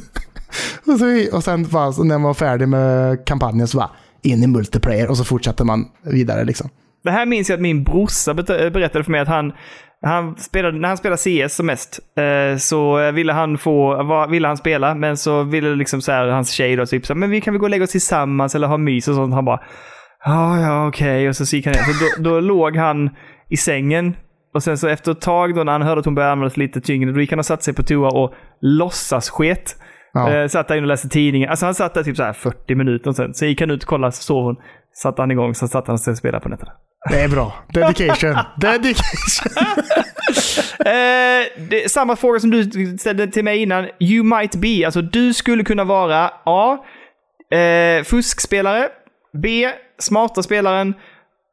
A: Och, så, och sen bara, så när man var färdig med kampanjen så bara, in i multiplayer och så fortsatte man vidare liksom.
B: Det här minns jag att min brorsa bet- berättade för mig att han, han spelade, när han spelade CS som mest eh, så ville han, få, var, ville han spela, men så ville liksom så här, hans tjej då typ så här, men vi kan väl gå och lägga oss tillsammans eller ha mys och sånt. Han bara, ja, ja, okej. Och så gick han ner. Så då, då låg han i sängen och sen så efter ett tag då när han hörde att hon började använda sig lite tyngre, då gick han och satte sig på toa och låtsas sket.
A: Ja.
B: Eh, satt där inne och läste tidningen. Alltså han satt där typ så här 40 minuter och sen. Så gick han ut och kollade, så sov hon. Satte han igång, så satt han och sen spelade på nätterna.
A: Det är bra. Dedication. Dedication.
B: Eh, det, samma fråga som du ställde till mig innan. You might be. Alltså du skulle kunna vara A. Eh, fuskspelare. B. Smarta spelaren.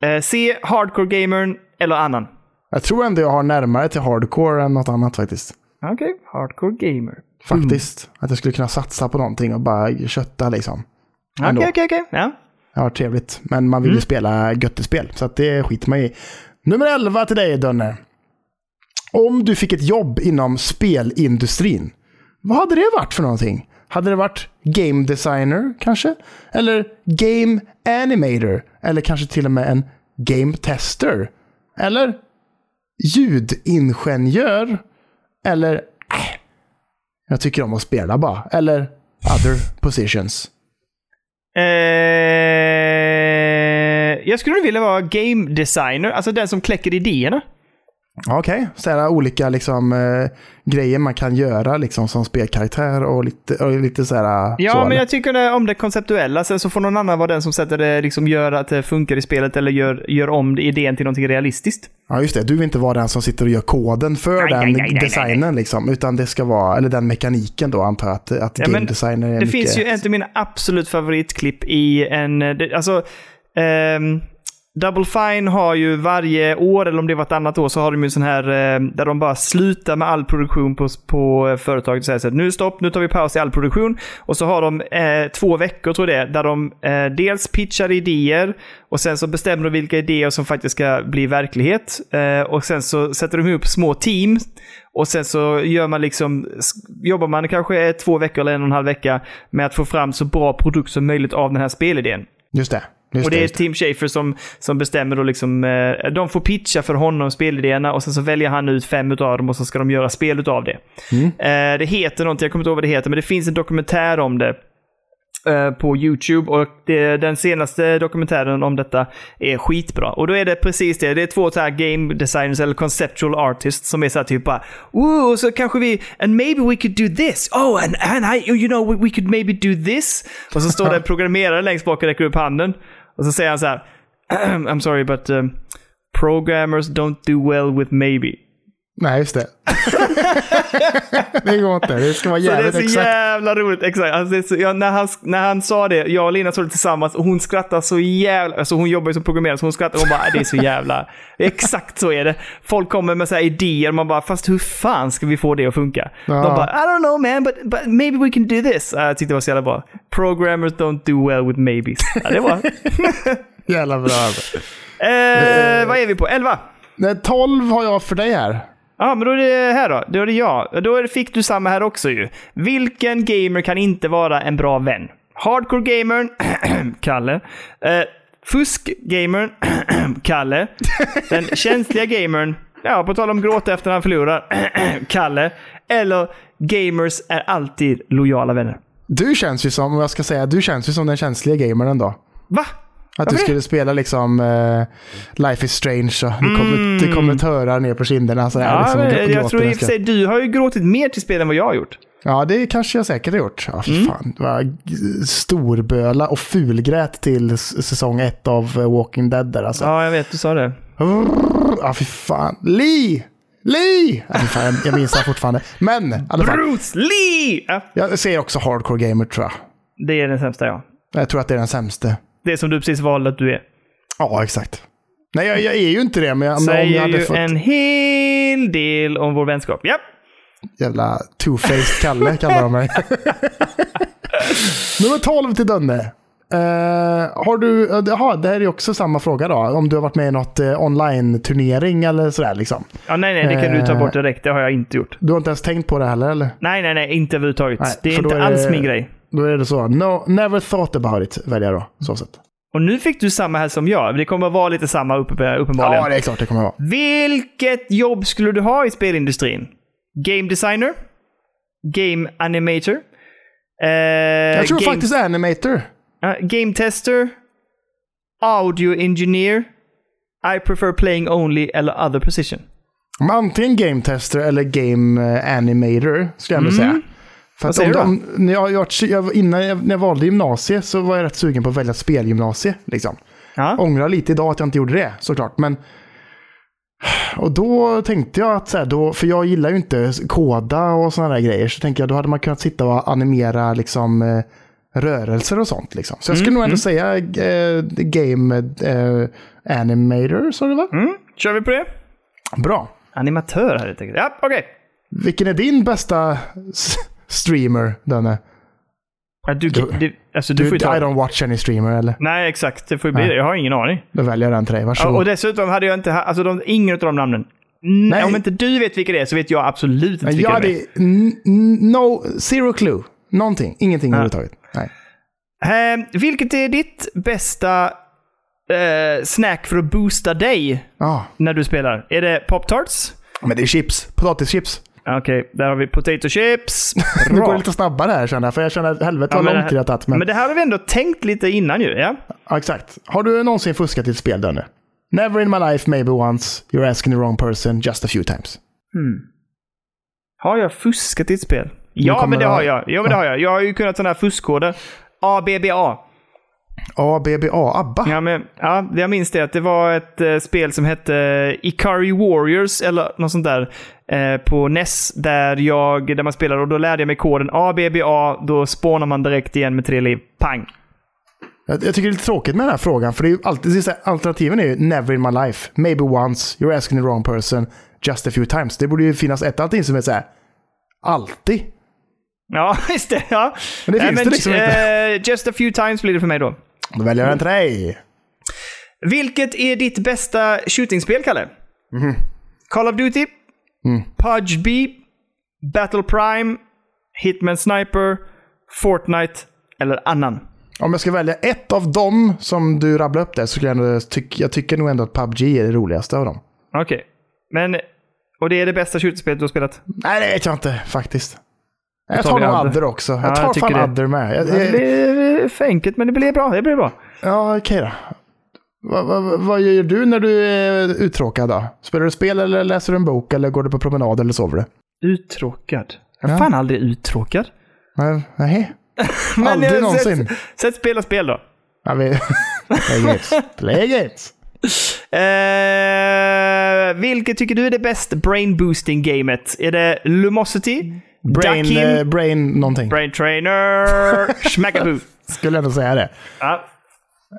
B: Eh, C. Hardcore gamern. Eller annan.
A: Jag tror ändå jag har närmare till hardcore än något annat faktiskt.
B: Okej, hardcore gamer.
A: Faktiskt. Att jag skulle kunna satsa på någonting och bara kötta liksom. Ändå.
B: Okej, okej, okej. Ja.
A: Det har varit trevligt. Men man vill ju spela göttespel, så att det skiter man i. Nummer 11 till dig, Dönne. Om du fick ett jobb inom spelindustrin, Vad hade det varit för någonting? Hade det varit game designer kanske? Eller game animator? Eller kanske till och med en game tester? Eller ljudingenjör? Eller äh, jag tycker om att spela bara. Eller other positions.
B: Eh, jag skulle nog vilja vara game designer, alltså den som kläcker idéerna.
A: Okej, så här olika liksom, eh, grejer man kan göra liksom, som spelkaraktär och lite, och lite så här. eh,
B: Ja,
A: så,
B: men
A: eller?
B: jag tycker det, om det konceptuella. Sen så får någon annan vara den som sätter det, liksom gör att det funkar i spelet eller gör, gör om det- idén till någonting realistiskt.
A: ja, just det. Du vill inte vara den som sitter och gör koden för
B: Nej,
A: den
B: nej, nej, nej, nej.
A: designen. Liksom, utan det ska vara, eller den mekaniken då antar jag att, att
B: Ja,
A: game
B: men
A: designer är
B: Det
A: mycket...
B: finns ju en av mina absolut favoritklipp i en... eh, Det, alltså, ehm, Double Fine har ju varje år, eller om det var ett annat år, så har de ju en sån här eh, där de bara slutar med all produktion på, på eh, företaget och säger så här, nu stopp, nu tar vi paus i all produktion. Och så har de eh, två veckor, tror jag det är, där de eh, dels pitchar idéer och sen så bestämmer de vilka idéer som faktiskt ska bli verklighet. Eh, och sen så sätter de ihop små team och sen så gör man liksom, jobbar man kanske två veckor eller en och en halv vecka med att få fram så bra produkt som möjligt av den här spelidén.
A: Just det. Just
B: Och det är
A: just
B: Tim Schafer som, som bestämmer då liksom, eh, de får pitcha för honom spelidéerna och sen så väljer han ut fem utav dem och så ska de göra spel utav det. Eh, det heter någonting, jag kommer inte ihåg vad det heter, men det finns en dokumentär om det eh, på YouTube och det, den senaste dokumentären om detta är skitbra. Och då är det precis det. Det är två så här game designers eller conceptual artists som är så här typ bara Ooh, så kanske vi, and maybe we could do this. Oh, and, and I, you know, we, we could maybe do this. Och så står det en programmerare längst bak och räcker upp handen. Och så säger han så här I'm sorry but um, programmers don't do well with maybe.
A: Nej, just det. det går inte. Det ska vara
B: Så
A: jävligt
B: det är så
A: exakt.
B: jävla roligt. Exakt. Alltså, det är så, ja, när, han, när han sa det, jag och Lina såg det tillsammans och hon skrattar så jävla... Alltså hon jobbar ju som programmerare så hon skrattar och hon bara "Äh, det är så jävla... Exakt så är det. Folk kommer med så här idéer och man bara fast hur fan ska vi få det att funka?
A: Ja.
B: De bara I don't know man but, but maybe we can do this. Ja, jag tyckte det var så jävla bra. Programmers don't do well with maybes. Ja, det var...
A: Jävla bra.
B: eh, vad är vi på? 11?
A: Nej, 12 har jag för dig här.
B: Ja, men då är det här då. Då är det jag. Då är det, fick du samma här också ju. Vilken gamer kan inte vara en bra vän? Hardcore gamern, Kalle. Eh, fusk gamern, Kalle. Den känsliga gamern, ja, på tal om gråta efter han förlorar, Kalle. Eller gamers är alltid lojala vänner.
A: Du känns ju som, om jag ska säga, du känns ju som den känsliga gamern då.
B: Va?
A: Att du
B: Varför
A: skulle spela liksom eh, Life is strange och det kommer, det kommer tårar ner på kinderna. Sådär,
B: Mm. Ja,
A: liksom,
B: men
A: och gråter
B: jag tror i
A: när
B: och för sig du har ju gråtit mer till spel än vad jag har gjort.
A: Ja, det kanske jag säkert har gjort. Ja, fy
B: Mm.
A: fan. Det var g- storböla och fulgrät till s- säsong ett av eh, Walking Dead där alltså.
B: Ja, jag vet. Du sa det.
A: Brrr, Ja, fy fan. Lee! Lee! Ja, fy fan, jag- jag minns det fortfarande. Men, i alla fall.
B: Bruce Lee! Ja,
A: Jag säger också hardcore gamer tror jag.
B: det är den sämsta jag har.
A: Jag tror att det är den sämsta.
B: Det som du precis valde att du är.
A: Ja, exakt. Nej, jag, jag är ju inte det, men jag, men om jag
B: Säger
A: hade
B: ju
A: fått
B: en hel del om vår vänskap. Ja,
A: jävla two-faced Kalle kallar de mig. Nummer 12 till Dönne. Eh, har du, eh, jaha, det här är ju också samma fråga då. Om du har varit med i något eh, online-turnering eller sådär liksom.
B: ja nej, nej, det kan du ta bort
A: Eh.
B: direkt. Det har jag inte gjort.
A: Du har inte ens tänkt på det heller eller?
B: Nej, nej, nej, inte överhuvudtaget.
A: Nej,
B: det är
A: för då
B: inte
A: är
B: alls
A: det-
B: min grej.
A: Då är det så. No, never thought about it, väljer jag då. Så sätt.
B: Och nu fick du samma här som jag. Det kommer att vara lite samma uppe, uppenbarligen.
A: Ja, det är klart det kommer jag vara.
B: Vilket jobb skulle du ha i spelindustrin? Game designer? Game animator? Eh,
A: Jag tror
B: game,
A: faktiskt animator.
B: ja, game tester? Audio engineer? I prefer playing only eller other position.
A: Men antingen game tester eller game eh, animator, skulle jag ändå säga. För att
B: Mm. säger
A: om,
B: du då?
A: om, när jag, har gjort- jag, innan jag, när jag valde gymnasie så var jag rätt sugen på att välja ett spelgymnasie. Liksom.
B: Ja.
A: Ångrar lite idag att jag inte gjorde det, såklart. Men, och då tänkte jag att, så här, då, för jag gillar ju inte koda och sådana där grejer, så tänkte jag då hade man kunnat sitta och animera liksom, eh, rörelser och sånt. Liksom. Så jag
B: Mm,
A: skulle nog ändå säga eh, game eh, animator, sa du va?
B: Mm, kör vi på det?
A: Bra.
B: Animatör här helt enkelt. Ja, okej.
A: Vilken är din bästa s- streamer, Danne?
B: Ja, Du, du, alltså, du,
A: Du,
B: får ju
A: I
B: ta
A: don't watch any streamer, eller?
B: Nej, exakt. Det får ju bli det. Jag har ingen aning.
A: Då väljer jag den till dig.
B: Ja,
A: Varsågod.
B: och dessutom hade jag inte... ha- Alltså, de, ingen av de namnen. Nej.
A: Nej.
B: Om inte du vet vilka det är så vet jag absolut inte vilka
A: Jag hade
B: det är.
A: n- n- no, zero clue. Någonting. Ingenting överhuvudtaget. Nej.
B: Ehm, vilket är ditt bästa eh, snack för att boosta dig
A: Ah.
B: när du spelar? Är det Pop-Tarts?
A: Men det är chips. Potatischips.
B: Okej, där har vi potato chips.
A: Nu går
B: Bra.
A: det lite snabbare här känner jag, för jag känner att helvete vad
B: men det
A: lång
B: här-
A: tid det har tagit. Men,
B: Men det här har vi ändå tänkt lite innan ju. Ja?
A: ja, exakt. Har du någonsin fuskat i ett spel, Danne? Never in my life, maybe once. You're asking the wrong person just a few times.
B: Har jag fuskat i ett spel? Ja,
A: kommer
B: men det
A: att-
B: har jag. Ja, men det har jag. Jag har ju kunnat sådana här fuskkoder. ABBA.
A: A, B, B, A, ABBA.
B: Ja, men, ja, det jag minns det att det var ett eh, spel som hette eh, Ikari Warriors eller något sånt där eh, på NES där, jag, där man spelade och då lärde jag mig koden ABBA. Då spånar man direkt igen med tre liv. Pang!
A: Jag, jag tycker det är lite tråkigt med den här frågan, för det är ju alltid, det är så här, alternativen är ju never in my life, maybe once, you're asking the wrong person, just a few times. Det borde ju finnas ett alternativ som är så här, alltid.
B: Ja, just det. Ja.
A: Men det
B: Nej,
A: finns det liksom
B: eh,
A: inte.
B: Just a few times blir det för mig då.
A: Då väljer jag den till dig.
B: Vilket är ditt bästa shootingspel, Kalle? Mhm. Call of Duty, Mm. Pudge B, Battle Prime, Hitman Sniper, Fortnite eller annan.
A: Om jag ska välja ett av dem som du rabblade upp där så skulle jag ändå, tyck, jag tycker nog ändå att PubG är det roligaste av dem.
B: Okej, men... Och det är det bästa shootingspelet du har spelat?
A: Nej, det vet jag inte faktiskt. Jag
B: tar
A: tar
B: vi
A: nog
B: Adder.
A: Adder också. Jag
B: Ja,
A: tar
B: jag tycker
A: fan
B: det.
A: Adder med. Jag,
B: Det
A: jag,
B: blir eh, för enkelt, men det blir bra. Det blir bra.
A: ja, okej då. Vad vad- vad gör du när du är uttråkad då? Spelar du spel eller läser du en bok eller går du på promenad eller sover du?
B: Uttråkad. Jag är fan aldrig uttråkad.
A: Nej, Nej.
B: Men
A: Aldrig
B: jag har sett-
A: någonsin.
B: Sett spela spel då.
A: Ja, vi... Play games. Play games.
B: Eh, vilket tycker du är det bäst brain boosting gamet? Är det Lumosity?
A: Brain,
B: Ducking?
A: eh, brain någonting.
B: brain Trainer? Schmackaboo?
A: Skulle jag ändå säga det.
B: Ja.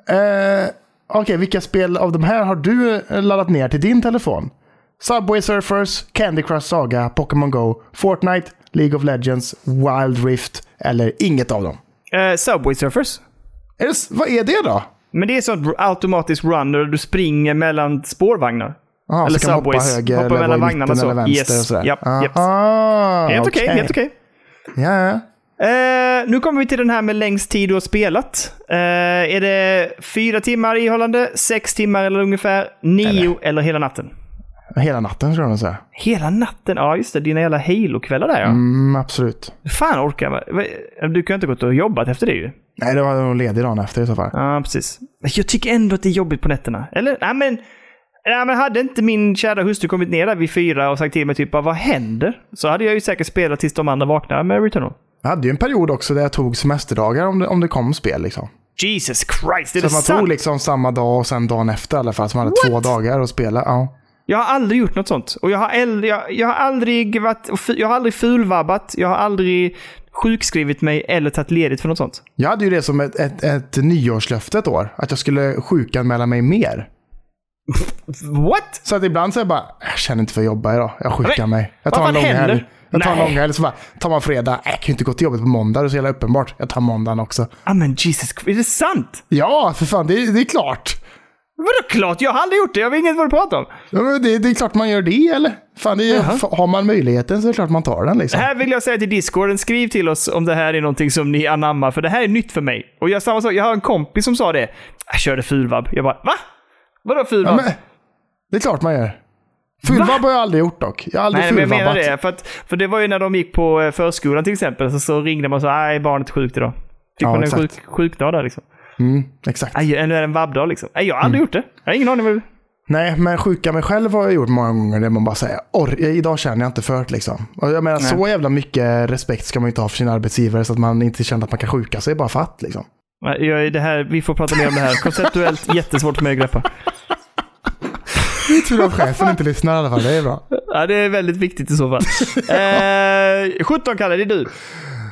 A: Eh, Okej, vilka spel av de här har du eh, laddat ner till din telefon? Subway Surfers, Candy Crush Saga, Pokémon Go, Fortnite, League of Legends, Wild Rift eller inget av dem.
B: Eh, Subway Surfers?
A: Är det, s- vad är det då?
B: Men det är sånt automatiskt run där du springer mellan spårvagnar.
A: Ah,
B: Eller
A: så kan man
B: Subways.
A: Hoppa höger
B: Hoppa
A: eller
B: mellan
A: vara i
B: vagnarna
A: mitten
B: så.
A: Eller vänster
B: Yes.
A: och sådär.
B: Japp, japp.
A: Ah,
B: Helt okej, helt okej.
A: Ja, ja.
B: Eh, nu kommer vi till den här med längst tid du har spelat. Eh, är det fyra timmar ihållande, sex timmar eller ungefär, nio eller, hela natten?
A: Hela natten skulle jag nog säga.
B: Hela natten? Ja, just det. Dina jävla Halo-kvällar där ja.
A: Mm, absolut.
B: Fan orkar man? Va- Du kan ju inte gått och jobbat efter det ju.
A: Nej, det var nog ledig dagen efter i så fall.
B: Ja, precis. Men Jag tycker ändå att det är jobbigt på nätterna. Eller? Nej, men... Nej, men hade inte min kära hustru kommit ner där vid fyra och sagt till mig typ bara, vad händer? Så hade jag ju säkert spelat tills de andra vaknade med Returnal.
A: Jag hade ju en period också där jag tog semesterdagar om det, om det kom spel. Liksom.
B: Jesus Christ, är det
A: Så man
B: sant?
A: tog liksom samma dag och sen dagen efter i alla fall. Så man hade två dagar att spela. Ja.
B: Jag har aldrig gjort något sånt. Och jag har aldrig, jag, jag har aldrig, varit, jag har aldrig fulvabbat, jag har aldrig sjukskrivit mig eller tagit ledigt för något sånt.
A: Jag hade ju det som ett, ett, ett nyårslöfte ett år. Att jag skulle sjukanmäla mig mer.
B: What?
A: Så att ibland så är jag bara, jag känner inte för att jobba idag. Jag sjukar
B: Men,
A: mig. Jag
B: vad
A: tar en
B: fan
A: lång
B: händer?
A: helg. Jag tar en
B: Nej.
A: lång helg. Så bara, tar man fredag. Äh, Jag kan ju inte gå till jobbet på måndag. Det är så jävla uppenbart. Jag tar måndagen också.
B: Ja men Jesus Christ, är det sant?
A: Ja, för fan. Det, är- det är klart.
B: Vadå klart? Jag har aldrig gjort det, jag vet inget vad du pratar om.
A: Ja, men Det, det är klart man gör det, eller? Fan, det är,
B: Jaha.
A: har man möjligheten så är det klart man tar den. Liksom.
B: Här vill jag säga till discorden, skriv till oss om det här är någonting som ni anammar, för det här är nytt för mig. Och jag, samma sak, jag har en kompis som sa det. Jag körde fulvabb. Jag bara, va? Vadå
A: Ja,
B: fulvabb?
A: men, det är klart man gör. Fulvabb har jag aldrig gjort dock. Jag har aldrig
B: Nej, men jag
A: fulvabbat.
B: menar det. För, att, för det var ju när de gick på eh, förskolan till exempel, så, så ringde man och sa nej, barnet är sjukt idag. Fick
A: Ja,
B: man en
A: exakt.
B: sjuk, sjukdag där liksom.
A: Mm, Exakt.
B: Aj, eller är det en vabbdag liksom? Nej, jag har
A: Mm.
B: aldrig gjort det. Jag har ingen aning vad det
A: Nej, men sjuka mig själv har jag gjort många gånger. Där man bara säger, "Orr, idag känner jag inte för det liksom. Och jag menar, så jävla mycket respekt ska man ju inte ha för sin arbetsgivare så att man inte känner att man kan sjuka sig bara för att liksom.
B: Nej, jag, det här, Vi får prata mer om det här. Konceptuellt jättesvårt för mig att greppa.
A: Det är tur att chefen inte lyssnar i alla fall, det är bra.
B: Ja, det är väldigt viktigt i så fall. Eh, 17 Kalle, det är du.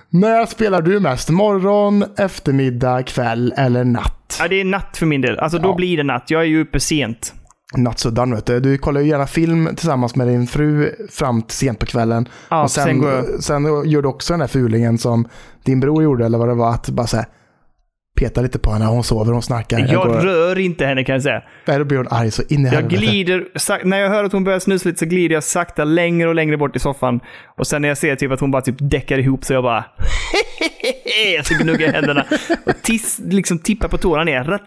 A: När spelar du mest? Morgon, eftermiddag, kväll eller natt?
B: Ja, det är natt för min del. Alltså då
A: Ja.
B: blir det natt. Jag är ju uppe sent.
A: Nattsuddan vet du. Du kollar ju gärna film tillsammans med din fru fram till sent på kvällen.
B: Ja,
A: och sen,
B: sen
A: sen,
B: går jag-
A: gör du också den där fulingen som din bror gjorde eller vad det var. Att bara säga petar lite på henne. Hon sover, hon snackar. Jag,
B: Jag
A: går,
B: rör inte henne kan jag säga.
A: Nej, då blir hon arg så in i
B: Jag
A: helvete.
B: glider, sak- när jag hör att hon börjar snusa lite så glider jag sakta längre och längre bort i soffan. Och sen när jag ser typ att hon bara typ däckar ihop så jag bara Jag så gnuggar jag händerna och tis, liksom tippar på tårna ner.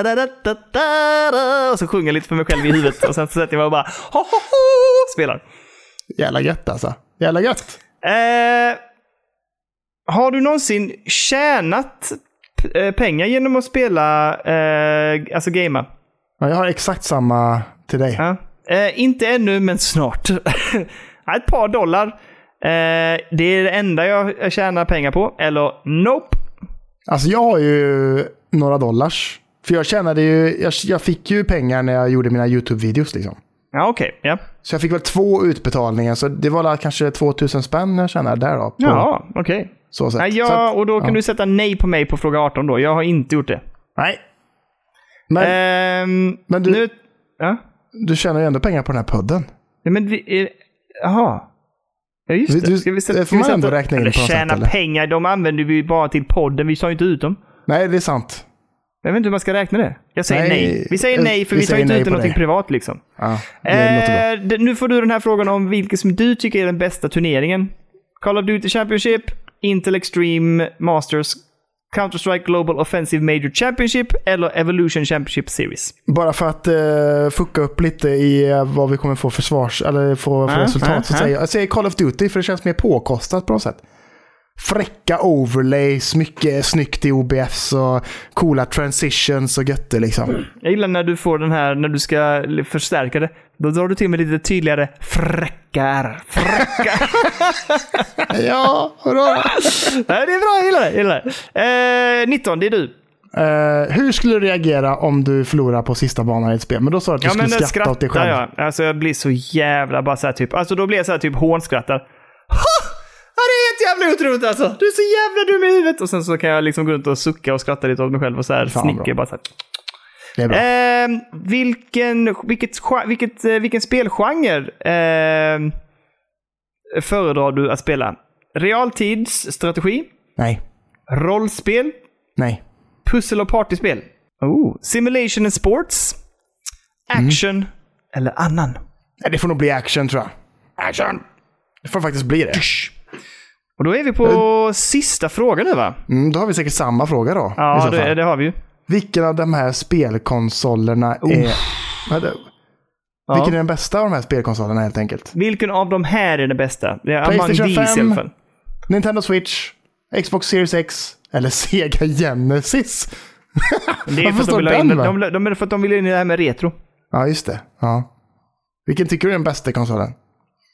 B: Ratatatataratatatatatara. Och så sjunger jag lite för mig själv i huvudet och sen så sätter jag mig och bara ho, ho, ho, spelar.
A: Jävla gött alltså. Jävla gött.
B: Eh, har du någonsin tjänat p- eh, pengar genom att spela, eh, alltså gamea?
A: Ja, jag har exakt samma till dig.
B: Ja. Eh, inte ännu, men snart. Ja, Ett par dollar. Eh, det är det enda jag tjänar pengar på. Eller nope.
A: Alltså jag har ju några dollars. För jag tjänade ju, jag, jag fick ju pengar när jag gjorde mina YouTube-videos liksom.
B: Ja, okej. Ja.
A: Så jag fick väl två utbetalningar, så det var väl kanske 2000 spänn jag tjänade där då. På
B: Ja, okej.
A: så sätt.
B: Nej,
A: så
B: Ja,
A: att,
B: och då kan
A: ja.
B: du sätta nej på mig på fråga 18 då. Jag har inte gjort det.
A: nej. Men
B: Ehm,
A: men du-
B: Nu... Ja?
A: du tjänar ju ändå pengar på den här podden.
B: Nej, men vi... eh, Jaha. Ja, just
A: Vi-
B: det.
A: du-
B: Ska vi sätta,
A: det får
B: ska vi
A: man ändå
B: sätta-
A: räkna in
B: Eller
A: på något sätt,
B: Tjäna
A: eller?
B: pengar, de använder vi ju bara till podden. Vi tar ju inte ut dem.
A: Nej, det är sant.
B: Jag vet inte hur man ska räkna det. Jag säger nej.
A: Nej,
B: Vi säger
A: jag-
B: nej, för
A: vi
B: vi, tar
A: säger
B: inte
A: nej
B: ut
A: på
B: någonting
A: det.
B: privat liksom.
A: Ja, det låter bra.
B: Eh, d- nu får du den här frågan om vilken som du tycker är den bästa turneringen. Call of Duty Championship, Intel Extreme Masters, Counter-Strike Global Offensive Major Championship eller Evolution Championship Series.
A: Bara för att eh, fucka upp lite i eh, vad vi kommer få för svars, eller få för
B: Ah,
A: resultat
B: ah,
A: så
B: ah.
A: säger jag, jag säger Call of Duty för det känns mer påkostat på något sätt. Fräcka overlays, mycket snyggt i OBFs och coola transitions och götter liksom.
B: Jag gillar när du får den här, när du ska l- förstärka det. Då drar du till med lite tydligare fräckar. Fräckar.
A: ja, hurra!
B: Nej, det är bra, jag gillar det. Jag gillar det. Eh, 19, det är du.
A: Eh, hur skulle du reagera om du förlorar på sista banan i ett spel? Men då sa du att du skulle
B: men
A: skratta
B: jag
A: åt dig själv.
B: Jag. Alltså jag blir så jävla bara så här typ. Alltså då blir jag så här typ hånskrattar. Ha! Ja, det är ett jävla otroligt alltså. Du är så jävla dum i huvudet. Och sen så kan jag liksom gå runt och sucka och skratta lite åt mig själv och så här
A: Fan, vad
B: snicka
A: bra.
B: bara så här.
A: Det är bra.
B: Ehm, vilken, vilket, gen- vilket, eh, vilken spelgenre ehm, föredrar du att spela? Realtidsstrategi?
A: nej,
B: Rollspel?
A: nej.
B: Pussel och partyspel? Oh. Simulation and sports?
A: Mm.
B: Action? Eller annan?
A: Nej, Det får nog bli action tror jag.
B: Action!
A: Det får faktiskt bli det.
B: Och då är vi på sista frågan nu va?
A: Eh. Mm, då har vi säkert samma fråga då. i så
B: Ja,
A: fall.
B: det, det har vi ju.
A: Vilken av de här spelkonsolerna är... Vad är... det?
B: Ja.
A: Vilken är den bästa av de här spelkonsolerna helt enkelt?
B: Vilken av de här är den bästa? Det är among
A: PlayStation
B: these i
A: 5.
B: alla fall.
A: Nintendo Switch, Xbox Series X eller Sega Genesis?
B: Det är
A: Varför
B: för att de
A: står
B: vill ha in,
A: den,
B: de,
A: va?
B: de, de, är för att de vill in i det här med retro.
A: Ja, just det. Ja. Vilken tycker du är den bästa konsolen?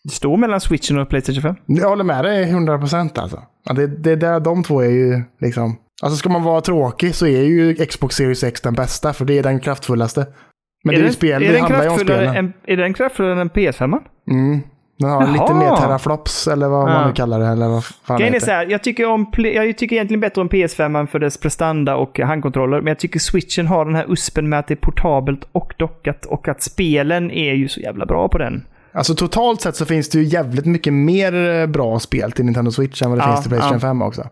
B: Det står mellan switchen och Playstation 5.
A: Jag håller med dig 100% alltså. Ja, det, det är där de två är ju liksom... Alltså ska man vara tråkig så är ju Xbox Series X den bästa för det är den kraftfullaste. Men det är ju spel, det,
B: är den
A: handlar ju om
B: kraftfullare
A: spelen.
B: än- Är den kraftfullare än PS5?
A: Mm. Den har lite
B: Jaha.
A: mer teraflops eller vad
B: Ja.
A: man nu kallar det. Eller vad fan
B: Grejen är
A: heter.
B: så här, jag tycker, om, pl- jag tycker egentligen bättre om PS5 för dess prestanda och handkontroller, men jag tycker switchen har den här uspen med att det är portabelt och dockat och att spelen är ju så jävla bra på den.
A: Alltså totalt sett så finns det ju jävligt mycket mer eh, bra spel till Nintendo Switch än vad det
B: Ja,
A: finns till Playstation
B: ja.
A: 5 också.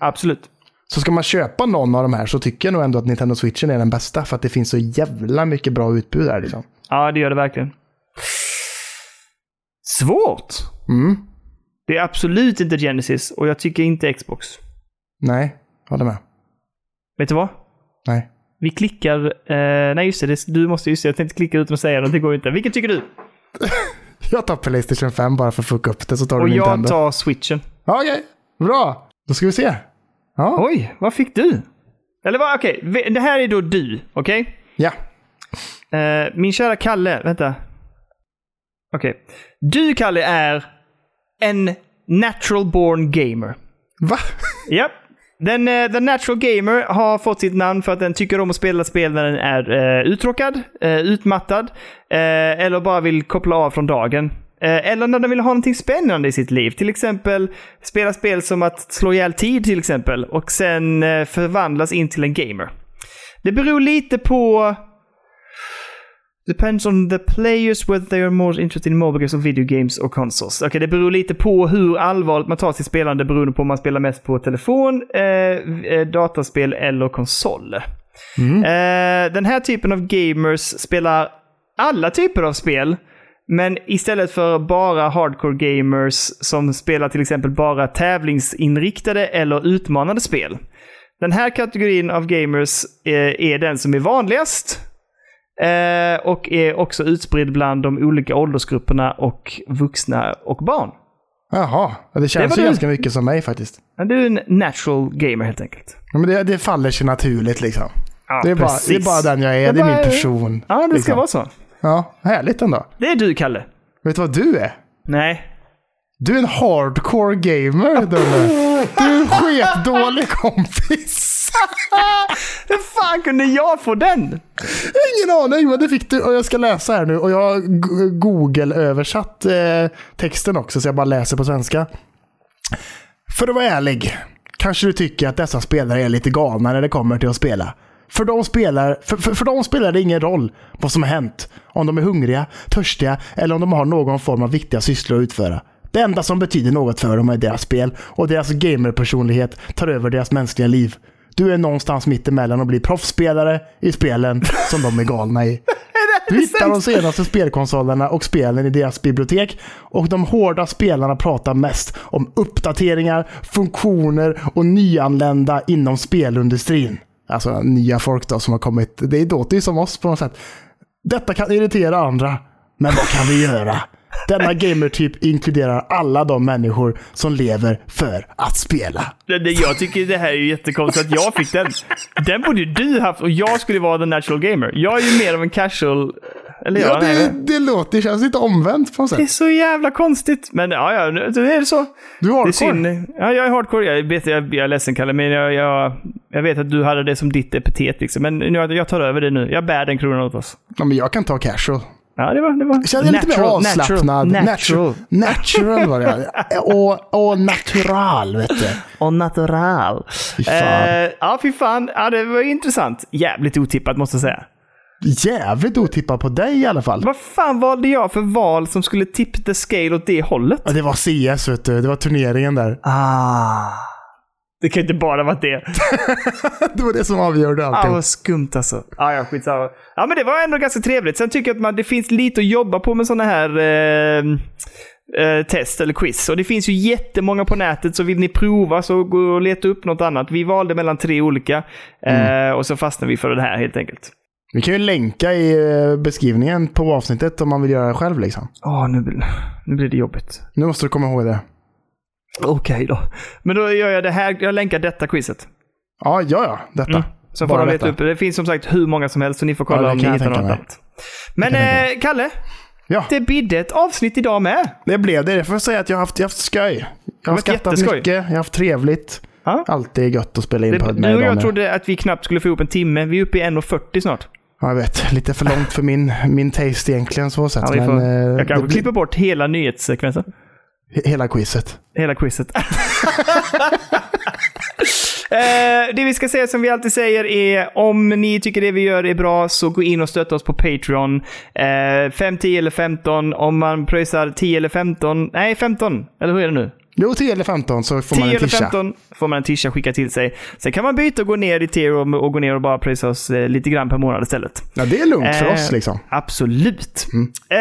B: Absolut.
A: Så ska man köpa någon av de här så tycker jag nog ändå att Nintendo Switchen är den bästa för att det finns så jävla mycket bra utbud där liksom.
B: Ja, det gör det verkligen. Svårt!
A: Mm,
B: Det är absolut inte Genesis och jag tycker inte Xbox.
A: nej, håller med.
B: Vet du vad?
A: Nej.
B: Vi klickar... Eh, nej, just det, det. Du måste... Just det, jag tänkte klicka utan att säga det. Det går ju inte. Vilken tycker du?
A: Jag tar Playstation 5 bara för att fucka upp det så tar
B: Och
A: du
B: jag
A: Nintendo.
B: tar switchen.
A: Ja, Okej, bra. Då ska vi se. Ja,
B: Oj, vad fick du? Eller vad? Okej, vi- det här är då du. Okej?
A: ja.
B: Eh, min kära Kalle. Vänta. Okej. Du, Kalle, är en natural born gamer.
A: Va?
B: Japp. Den, eh, The Natural Gamer har fått sitt namn för att den tycker om att spela spel när den är eh, uttråkad, eh, utmattad eh, eller bara vill koppla av från dagen. Eh, eller när den vill ha någonting spännande i sitt liv. Till exempel spela spel som att slå ihjäl tid till exempel och sen eh, förvandlas in till en gamer. Det beror lite på Depends on the players whether they are more interested in mobile games or video games or consoles. Okej, det beror lite på hur allvarligt man tar sitt spelande beroende på om man spelar mest på telefon, eh, eh, dataspel eller konsoler. Eh, den här typen av gamers spelar alla typer av spel. Men istället för bara hardcore gamers som spelar till exempel bara tävlingsinriktade eller utmanande spel. Den här kategorin av gamers eh, är den som är vanligast Eh, och är också utspridd bland de olika åldersgrupperna och vuxna och barn.
A: Jaha, Ja, det känns
B: var
A: ju
B: du.
A: ganska mycket som mig faktiskt.
B: Men Du är en natural gamer helt enkelt.
A: Ja, men det, det faller sig naturligt liksom.
B: Ja,
A: det, är bara, det är bara den jag är, det är
B: bara-
A: min person.
B: Ja, det ska
A: liksom.
B: vara så.
A: Ja, härligt ändå.
B: Det är du, Kalle.
A: Vet du vad du är?
B: Nej.
A: Du är en hardcore gamer, Dulle. Du är en sketdålig kompis.
B: Hur fan kunde jag få den?
A: Ingen aning, men det fick du. Och jag ska läsa här nu. Och jag har go- Google-översatt eh, texten också, så jag bara läser på svenska. För att vara ärlig, kanske du tycker att dessa spelare är lite galna när det kommer till att spela. För de, spelar, för, för, för de spelar det ingen roll vad som har hänt. Om de är hungriga, törstiga eller om de har någon form av viktiga sysslor att utföra. Det enda som betyder något för dem är deras spel och deras gamerpersonlighet tar över deras mänskliga liv. Du är någonstans mittemellan och blir proffsspelare i spelen som de är galna i. Du hittar de senaste spelkonsolerna och spelen i deras bibliotek och de hårda spelarna pratar mest om uppdateringar, funktioner och nyanlända inom spelindustrin. Alltså nya folk då som har kommit. Det låter ju som oss på något sätt. Detta kan irritera andra, men vad kan vi göra? Denna gamertyp inkluderar alla de människor som lever för att spela.
B: Det- det- Jag tycker det här är ju jättekonstigt att jag fick den. Den borde ju du haft och jag skulle vara den natural gamer. Jag är ju mer av en casual... Eller
A: Ja,
B: jag,
A: det,
B: nej.
A: det låter, det känns lite omvänt på något
B: Det är
A: sätt.
B: så jävla konstigt. Men ja, ja, nu nu är det så.
A: Du har
B: Det är synd. Ja, jag är hardcore. Jag, vet, jag, jag är ledsen Kalle, men jag, jag, jag vet att du hade det som ditt epitet. Liksom. Men nu, jag tar över det nu. Jag bär den kronan åt oss.
A: Ja, men jag kan ta casual.
B: Ja, det var... Det var.
A: Känner lite mer avslappnad. Natu-
B: Natural. Natural.
A: Natural var det. Och, och natural, vet du.
B: Och natural.
A: fan.
B: Eh, ja, fy fan. Ja, det var intressant. Jävligt otippat måste jag säga.
A: Jävligt otippat på dig i alla fall.
B: Vad fan valde jag för val som skulle tip the scale åt det hållet?
A: Ja, det var CS, vet du. Det var turneringen där.
B: Ah. Det kan inte bara vara det.
A: Det var det som avgjorde
B: Ah,
A: allting.
B: vad skumt alltså. Ah, ja, skitsamma. Ja, men det var ändå ganska trevligt. Sen tycker jag att man, det finns lite att jobba på med sådana här eh, eh, test eller quiz. Och det finns ju jättemånga på nätet, så vill ni prova så gå och leta upp något annat. Vi valde mellan tre olika eh, och så fastnade vi för det här helt enkelt.
A: Vi kan ju länka i eh, beskrivningen på avsnittet om man vill göra det själv. Liksom.
B: Åh, nu, blir- nu blir det jobbigt.
A: Nu måste du komma ihåg det.
B: Okej då. Men då gör jag det här. Jag länkar detta quizet.
A: Ja, ja, ja. Detta.
B: Mm. Så får
A: Bara
B: de leta upp.
A: detta.
B: det. Det finns som sagt hur många som helst, så ni får kolla
A: Ja, det
B: om ni
A: kan jag
B: hittar något
A: tänka mig.
B: annat. Men eh, Kalle,
A: Ja,
B: det bidde ett avsnitt idag med.
A: det blev det. Jag får säga att jag har haft, jag har haft skoj. Jag har
B: varit
A: skrattat
B: jätteskoj.
A: mycket, jag har haft trevligt.
B: Ja.
A: Alltid gött att spela in
B: Det,
A: podd med
B: du och
A: idag
B: jag
A: med.
B: trodde att vi knappt skulle få ihop en timme. Vi är uppe i 1.40 snart.
A: Ja, jag vet. Lite för långt för min, min taste egentligen. Så sett.
B: Ja, vi får,
A: men, eh,
B: jag kanske
A: det blir-
B: klipper bort hela nyhetssekvensen.
A: Hela quizet.
B: Hela quizet. Eh, det vi ska säga som vi alltid säger är om ni tycker det vi gör är bra så gå in och stötta oss på Patreon. Eh, 5, 10 eller 15. Om man pröjsar 10 eller 15. Nej, 15. Eller hur är det nu?
A: Jo, 10 eller 15 så får
B: 10
A: man en
B: eller
A: tisha.
B: 15 får man en tisha skicka till sig. Sen kan man byta och gå ner i tier och, och gå ner och bara pröjsa oss eh, lite grann per månad istället.
A: Ja, det är lugnt för
B: Eh,
A: oss liksom.
B: Absolut. Eh,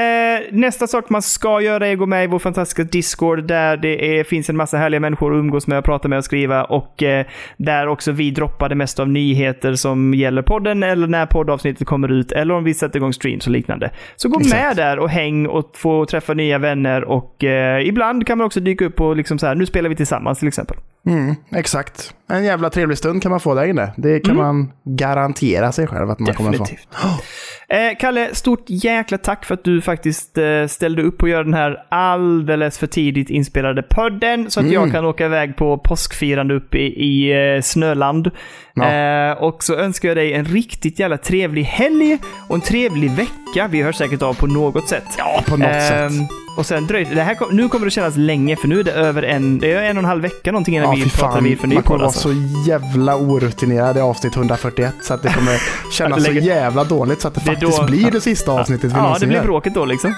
B: nästa sak man ska göra är att gå med i vår fantastiska Discord där det är, finns en massa härliga människor att umgås med, prata med och skriva och eh, där också vi droppar det mesta av nyheter som gäller podden eller när poddavsnittet kommer ut eller om vi sätter igång streams och liknande. Så gå med där och häng och få träffa nya vänner och eh, ibland kan man också dyka upp och liksom så här, nu spelar vi tillsammans till exempel.
A: Mm, exakt. En jävla trevlig stund kan man få där inne. Det kan man garantera sig själv att man kommer ifrån.
B: Mm. Definitivt. Eh, Kalle, stort jäkla tack för att du faktiskt eh, ställde upp och gör den här alldeles för tidigt inspelade podden så att jag
A: Mm.
B: kan åka iväg på påskfirande uppe i, i eh, Snöland.
A: Ja.
B: Eh, och så önskar jag dig en riktigt jävla trevlig helg och en trevlig vecka. Vi hörs säkert av på något sätt. Ehm,
A: Ja, på något sätt.
B: Och sen dröjde det. Här kom, nu kommer det kännas länge för nu är det över en, det är en och en halv vecka någonting innan
A: Ja,
B: vi
A: fy
B: pratar
A: fan.
B: vi för ny
A: Man kommer
B: podd.
A: vara
B: Alltså.
A: så jävla orutinerad i avsnitt 141 så att det kommer kännas så
B: lägger-
A: jävla dåligt så att det,
B: Det är
A: faktiskt
B: då-
A: blir det sista avsnittet vi
B: Ja, det
A: någonsin
B: blir
A: gör.
B: bråket då liksom.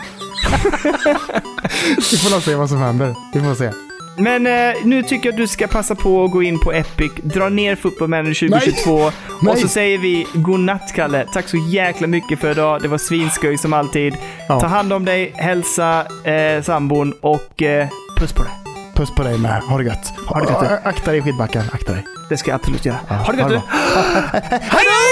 A: Vi får nog se vad som händer. Vi får se.
B: Men eh, nu tycker jag att du ska passa på att gå in på Epic, dra ner Football Manager 2022
A: Nej.
B: och så säger vi godnatt Kalle. Tack så jäkla mycket för idag. Det var svinskoj som alltid.
A: Ja.
B: Ta hand om dig, hälsa eh, sambon och eh, puss på dig.
A: Puss på dig med. Ha det gött.
B: Ha det gött, du.
A: Akta dig i skidbacken. Akta dig.
B: Det ska jag absolut göra.
A: Ja,
B: Ha det
A: ha
B: gött
A: det
B: du!
A: bra.
B: Hej då!